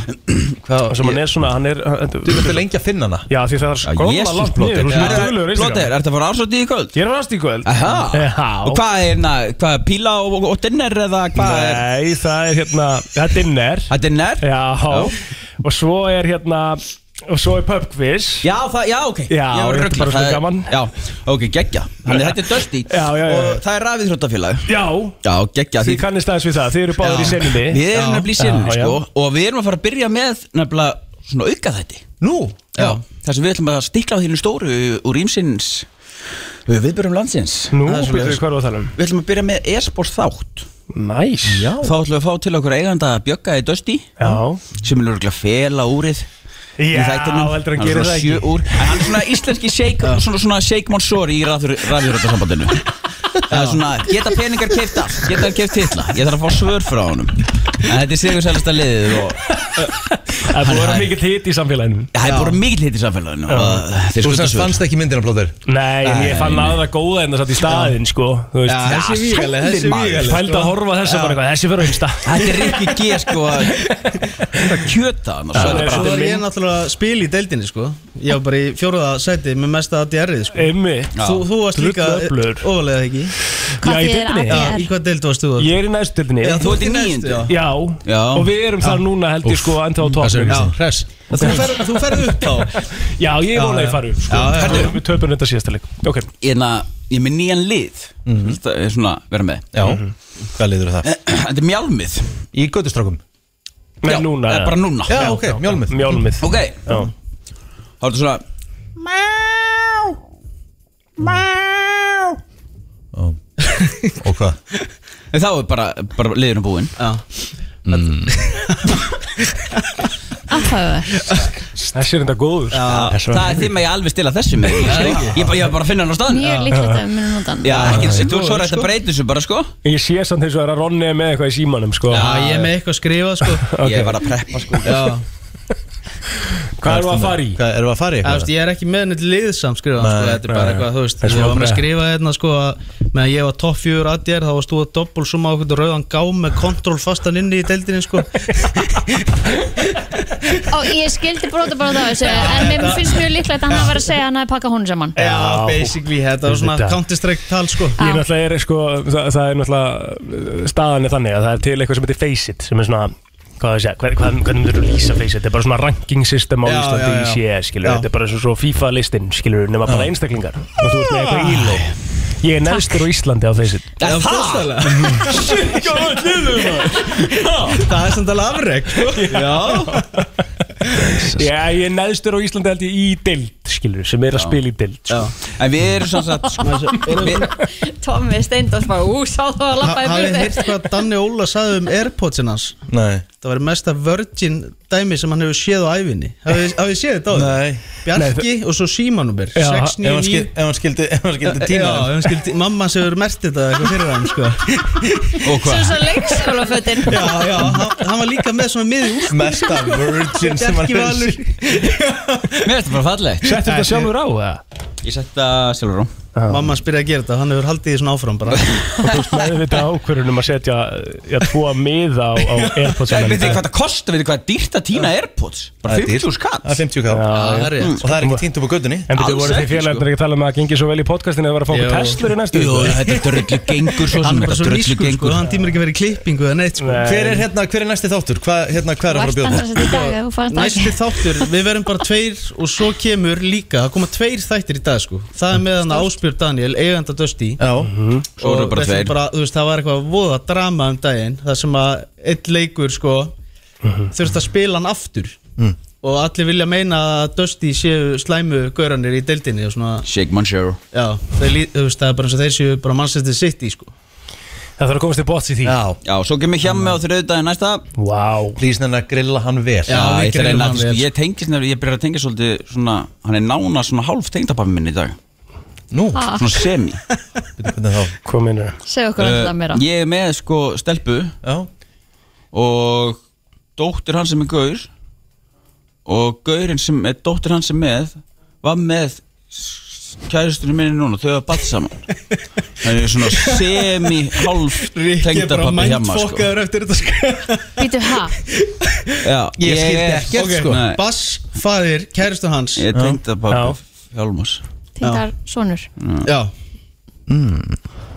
C: Hvað? Sem hann er svona, hann er Þú
H: viltu lengi að finna hana?
C: Já, því það er skrolla
K: Jesus,
C: langt
K: Blóter.
C: niður Þú
K: Já.
C: er duglegur
K: Blóter, ertu að fara ásvöldi í kvöld?
C: Ég er ásvöldi í kvöld
K: Aha. Og
C: Já
K: hvað er, na, hvað er píla og, og, og dinner eða hvað er?
C: Nei, það er hérna Það er dinner
K: Það er dinner?
C: Já, Og svo er hérna Og svo er pub quiz
K: Já, það, já, ok
C: Já,
K: Ég var
C: þetta er
K: rugglaður.
C: bara svo
K: Það er-
C: gaman.
K: Já, ok, geggja Þannig þetta er dölti
C: Já, já, já.
K: Og það er rafið þróttafélag
C: Já
K: Já, geggja
C: Þið kannist aðeins við það, þið eru báðir í senunni
K: Við erum nefnilega í senunni,
C: Já, já.
K: sko Og við erum að fara að byrja með nefnilega svona auka þætti
H: Nú?
K: Já, þar sem við ætlum að stikla á þínu stóru úr ímsins viðbyrjum landsins
C: Nú,
K: Það er
C: byrjuðu,
K: svoleiðis.
C: hvað erum við að tala um?
K: Við ætlum að byrja með e-sport þátt
C: Næs Já
K: Þá ætlum við að fá til okkur eiganda Bjögga í Dösti
C: Já
K: Sem er örgulega fela úrið í
C: Já,
K: þættinum.
C: heldur hann
K: er
C: gerir
K: svona
C: það
K: sjö
C: ekki.
K: úr. En Hann er svona íslenski shake Svona, svona shake monsori í ræðuröndasambandinu Það er svona, geta peningar keift allt Geta hann keift titla, ég þarf að fá svör frá honum En þetta er sigur sælasta liðið og
C: Það er búin að vera mikill hitt í samfélaginu
K: Það er bara mikill hitt í samfélaginu og þeir
H: Þú
K: skulda
H: sem
K: svör.
H: fannst ekki myndina blóður
C: Nei, en ég fann aðra góða en það satt í staðinn, sko Þú veist,
H: Já, þessi er vígaleg, þessi er vígaleg,
C: Fælt að
H: sko.
C: horfa þess
H: Já.
C: að bara eitthvað, þessi fyrir að hinsta
K: Þetta er Rikki G sko að kjöta hann og svo er
B: Svo
K: þetta
B: var ég
K: bara
B: náttúrulega að spila í deildinni sko Ég var bara í fjóruða sæti með mesta ADR-ið sko
C: Emmi
B: Þú, þú varst líka ofalega ekki
C: Hvað Já, í þýðir deildinni?
B: Já,
C: ADR?
B: Í hvað deild varst þú? þar?
C: Ég er í næstildinni
B: Já, þú ert í níundu.
C: Já,
B: Já.
C: og við erum þar núna held ég sko ennþá á
H: Það
C: topnum
H: sem við Hress
B: Þú ferð- Þú ferð upp þá
C: Já,
B: Já,
C: ég er
B: já.
C: ólega í faru sko.
B: Já, já.
C: Herðu, Við töpum þetta síðasta leik Ok,
K: Ég er með nýjan lið
C: Mhm.
K: Þetta er svona vera með *clears throat*
H: Já,
B: Mhm.
H: hvað liður það?
K: Þetta er mjálmið
H: Í göttustrákum
C: Nei,
K: Já,
C: núna,
K: það
C: já.
K: er bara núna
H: Já, ok, mjálmið
C: mjálmið
K: Ok,
C: Já,
K: þá er þetta svona
H: Og hvað?
K: en Þá er bara, bara liðurinn búinn
B: Já
D: Afhæðu
C: þessi er enda góður Þessi
K: Það
C: var-
K: er því að ég alveg stila þessu með
B: Já,
K: Ég
B: ekki.
K: ég bara, ég bara finna hann á staðan
D: Mjög líklegt að við munum nota hann
K: Já, ekki þessi, þú
B: Góður,
K: svo er þetta
B: sko.
K: breytið þessu bara sko
C: Ég sé samt eins og það er að Ronni er með eitthvað í símanum sko
B: Já, ég er með eitthvað að skrifa sko
K: Ég var að preppa sko
B: Já,
C: Hvað erum við að fara í?
H: Hvað, erum við að fara í
B: þú veist,
H: eitthvað?
B: ég er ekki með neitt liðsam skrifa sko,
H: Nei,
B: Þetta er bara
C: nei.
B: eitthvað, þú veist
C: Það er
B: Ég
C: svona
B: var með að
C: bara-
B: skrifa hérna sko að Meðan ég var topp fjör aðjær Þá varst þú að doppul suma á okkur rauðan gám Með kontról fastan inni í deildinni sko
D: Og ég skildi brota bara það þessu En mér finnst mjög líklegt að hann hafi verið að segja að hann hafi pakkað hún saman
B: Já, basically, þetta var svona
C: Þetta.
B: counter-strike tal sko
C: Ég náttúrulega er sko, það, það er náttúrulega eh, staðan er þannig að það er til eitthvað sem heitir Face It sem er svona, hvað það segja, hver, hvað, hvernig myndir þú lýsa Face It, þetta er bara svona ranking system á
B: Já,
C: Íslandi
B: já,
C: í
B: já.
C: CS, skilur,
B: Já.
C: þetta er bara svo, svo FIFA listin, skilur, nema bara einstaklingar og þú ert með eitthvað íló Ég er neðstur á Íslandi á Face It
K: Já, það
B: Það er samt alveg afreg sko. Já,
C: *laughs* Já, ég er neðstur á Íslandi held ég í dild, skilur, sem er að spila í dild sko.
K: En við erum sem sagt sko við-
D: Tommi Steindors bara, ú, sá þú að
B: Ha-
D: lappa
B: hafið
D: í
B: þið
D: burði
B: heyrt hvað Danni Óla sagði um Airpodsin hans
H: Nei
B: Það var mesta virgin dæmi sem hann hefur séð á æfinni Hafið hafið þið séð þetta á
H: Nei.
B: Bjarki og svo Símanúber
C: Já,
H: Ef hann
B: 699
H: skil- ef hann skildi, ef hann skildi tíma
B: Já, ef hann skildi- mamma sem hefur merkt þetta eitthvað fyrir hann *laughs* sko.
K: Og
D: Svo
K: hvað?
D: svo leikskólafötin
B: Já, já, hann, hann var líka með svona miði *laughs* úr
H: Mesta virgin sem hann
B: Bjarki Valur *laughs*
K: Mér er þetta bara fallegt
C: Settu þetta sjálfur á, eða?
K: Ég sett það sjálfur á
L: Mamma hans byrjaði að gera þetta, hann hefur haldið því svona áfram bara
C: og þú veist meðvita ákvörunum að setja eh, já, tvo að miða á,
B: *laughs*
C: á Airpods
K: Ég veit ekki hvað það kostar, veit ekki hvað er dýrt að týna Airpods Bara 50 skatt
B: Það er 50 kall
K: Já, já.
B: Og það er sko. ekki týnt upp á gödunni
C: En þetta voru því
B: sko.
C: félagarnir ekki að tala um að það gengi svo vel í podcastinu að vera að fá okkur Tesla í næstu
K: Jú,
C: viku?
K: þetta er drullu gengur svo
L: Hann er
K: sem
L: bara
K: þetta
L: svo
K: drullu
L: lískur sko,
K: gengur
L: hann tímur ekki verið í klippingu eða neitt sko
K: Nei.
B: Hver er hérna, hver er næsti þáttur? Hvað hérna, hva er að fara að bjóða?
D: Þetta er dag að þú fært að
L: Næsti þáttur, við verðum bara tveir og svo kemur líka, það koma tveir þættir í dag sko Það er með hann Áspjörn Daniel, eiganda Dusty
B: Já
K: Mhm. Svo eru bara
L: þetta er
K: tveir.
L: þú veist, það var eitthvað voða drama um daginn Það sem að einn leikur sko, þurft að spila hann aftur
K: Mhm. Mm.
L: Og allir vilja meina að Dusty séu slæmu gauranir í deildinni og svona
K: Shake Manchero
L: Já, þeir, lí- þú veist, það er bara eins og þeir séu bara Manchester City sko
C: Það þarf að komast í bots í því
L: Já,
K: Já, svo kemur hjemmi á þriðdagi næsta
C: Wow
B: Lýsna hann að grilla hann vel
K: Já, ég ætla að reyna að
B: vel.
K: sko, Ég tengist nefnilega, ég byrjar að tengja svolítið svona Hann er nána svona hálf tengdapafi minn í dag
B: Nú?
D: Ah.
K: Svona semi
C: Hvað minnur?
D: Segðu okkur alltaf meira
K: Uh, Ég er með sko stelpu
B: Já
K: Og dóttir hann sem er gaur Og gaurinn sem er dóttir hann sem er með Var með s- kærustunni minni núna Þau var bætt saman Það er svona semi hálf tengdapafi hjemma sko
L: eftir þetta sko
D: Býtu
K: *laughs*
D: ha,
K: Já,
L: Ég skildi
K: er-
L: ekkert
K: Ok.
L: sko
K: Nei.
L: Bass, faðir, kæristun hans
K: Ég er tengdapappi Hjálmars
D: tindar sonur
K: Mm.
L: Já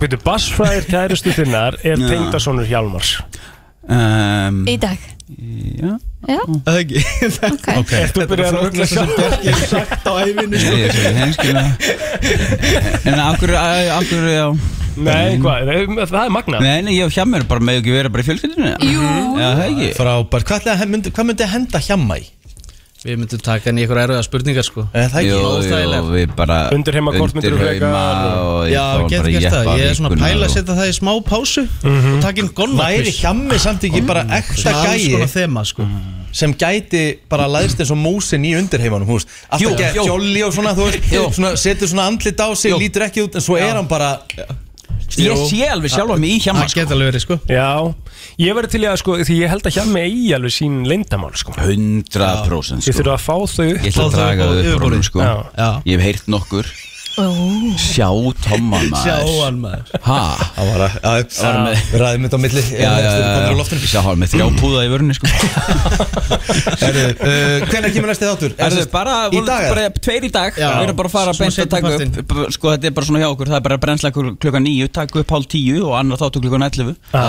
C: Býtu, bassfræðir kærustu þinnar er
K: Já.
C: tengdasonur Hjálmars
K: um,
D: Í dag
K: Já
D: Já,
L: Það ekki
K: Mm.
B: *laughs*
K: Ok.
C: Ert þú byrjað að rögla sjálf?
L: Ég hef sagt á æfinni
B: sko.
K: Ég er svo heimskilna En af hverju, af af hverju, já
C: Nei, hvað, það- það er magna
K: Nei, nei, ég og Hjammur bara með ekki vera bara í fjölskyldinu Jú Já, það ekki
B: Frábær, hvað, ætlaði að myndi, hvað myndi að henda hjamma í?
L: Við myndum taka hann í eitthvað erfiða spurningar sko
B: Eh, það ekki
K: Jú, jú,
B: óþægilegt.
K: við bara
C: Undir heima kort myndirðu
K: undir
C: frekar
K: heima og
L: Já,
K: þá
L: getur
K: bara
L: gert það
K: jeppa
L: Ég er svona að
K: vikuna
L: pæla
K: og-
L: að setja það í smá pásu Og taka inn
B: Væri
L: golfnappis
B: hjammi samt ekki bara ekta
L: Mhm. Svona alls
B: gæi
L: konar þema sko
K: Mhm.
B: sem gæti bara læðst eins og músin í undirheimanum húst.
K: Jú,
B: Alltaf gæti
K: jú.
B: jolli og svona, þú veist,
K: Jú.
B: svona, setur svona andlit á sig,
K: Jú.
B: lítur ekki út en svo er hann bara
K: Ég sé alveg sjálfa mig í Hjammar
L: Það geta alveg verið sko
C: Já, ég verði til í að sko, því ég held að Hjálmi eigi alveg sín leyndamál sko
K: 100% sko
C: Ég þurfa að fá þau upp
L: Fá
K: Ég ætla að
L: þau
K: draga
L: upp á
K: þau upp á honum
L: yfirborðið.
K: sko
C: Já.
L: Já.
K: Ég hef heyrt nokkur
D: Ó.
K: Sjá Tomma maður
L: Sjá hann maður
K: Hæ?
B: Það var að, að,
K: Var
B: að
K: með-
B: ræðum þetta á milli
K: Já, já, já,
B: já,
K: já, já, hann með þrjá púða í vörunni sko
B: Heru, uh, Hvenær kemur næsti þáttur? Er
K: Það er
B: sem sagt
K: bara,
B: Í
K: voru
B: dag
K: bara tveir í dag
L: Já.
K: Við erum bara að fara
L: Svona
K: beint að taka
L: seinni
K: upp Sko þetta er bara svona hjá okkur Það er bara að brennsla kl- klukkan níu Takk upp hálf tíu og annar þáttu klukkan 11
C: Já,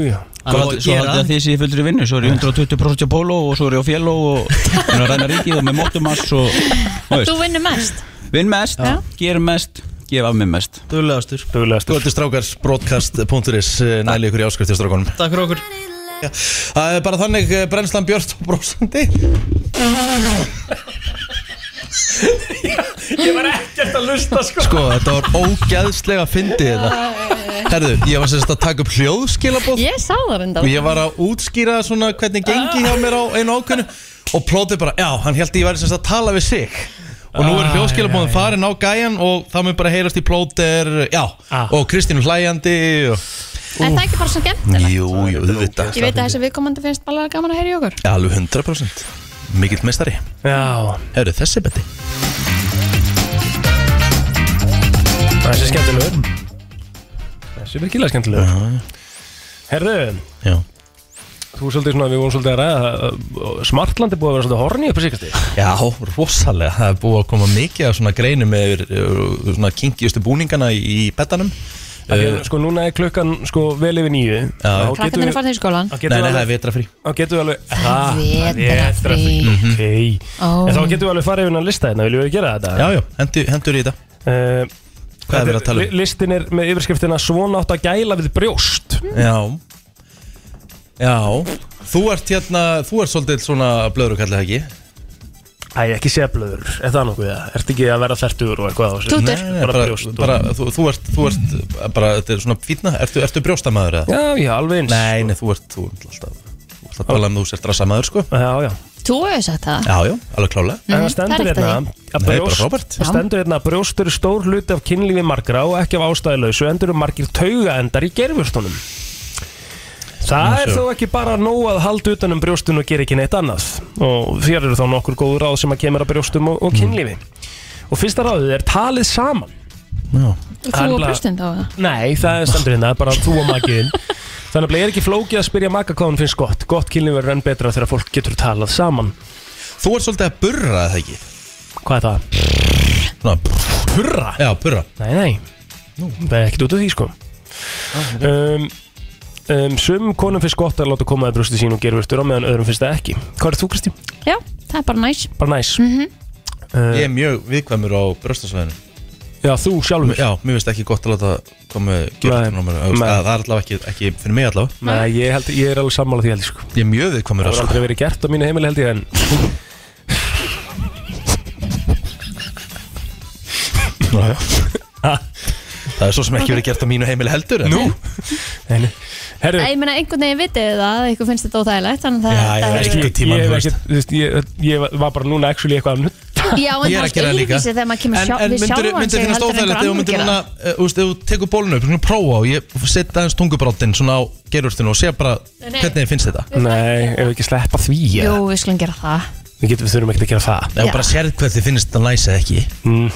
C: já
L: Það
K: Svo
L: má
K: svo
L: gera.
K: haldið að þið séu fullur í vinnu Svo er ég 120% á póló og svo er ég á fjelló Og ég er að ræna ríki og með móttumass
D: *laughs*
K: og þú
D: Þú
K: veist,
D: vinnur mest
K: Vinn mest,
D: Já.
K: gerum mest, gef af mér mest
L: Duglegastur
C: Duglegastur
B: Góðið strákars broadcast.is eh, Næli ykkur í áskrifti strákunum
L: Takk fyrir okkur
B: Já, Það er bara þannig eh, brennslan björt og brósandi
C: *laughs* Ég var ekkert að lusta sko
B: Sko, þetta var ógeðslega fyndið þetta Herðu, ég var sérst að taka upp hljóðskilabóð
D: Ég sá það reyndar
B: og ég var að útskýra svona hvernig gengi hjá mér á einu ákveðnu og plótið bara, já, hann held ég væri sérst að tala við sig og nú er hljóðskilabóðin farin á gæjan og það mun bara heyrast í plóter já,
C: Ah.
B: og Kristínu hlæjandi og...
D: Er það ekki bara svo skemmtilegt?
B: Jú, jú, auðvitað
D: Ég veit að þessi viðkomandi finnst bara gaman að heyra í okkur
B: Alveg 100% Mikill mestari
C: Já,
B: Eru þessi beti?
C: það sé skemmtilegur
K: Mm.
C: Þessi er virkilega skemmtilegur Herðu,
B: Já
C: þú er svolítið svona, við vorum svolítið að ræða Smartland er búið að vera svolítið horni upp í síkast
B: Já, rosalega Það er búið að koma mikið af svona greinum með eh, svona kinkiustu búningana í betanum
C: uh, Sko núna er klukkan sko vel yfir nýju Þá getum
D: Krakkarnir
C: við-
D: er farin í skólan
C: þá
B: Nei,
C: getum
B: nei,
C: við
B: það
C: alveg
B: er vetrafrí
C: Þá getum við alveg Ah,
D: Vetrarfrí.
C: vetrarfrí, ok
D: Ó.
C: En þá getum við alveg farið yfir hann lista hérna, viljum við gera þetta?
B: Já, já, hendur, hendur í þetta
C: Eh,
B: Hvað er verið að tala um?
C: li- Listin er með yfirskriftina Svona átt að gæla við brjóst
B: Já Já Þú ert hérna, þú ert svolítið svona blöður og kallið ekki
C: Æ, ekki séblöður, er það nokkuð það? Ert ekki að vera þertur og eitthvað á þessu?
D: Tútur.
C: Nei, bara,
B: bara,
C: brjóst og-
B: bara þú, þú ert, þú ert bara, þetta er svona fítna, ertu, ertu brjóstamæður eða?
C: Já, já, alveg eins
B: Nei, nei, þú ert, þú ert alltaf Þú ert að tala um að þú sér drassamæður, sko
C: Já, já
D: Þú hefur sagt það
B: Já, já, alveg klálega
C: En
D: Mhm,
C: það stendur
D: það er
C: hérna
D: eitthvað
C: að
B: Nei, bara
C: brjóst-
B: frábært.
C: það stendur hérna að brjóst eru stór hluti af kynlífi margra og ekki af ástæðilausu endur eru margir taugaendar í gerfustunum Það er þó ekki bara nóg að halda utan um brjóstun og gera ekki neitt annað og þér eru þá
B: Mhm.
C: nokkur góð ráð sem að kemur að brjóstum og, og kynlífi og fyrsta ráðið er talið saman
D: Þú og brjóstin þá eða?
C: Nei, það er stendur hérna, bara þú og
B: *laughs*
C: makiðin Þannig að ég er ekki flókið að spyrja maka hvað hún finnst gott Gott kynlíf verður enn betra þegar fólk getur talað saman
B: Þú ert svolítið að burra það ekki
C: Hvað er það?
B: Svona, burra? Já, burra
C: Nei, nei, það er ekkert út af því sko um, um, Sum konum finnst gott að láta koma að brjósti sín og gera verður á meðan öðrum finnst það ekki Hvað er þú Kristi?
D: Já, það er bara næs
C: Bara næs Uh,
D: Mhm.
B: Ég er mjög viðkvæmur á brjóstasvæðinu
C: Já, þú sjálfur
B: Já, mér finnst ekki gott að láta koma gjörðum á mér Það
C: nei.
B: það er allavega ekki, ekki fyrir mig allavega
C: Nei, ég, held, ég er alveg sammála því held ég sko
B: Ég er mjög viðkvæmur
C: Það
B: að
C: var aldrei verið gert á mínu heimili held ég en
B: Já, já. Það er svo sem ekki verið gert á mínu heimili heldur Nú?
C: Herru
D: Nei, Ég meina einhvern veginn vitið það að ykkur finnst þetta óþægilegt Þannig að það- það
C: Ég-
B: tímann,
C: ég
B: þú
C: hef
B: veist.
C: ekkert- þú veist, Ég ég var bara núna actually eitthvað að nutta
D: Já, en
B: Ég er
D: það
B: að gera það
D: er
B: líka.
D: öðruvísi þegar maður kemur sjá,
B: en
D: við
B: myndir,
D: sjálfan
B: myndir
D: sig
B: finnast
D: heldur
B: óþægilegt
D: en einhver
B: ef þú
D: annar
B: myndir
D: gera
B: núna,
D: það.
B: eh, þú veist, ef þú tekur bólinu upp, svona prófa og ég setja aðeins tungubráttin svona á gerurstinu og sé bara
D: Nei.
B: hvernig þið finnst þetta
C: Nei, ef ekki sleppa því
D: Jú, við skulum gera það
C: Við getum, við þurfum ekkert að gera það
B: Ef þú bara sérð hvernig þið finnst þetta læsa ekki
C: mm.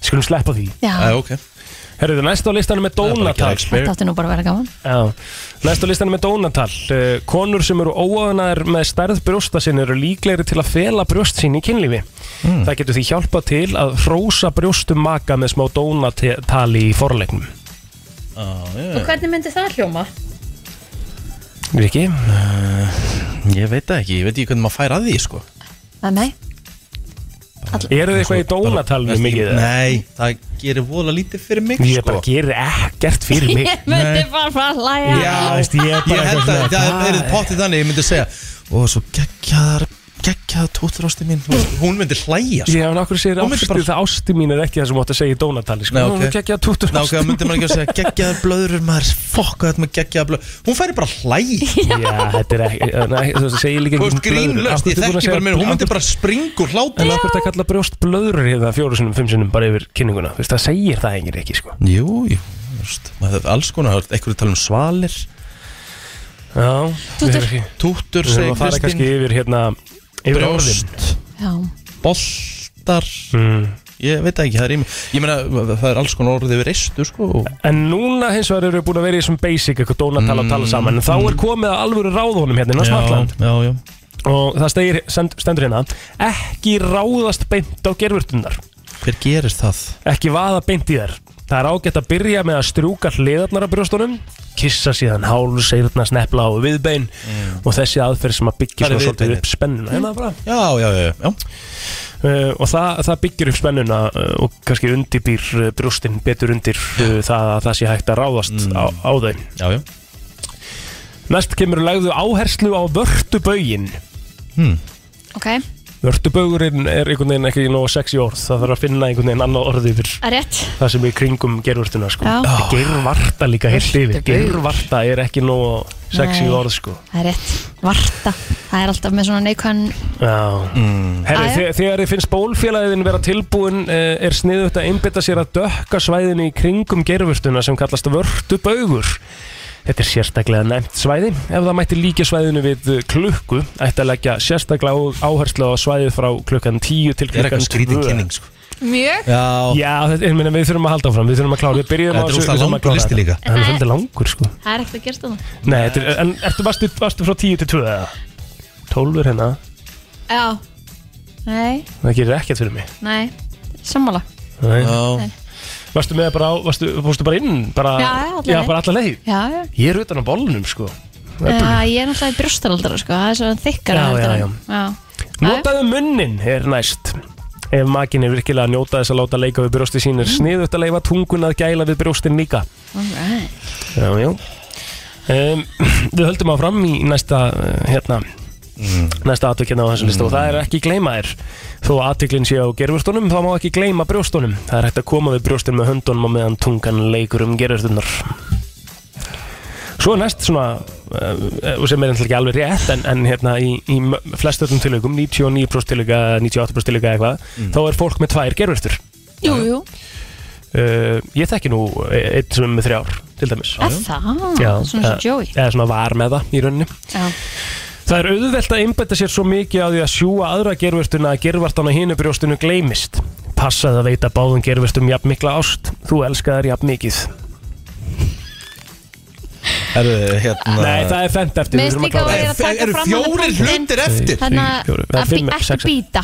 C: Skulum sleppa því
D: Já. Já,
B: Ah, ok
C: Herru, það næst á listanum Ah. er Dónatal
D: Þetta átti nú bara að vera gaman
C: Já, næst á listanum er Dónatal uh, Konur sem eru óaðunar með stærð brjósta sinn eru líklegri til að fela brjóst sín í kynlífi
B: Hmm.
C: Það getur því hjálpað til að hrósa brjóstum maka með smá Dónatali í forleiknum
B: Ah,
D: Og hvernig myndi það hljóma?
C: Riki?
B: ég veit það ekki, ég veit ekki hvernig maður fær að því sko.
D: Nei, nei
C: Eru þið
B: Sko,
C: eitthvað í Dónatalinu mikið?
B: Nei, það gerir vola lítið fyrir mig sko.
C: Ég bara gerir ekkert fyrir
D: *laughs*
C: mig
D: Ég myndi bara fara að
B: Já,
D: hlæja
C: veist, ég er bara
B: ég held að
C: eitthvað svona,
B: það
C: það
B: er
C: er-
B: pottið þannig, ég myndi segja og svo geggjaðar geggjaðar tótturásti mín Þú veist, hún myndi hlæja sko.
C: Já, en okkur segir
B: Hún myndi
C: ástu,
B: bara-
C: það ástu mín er ekki það sem þú átt að segja í Dónatali sko.
B: Nei,
C: Hún er
B: ok.
C: geggjaða tútur
B: Ná, ok, þá myndi maður ekki að segja geggjaðar blöður maður, fokk að þetta með geggjaðar blöður hún færi bara að hlæja
C: Já, þetta er ekki, nei, þú segir líka
B: Þú
C: ekki
B: veist, grínlaust, ég þekki bara mér, hún myndi bara springur hlátur
C: En okkur þetta kalla brjóst blöður hérna fjóru sinum, fimm sinum bara yfir kynninguna Þú veist, það segir það engir ekki, sko
B: Jú, jú, þú veist, maður hefur alls konar eitthvað tala um svalir
C: Já,
D: Tútur.
B: Tútur,
C: Við
B: segir
C: þurfum að fara
B: Kristín.
C: kannski yfir hérna Yfir orðin Mm.
B: Brjóst,
D: Já,
B: boltar Ég veit það ekki, það er í mig Ég meina, það er alls konar orðið yfir reistu, sko og-
C: En núna hins vegar eru við búin að vera í þessum basic eitthvað dónatala og tala saman En þá er komið að alvöru ráðunum hérna inn á Smartland
B: Mm. já, já
C: Og það stegir, send, stendur hérna Ekki ráðast beint á gerfurtunar
B: Hver gerir það?
C: Ekki vaða beint í þær Það er ágætt að byrja með að strjúka hliðarnar af brjóstunum Kissa síðan háls, eyrna, snepla og viðbein Og þessi aðferð sem að byggja
B: Hvar er
C: svona svolítið
B: viðbeinið?
C: upp spennuna hérna bara.
B: Já, já, já, já, já.
C: Uh, Og það, það byggir upp spennuna uh, og kannski undirbýr uh, brjóstin betur undir uh, það að það sé hægt að ráðast á, á þeim
B: Já, já
C: Næst kemur legðu áherslu á vörtubögin
D: ok
C: Vörtubögurinn er einhvern veginn ekki nóg sexy orð Það þarf að finna einhvern veginn annað orðið fyrir
D: Að rétt
C: það sem er í kringum gerurtuna sko.
D: Já.
C: gerurvarta líka heilt yfir gerurvarta er ekki nóg sexy
D: Nei.
C: orð sko.
D: Það er rétt Varta Það er alltaf með svona neikvæðan
C: mm. Herri,
D: Jæja.
C: þe- þegar þið finnst bólfélagiðin vera tilbúin eh, er sniðut að einbytta sér að dökka svæðinu í kringum gerurtuna sem kallast vörtubaugur Þetta er sérstaklega nefnt svæði. Ef það mætti líka svæðinu við eh, klukku, ætti að leggja sérstaklega á- áherslu á svæðið frá klukkan 10 til
B: Er eitthvað
C: klukkan 2.
B: skrítin kynning, sko
D: Mjög
B: Já,
C: Já, þetta- ég meina, við þurfum að halda áfram, við þurfum að klára, við byrjum
B: Þetta er óslega langur listi líka.
C: Það er svolítið langur, sko.
D: Það er ekkert að gera þetta
C: Nei, þetta er, en ertu, varstu, varstu frá 10 til 2 eða? 12 er hérna,
D: Já Nei,
C: það gerir ekkert fyrir mig
D: nei Sammála
C: Nei.
D: Nei.
C: Varstu með bara á, varstu, fórstu bara inn? Bara,
D: Já, já, alla leið.
C: bara alla leið
D: Já, já
C: Ég er utan á bólnum, sko
D: Já, ég er náttúrulega í brjóstaraldara sko, það er svo þykkara
C: Já,
D: heldur
C: já,
D: en- já.
C: Notaðu munnin er næst Ef makin er virkilega að njóta þess að láta leika við brjósti sín er sniðugt að leifa tungun að gæla við brjóstin líka
D: Alright.
C: Já, já um, *clears throat* Við höldum áfram í næsta uh, hérna næsta atvökkina á þessum listu og það er ekki gleyma þér þó að atviklinn sé á gerfustunum þá má ekki gleyma brjóstunum það er hægt að koma við brjóstin með höndunum og meðan tungan leikur um gerfustunar Svo er næst svona uh, sem er ekki alveg rétt en, en hérna í, í m- flestöldum tilökum 99% tilöka, 98% tilöka eitthvað þá er fólk með tvær gerfustur
D: Jú, jú,
C: uh, Ég þekki nú e-, einn sem er með þrjár til dæmis
D: er það? Svona svo
C: eh,
D: Joey
C: Eða svona var með það í rauninni
D: Já,
C: Það er auðvelt að einbæta sér svo mikið á því að sjúa aðra gerfurtuna að gerfartan á hinu brjóstinu gleymist Passaði að veita báðum gerfistum jafn mikla ást Þú elskaðar jafn mikið
B: Herru, hérna
C: Nei, það er fendt eftir
D: Mér finnst líka
C: um-
D: að vera að taka fram hann punktinn. Þannig
C: Fjórir,
D: að
C: eða
D: að
C: fimm,
D: bí-
C: sex,
D: ekki býta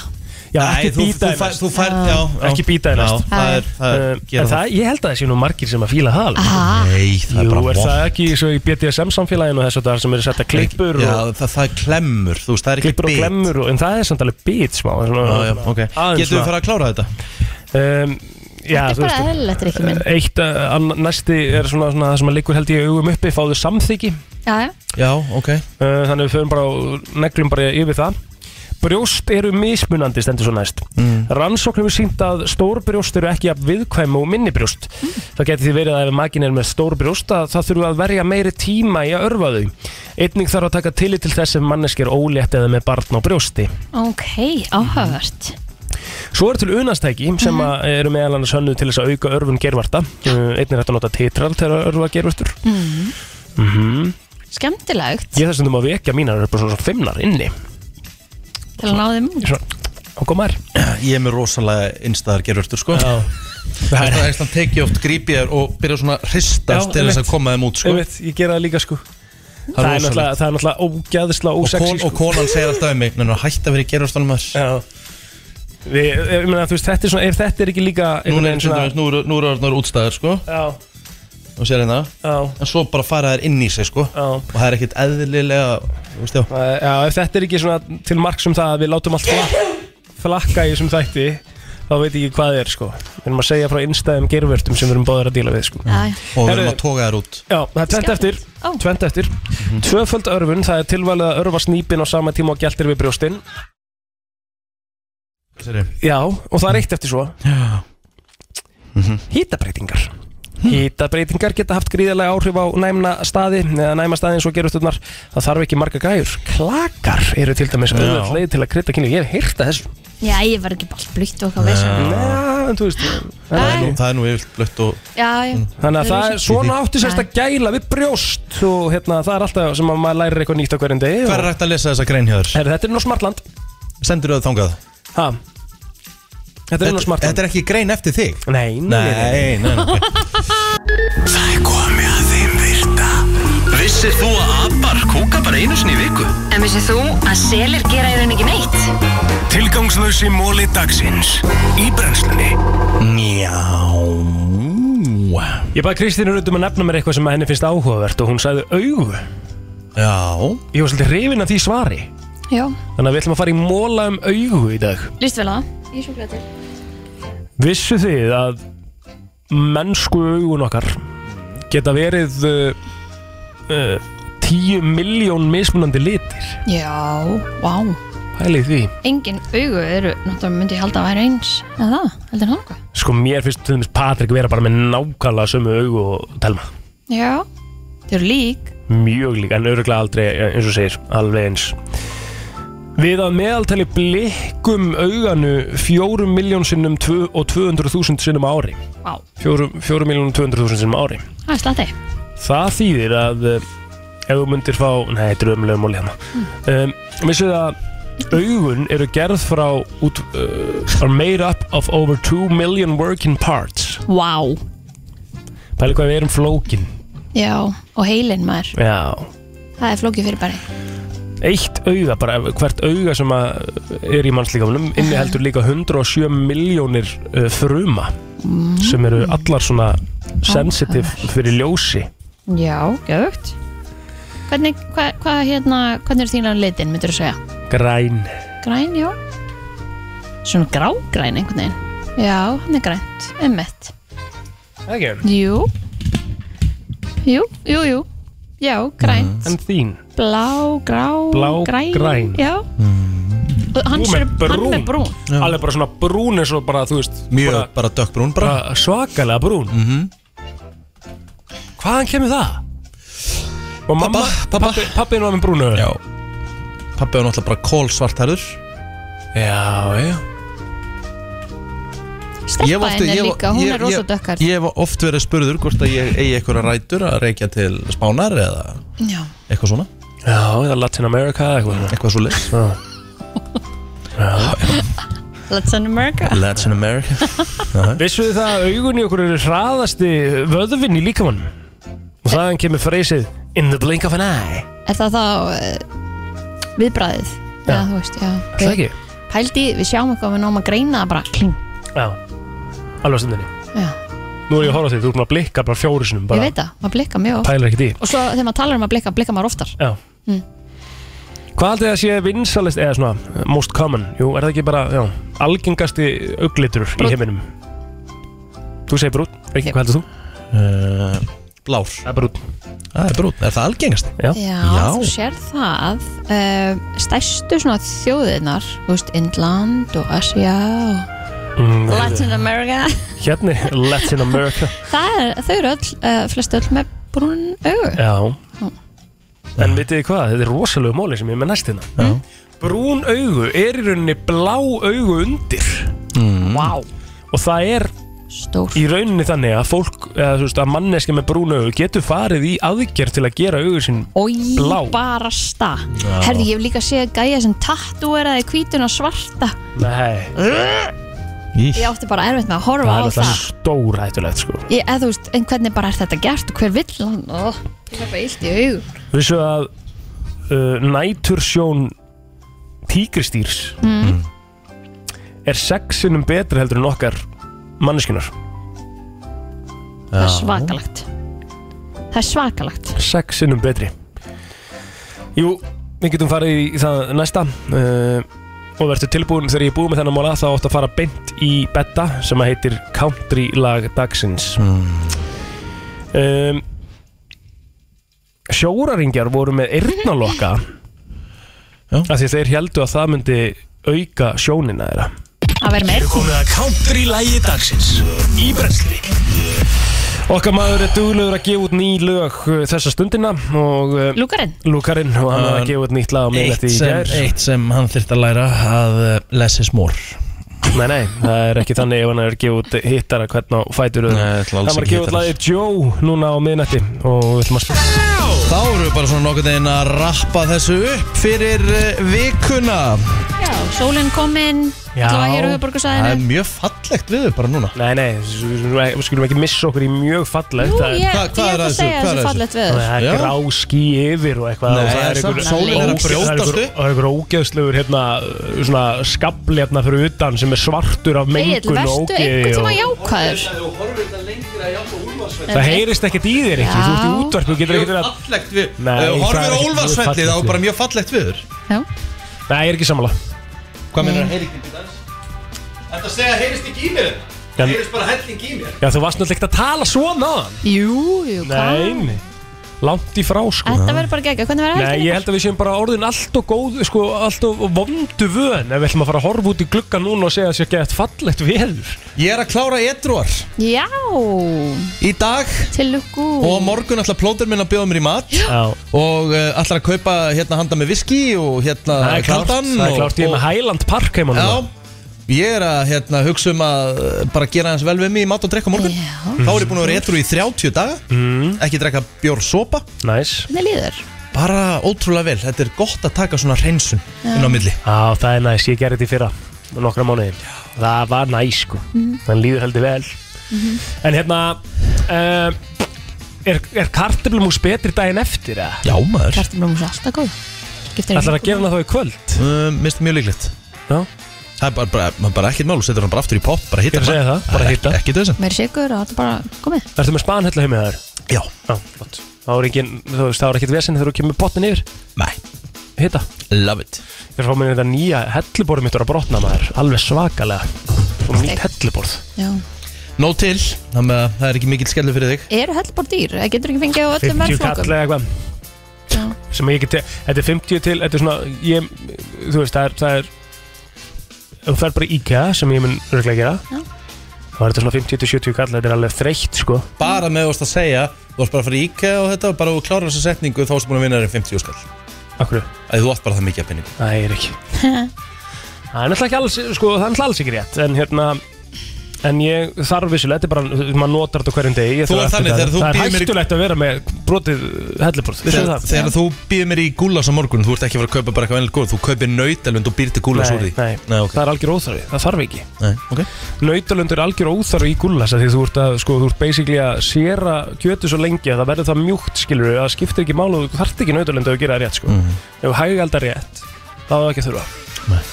C: Já,
B: Nei,
C: ekki
B: þú-
C: býta
B: þú
C: í
B: fær-
C: næst.
B: þú færð- já, já.
C: Ekki býta í
B: Já,
C: næst
B: það er- Eh, það er-
C: Um,
B: gera
C: En það, ég held að það sé nú margir sem að fíla það alveg.
D: Aha.
B: Nei, það er
C: Jú,
B: bara
C: er
B: vont.
C: það ekki svo í BDSM samfélaginu og þessu þar sem eru setja klippur
B: Já,
C: og
B: það, það er klemmur, þú veist, það er ekki
C: klippur og
B: bit.
C: klemmur og, en það er samt alveg bit smá
B: Já, já, ok. Getum við farið að klára þetta?
C: Um, já,
D: Þetta er
C: þú
D: bara
C: veist,
D: eðlilegt, Rikki minn
C: Eitt uh, ann- næsti er svona, svona það sem að liggur held ég augum uppi fáðu samþyggi
D: Já, já
B: Já, ok
C: uh, Þannig við förum bara og neglum bara yfir það Brjóst eru mismunandi stendur svo næst
B: Mm.
C: Rannsókn hefur sínt að stór brjóst eru ekki jafn viðkvæm og minni brjóst Það geti því verið að ef makin er með stór brjóst að það þurfa að verja meiri tíma í að örfa þau Einning þarf að taka tillit til þess ef manneski er ólétt eða með barn á brjósti
D: Ok, áhugavert
C: Svo eru til unastæki sem mm eru meðal annars hönnuð til þess að auka örfun gervarta Uh, Einn er hægt að nota titral til að örfa gervartur
D: mm.
C: mm
D: Skemmtilegt
C: Ég þess að þú má vekja mínar upp á svona fimmnar inni
D: til að ná þeim út.
C: Og komar
B: Ég er með rosalega innstæðar gerurtur sko
C: *laughs*
B: Já Það er eitthvað tekið oft grípið þér og byrja svona að hristast til þess að koma þeim út sko
C: Ég veit, ég gera það líka sko Það er,
B: rosalegt.
C: náttúrulega, það er náttúrulega ógæðislega
B: Og,
C: ósexi
B: kon, og konan segir alltaf um mig Nenna hætt að vera í gerurtunum þess
C: Já Við, ég meina, þú veist, þetta er svona, ef þetta er ekki líka
B: Nú
C: einhvern
B: er
C: veginn svona-
B: þetta, nú eru nú eru orðnar útstæðar sko
C: Já
B: Og sér hérna
C: Já
B: En svo bara fara þær inn í sig sko Já Og það er ekkert eðlilega Þú veist já
C: Já, ef þetta er ekki svona til mark sem það að við látum allt flak, flakka í þessum þætti þá veit ég ekki hvað það er sko Við erum að segja frá innstæðum gervörtum sem við erum báðir að díla við sko
D: Já,
B: Og
D: já.
B: við
C: Herru,
B: erum að toga þær út
C: Já, það er tvent eftir, tvent eftir. Tvöföld örfun, það er tilvalið að örfa snýpin á sama tíma og gæltir við brjóstin Já, og það er eitt eftir svo
B: Já
C: Hýtabreitingar Hýtabreitingar geta haft gríðarlega áhrif á næmna staði eða næma staði eins og gerur stundnar það þarf ekki marga græjur Klakar eru til dæmis
B: Já.
C: auðvitað leið til að krydda kynni Ég hef hýrta þessu
D: Já, ég var ekki bara blýtt og hvað veist
C: Já, en þú veist
B: Það er nú, það er nú yfirlt blött og
D: Já, já
C: Þannig að það er svona átti sérst
D: Já.
C: að gæla við brjóst og hérna það er alltaf sem að maður lærir eitthvað nýtt á hverjum degi
B: Hver er hægt að lesa þessa grein hjá þér?
C: Er þetta er nú smartland
B: Sendur þú það þangað?
C: Ha? Þetta er nú smartland
B: Þetta er ekki grein eftir þig?
C: Nei,
B: nei, nei, nei.
A: Það er komið að þeim virta Vissir þú að abar kúka bara einu sinni í viku?
E: En vissið þú að selir gera í raun ekki neitt?
A: Tilgangslösi móli dagsins Í brennslunni
B: Já
C: Ég baði Kristínu Rödd um að nefna mér eitthvað sem að henni finnst áhugavert og hún sagði augu
B: Já
C: Ég var svolítið hrifin af því svari
D: Já,
C: Þannig að við ætlum að fara í móla um augu í dag
D: líst vel á það
F: Ég er svo glætið
C: Vissu þið að mennsku augun okkar geta verið uh, uh, 10 miljón mismunandi litir
D: Já, vá
C: Pælið því
D: Engin augu eru, náttúrulega myndi ég halda að væri eins eða það, heldur hann hvað
C: Sko mér finnst til dæmis Patrik vera bara með nákvæmlega sömu augu og Telma
D: Já, þau eru lík
C: Mjög líka, en öruglega aldrei eins og segir, alveg eins Við að meðaltali blikkum auganu 4 miljón sinnum tvö- og 200.000 sinnum á ári
D: Vá,
C: 4 miljón og 200.000 sinnum á ári
D: það er slatti
C: Það þýðir að uh, ef þú myndir fá, nei, þetta er ömulega múli hérna um, Vissu það að augun eru gerð frá út, uh, are made up of over 2 million working parts
D: Vá,
C: Pæli hvað við erum flókin
D: já, og heilin maður
C: Já
D: Það er flókið fyrir bara
C: Eitt auga, bara hvert auga sem að er í mannslíkamunum inniheldur líka 107 miljónir uh, fruma sem eru allar svona sensitive fyrir ljósi
D: Já, gæðugt Hvernig, hvað, hvað hérna, hvernig eru þínan litin, myndir þú segja?
C: Græn
D: Græn, já Svona grágræn einhvern veginn Já, hann er grænt, emmett
C: Ekki?
D: Jú Jú, jú, jú Já, grænt,
C: En þín?
D: blá, grá,
C: Mhm. Blá,
D: græn
C: græn.
D: Já Og hans
C: Þú
D: er, hann er brún
C: Alveg bara svona brún eins og bara, þú veist
B: Mjög Mhm. bara, bara dökkbrún bara.
C: Svakalega brún mm -hmm. Hvaðan kemur það? Og mamma, pappa Pappin var með brúnu
B: Já Pappi var náttúrulega bara kól svartarður
C: Já, já
D: Stelpa henni líka, hún er rosa dökkar.
B: Ég hef oft verið spurður hvort að ég eigi einhverja rætur að reykja til spánar eða
D: Já
B: eitthvað svona
C: Já, eða Latin America eða eitthvað
B: Eitthvað svo leys
C: Já, já
F: Let's in America
B: Lads in America
C: Vissuðu það að augun í okkur eru hraðasti vöðvinn í líkamann og þaðan kemur freysið In the blink of an eye
D: Er það þá uh, viðbræðið? Já. Já, þú veist, já.
C: Það ekki?
D: Pældi, við sjáum eitthvað við náum að greina það bara kling.
C: Já, alveg stundinni
D: Já.
C: Nú er ég að horfa á því, þú er búin að blikka bara fjóru sinum
D: Ég
C: bara.
D: veit það, maður blikka mjög oft.
C: Pælar ekkert í
D: Og svo þegar maður talar um að blikka, blikka maður oftar.
C: Já
D: Mm.
C: Hvað haldið það sé vinsalist eða svona most common? Jú, er það ekki bara, já, algengasti auglitur í heiminum? Þú segir brún, ekki, hvað heldur þú?
B: Uh, blár
C: Það er brún
B: Það er brún, er það algengast?
C: Já,
D: Já, þú sér það. Uh, stærstu svona þjóðirnar, þú veist, Indland og Asia og
C: Mm,
D: Latin America. *laughs*
C: Hérna, Latin America
D: það er, þau eru öll, uh, flest öll með brún augu.
C: Já En vitið þið hvað, þetta er rosalegu móli sem ég er með næst hérna Brún augu er í rauninni blá augu undir
B: mm.
C: wow. Og það er
D: Stór.
C: í rauninni þannig að fólk eða, þú veist, að manneski með brún augu getur farið í aðgerð til að gera augu sín
D: Og ég
C: blá
D: bara sta
C: Já.
D: Herði, ég hef líka séð gæja sem tattúeraði hvítun og svarta
C: Nei,
D: Ég átti bara erfitt með að horfa
C: það er
D: á
C: alltaf
D: það
C: stórættulegt sko
D: Ég, eða þú veist, en hvernig bara er þetta gert og hver vill hann? Ó, ég hef bara illt í augum
C: Vissu að uh, nætursjón tígristýrs
D: mm.
C: er sexinum betri heldur en okkar manneskinar
D: Það er svakalagt Það er svakalagt
C: sex sinnum betri Jú, við getum farið í það næsta uh, og verður tilbúin þegar ég er búið með þennan móla þá áttu að fara beint í betta sem að heitir Country lag dagsins um, Sjóraringjar voru með eyrnalokka af því þeir heldu að það myndi auka sjónina þeirra
D: Að vera með
A: Komið að country lægi dagsins Í brensli
C: Okkar maður er duglegur að gefa út ný lög uh, þessa stundina og uh,
D: Lúkarinn
C: Lúkarinn og hann er að gefa út nýtt lag á minnætti
B: eitt
C: í
B: sem,
C: gær
B: eitt sem hann þurft að læra að uh, less is more
C: Nei, nei, það er ekki þannig ef hann er að gefa út hittara hvern á fætur öðrum.
B: Nei, ætla alls
C: Hann var að
B: ekki
C: gefa út
B: hittara.
C: lagið Joe núna á miðnætti og við ætlum að spila
B: Þá erum við bara svona nokkuð einn að rappa þessu upp fyrir uh, vikuna
D: Já, sólinn komin
B: Já.
D: Það var hér á höfuborgarsæðinu
B: mjög fallegt við bara núna
C: Nei, nei, við skulum ekki missa okkur í mjög fallegt
D: Jú,
C: Það er-
D: ég- Hvað- hvað ég er ætla að að þessu? segja Hvað er þessu þessu? fallegt veður.
C: Það
D: Já.
C: er grá ský yfir og eitthvað
B: Nei,
C: og það
B: samt
C: einhver-
B: sólin er að
C: ógeð- það
B: brjótast
C: einhver-
B: upp.
C: og Það er einhver ógeðslegur hérna, svona skabli hérna fyrir utan sem er svartur af
D: Egil,
C: mengun og
D: verstu
C: ógeði
D: einhvern tíma
C: og-
D: jákvæður
C: Það heyrist ekkert í þér ekki, þú ert í
D: Já.
C: útvarp, þú getur ekkert verið að
B: Fallegt við
C: Nei,
B: Ef þú
C: það er
B: Horfir á
C: ekki
B: Úlfarsvelli þá
C: mjög fallegt
B: er bara mjög fallegt viður
D: Já.
C: Nei, ég er ekki sammála
B: Hvað
D: meinar
B: heyrist ekki dans? Þetta segja heyrist ekki í mér
C: Já.
B: Það heyrist bara helling í mér
C: Já, þú varst náttúrulega ekkert að tala svona á hann
D: Jú, jú, hvað?
C: Nei, nei. langt í frá sko
D: Þetta verður bara gegga, hvernig verður
C: Nei,
D: helgin?
C: ég held að við séum bara orðin allt og góð sko, allt og vondu vön ef við ætlum að fara að horfa út í glugga núna og segja að sé gett fallegt veður
B: Ég er að klára edruar
D: Já
B: Í dag
D: Til lukku
B: Og á morgun ætla plóter minn að bjóða mér í mat
C: Já.
B: Og uh, ætla að kaupa hérna handa með viski Og hérna
C: Það er klárt,
B: kaldan
C: það er
B: og-
C: klárt, ég er
B: og-
C: með Highland Park heima núna
B: Já Ég er að hérna, hugsa um að uh, bara gera hans vel við mig í mat og drekka á morgun Þá er ég búin að vera edru í 30 daga mm. Ekki drekka bjór sopa
C: Næs
D: Hvernig líður?
B: Bara ótrúlega vel, þetta er gott að taka svona hreinsun
D: Já.
B: inn á milli
C: Já, það er næs, ég gerði þetta í fyrra nokkra mánuði, það var næs sko
D: Mhm.
C: þannig líður heldur vel en hérna uh, er, er kartöflumús betri daginn eftir eða?
B: Já maður
D: Kartumlum er alltaf góð Skiptir
C: Ætlar að gefa hana þá í kvöld?
B: Uh, Mist mjög líklegt
C: Já
B: Það er bara, bara, bara ekkert mál, þú setur hann bara aftur í pop Bara hittar
C: Ég er að segja það, bara hitta.
B: Ekki þessan
D: Mér sigur og þetta er bara komið
C: Ertu með spanhella heim með þær?
B: Já
C: Já, flott Þá er engin, þú veist, það er ekkert vesen þegar þú kemur botnin yfir
B: Nei
C: Hitta
B: Love it
C: Ég er að fá mér þetta nýja helluborð mitt er að brotna maður Alveg svakalega Og nýtt helluborð
D: Já.
B: Nó til, þannig að það er ekki mikill skellu fyrir þig
D: Eru hellbór dýr? Eða Getur ekki fengið á öllum
C: 50 kall
D: verðflokkum?
C: eða eitthvað
D: Já.
C: Sem ég geti, þetta er 50 til, þetta er svona ég, Þú veist, það er, það er Ef þú fer bara í IKEA sem ég mun örglega gera
D: Já.
C: Þá er þetta svona 50 til 70 kall Þetta er alveg þreytt sko
B: Bara með þú varst að segja, þú varst bara að fara í IKEA og þetta og Bara þú klárar þessa setningu, þá varst búin að vinna þér 50 skall
C: Akkur
B: Æ, þú átt bara það mikið að penningu *laughs*
C: Nei, ég er ekki Það er náttúrulega ekki alls, sko, það er náttúrulega alls ekki rétt En hérna, En ég þarf vissulega, þetta er bara, maður notar þetta á hverjum degi ég
B: Þú
C: þarf
B: er
C: að
B: þannig,
C: eftir
B: þegar þú býður
C: Það
B: mér
C: er
B: í-
C: hættulegt að vera með brotið hellibrot Vissu
B: Þegar,
C: það?
B: þegar þú býður mér í gúlas á morgun Þú ert ekki að fara að kaupa bara eitthvað ennilegt góð Þú kaupir nautalund og býr til gúlas
C: Nei,
B: úr því
C: nei.
B: nei okay.
C: Það er algjör óþarfi, það þarf ekki
B: Nei, ok
C: Nautalundur er algjör óþarfi í gullas af Því þú ert að, sko, þú ert basically að séra kjötu svo lengi að það verður það mjúkt skilur Það skiptir ekki mála, þú þarft ekki nautalund að gera það rétt, sko
B: Mhm.
C: Ef þú hægaldar rétt, þá er það ekki að þurfa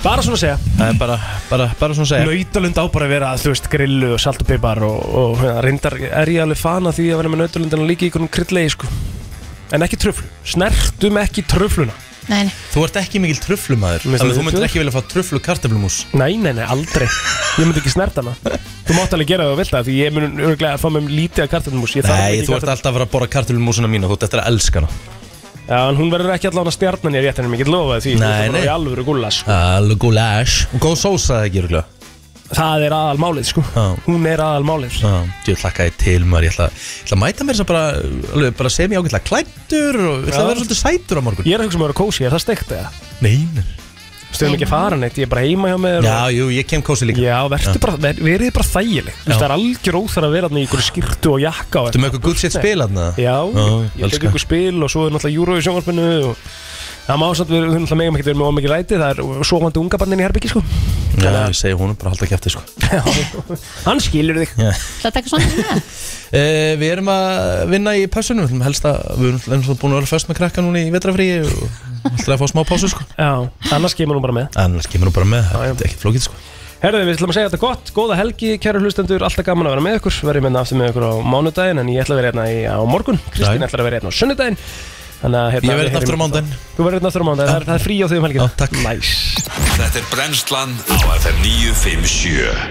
C: Bara svona að segja
B: Það er bara, bara, bara svona að segja
C: Nautalund á bara að vera, þú veist, grillu og salt og pipar og, og ja, reyndar er ég alveg fan af því að vera með nautalundina líka í einhvern kryllegi, sko En ekki tröflu, snertum ekki tröfluna
D: Nei, nei.
B: Þú ert ekki mikil tröflumæður
C: Mér finnst
B: Þannig að
C: það
B: þú myndir
C: trufl.
B: ekki vilja fá tröflu kartöflumús
C: Nei, nei, nei, aldrei Ég myndi ekki snert hana Þú mátt alveg gera það og vilt það Því ég mun örglega að fá mér lítið af kartöflumús Ég þarf
B: Nei,
C: ekki
B: þú ert
C: kartöflumús.
B: alltaf að fara að bora kartöflumúsina mína Þú ert eftir að elska hana
C: Já, en hún verður ekki allavega stjarnan í réttinum Ég get lofað því
B: Nei,
C: Þú ert bara
B: nei.
C: í alvöru sko. gullas
B: Alveg gúlas Og góð sósa það ekki örgulega
C: Það er aðal málið, sko Hún er aðal málið
B: Ég hlakka þið til maður Ég ætla, ég ætla að mæta mér þess að bara, alveg bara semi ágætlega klættur og ég ætla að vera svolítið sætur á morgun
C: Ég er að hugsa maður að kósi, er það steikt eða?
B: Nei, nei.
C: Stöðum ekki að fara neitt, ég er bara heima hjá mér
B: Já, jú, ég kem kósi líka
C: Já, verður bara, ver, verið bara þægileg Þú veist, Það er algjör óþar að vera þarna í ykkur skýrtu og jakka
B: Ertu með eitthvað good shit spil þarna?
C: Já,
B: Já,
C: ég tek
B: elska.
C: ykkur spil og svo er náttúrulega júru í sjónvarpinu og það má samt við, við náttúrulega megum ekkert verið með ómikið ræti það er svovandi unga bandin í herbyggi sko
B: Já, ég segi húnum bara að halda kæfti sko
C: Hann skilur þig
B: Já.
D: Það taka svona til með
B: Eh, Við erum að vinna í passunum Við erum helst að, við erum helst að búin að vera föst með krakka núna í vetrafríi og ætla að fá smá pásu sko
C: Já, annars kemur hún bara með
B: Annars kemur hún bara með, það er ekki flókið sko
C: Herðu, við ætlum að segja þetta gott, góða helgi, kæru hlustendur, alltaf gaman að vera með ykkur, verðum hérna aftur með ykkur á mánudaginn, en ég ætla að vera hérna í, á morgun, Kristín
B: Já.
C: ætlar að vera hérna á sunnudaginn, þannig að hérna...
B: Ég verð hérna aftur á mánudaginn.
C: Þú verður hérna aftur á mánudaginn, það, er- það er frí á því um helgina. Já, takk. Næs.
A: Þetta er brennslan á FM 957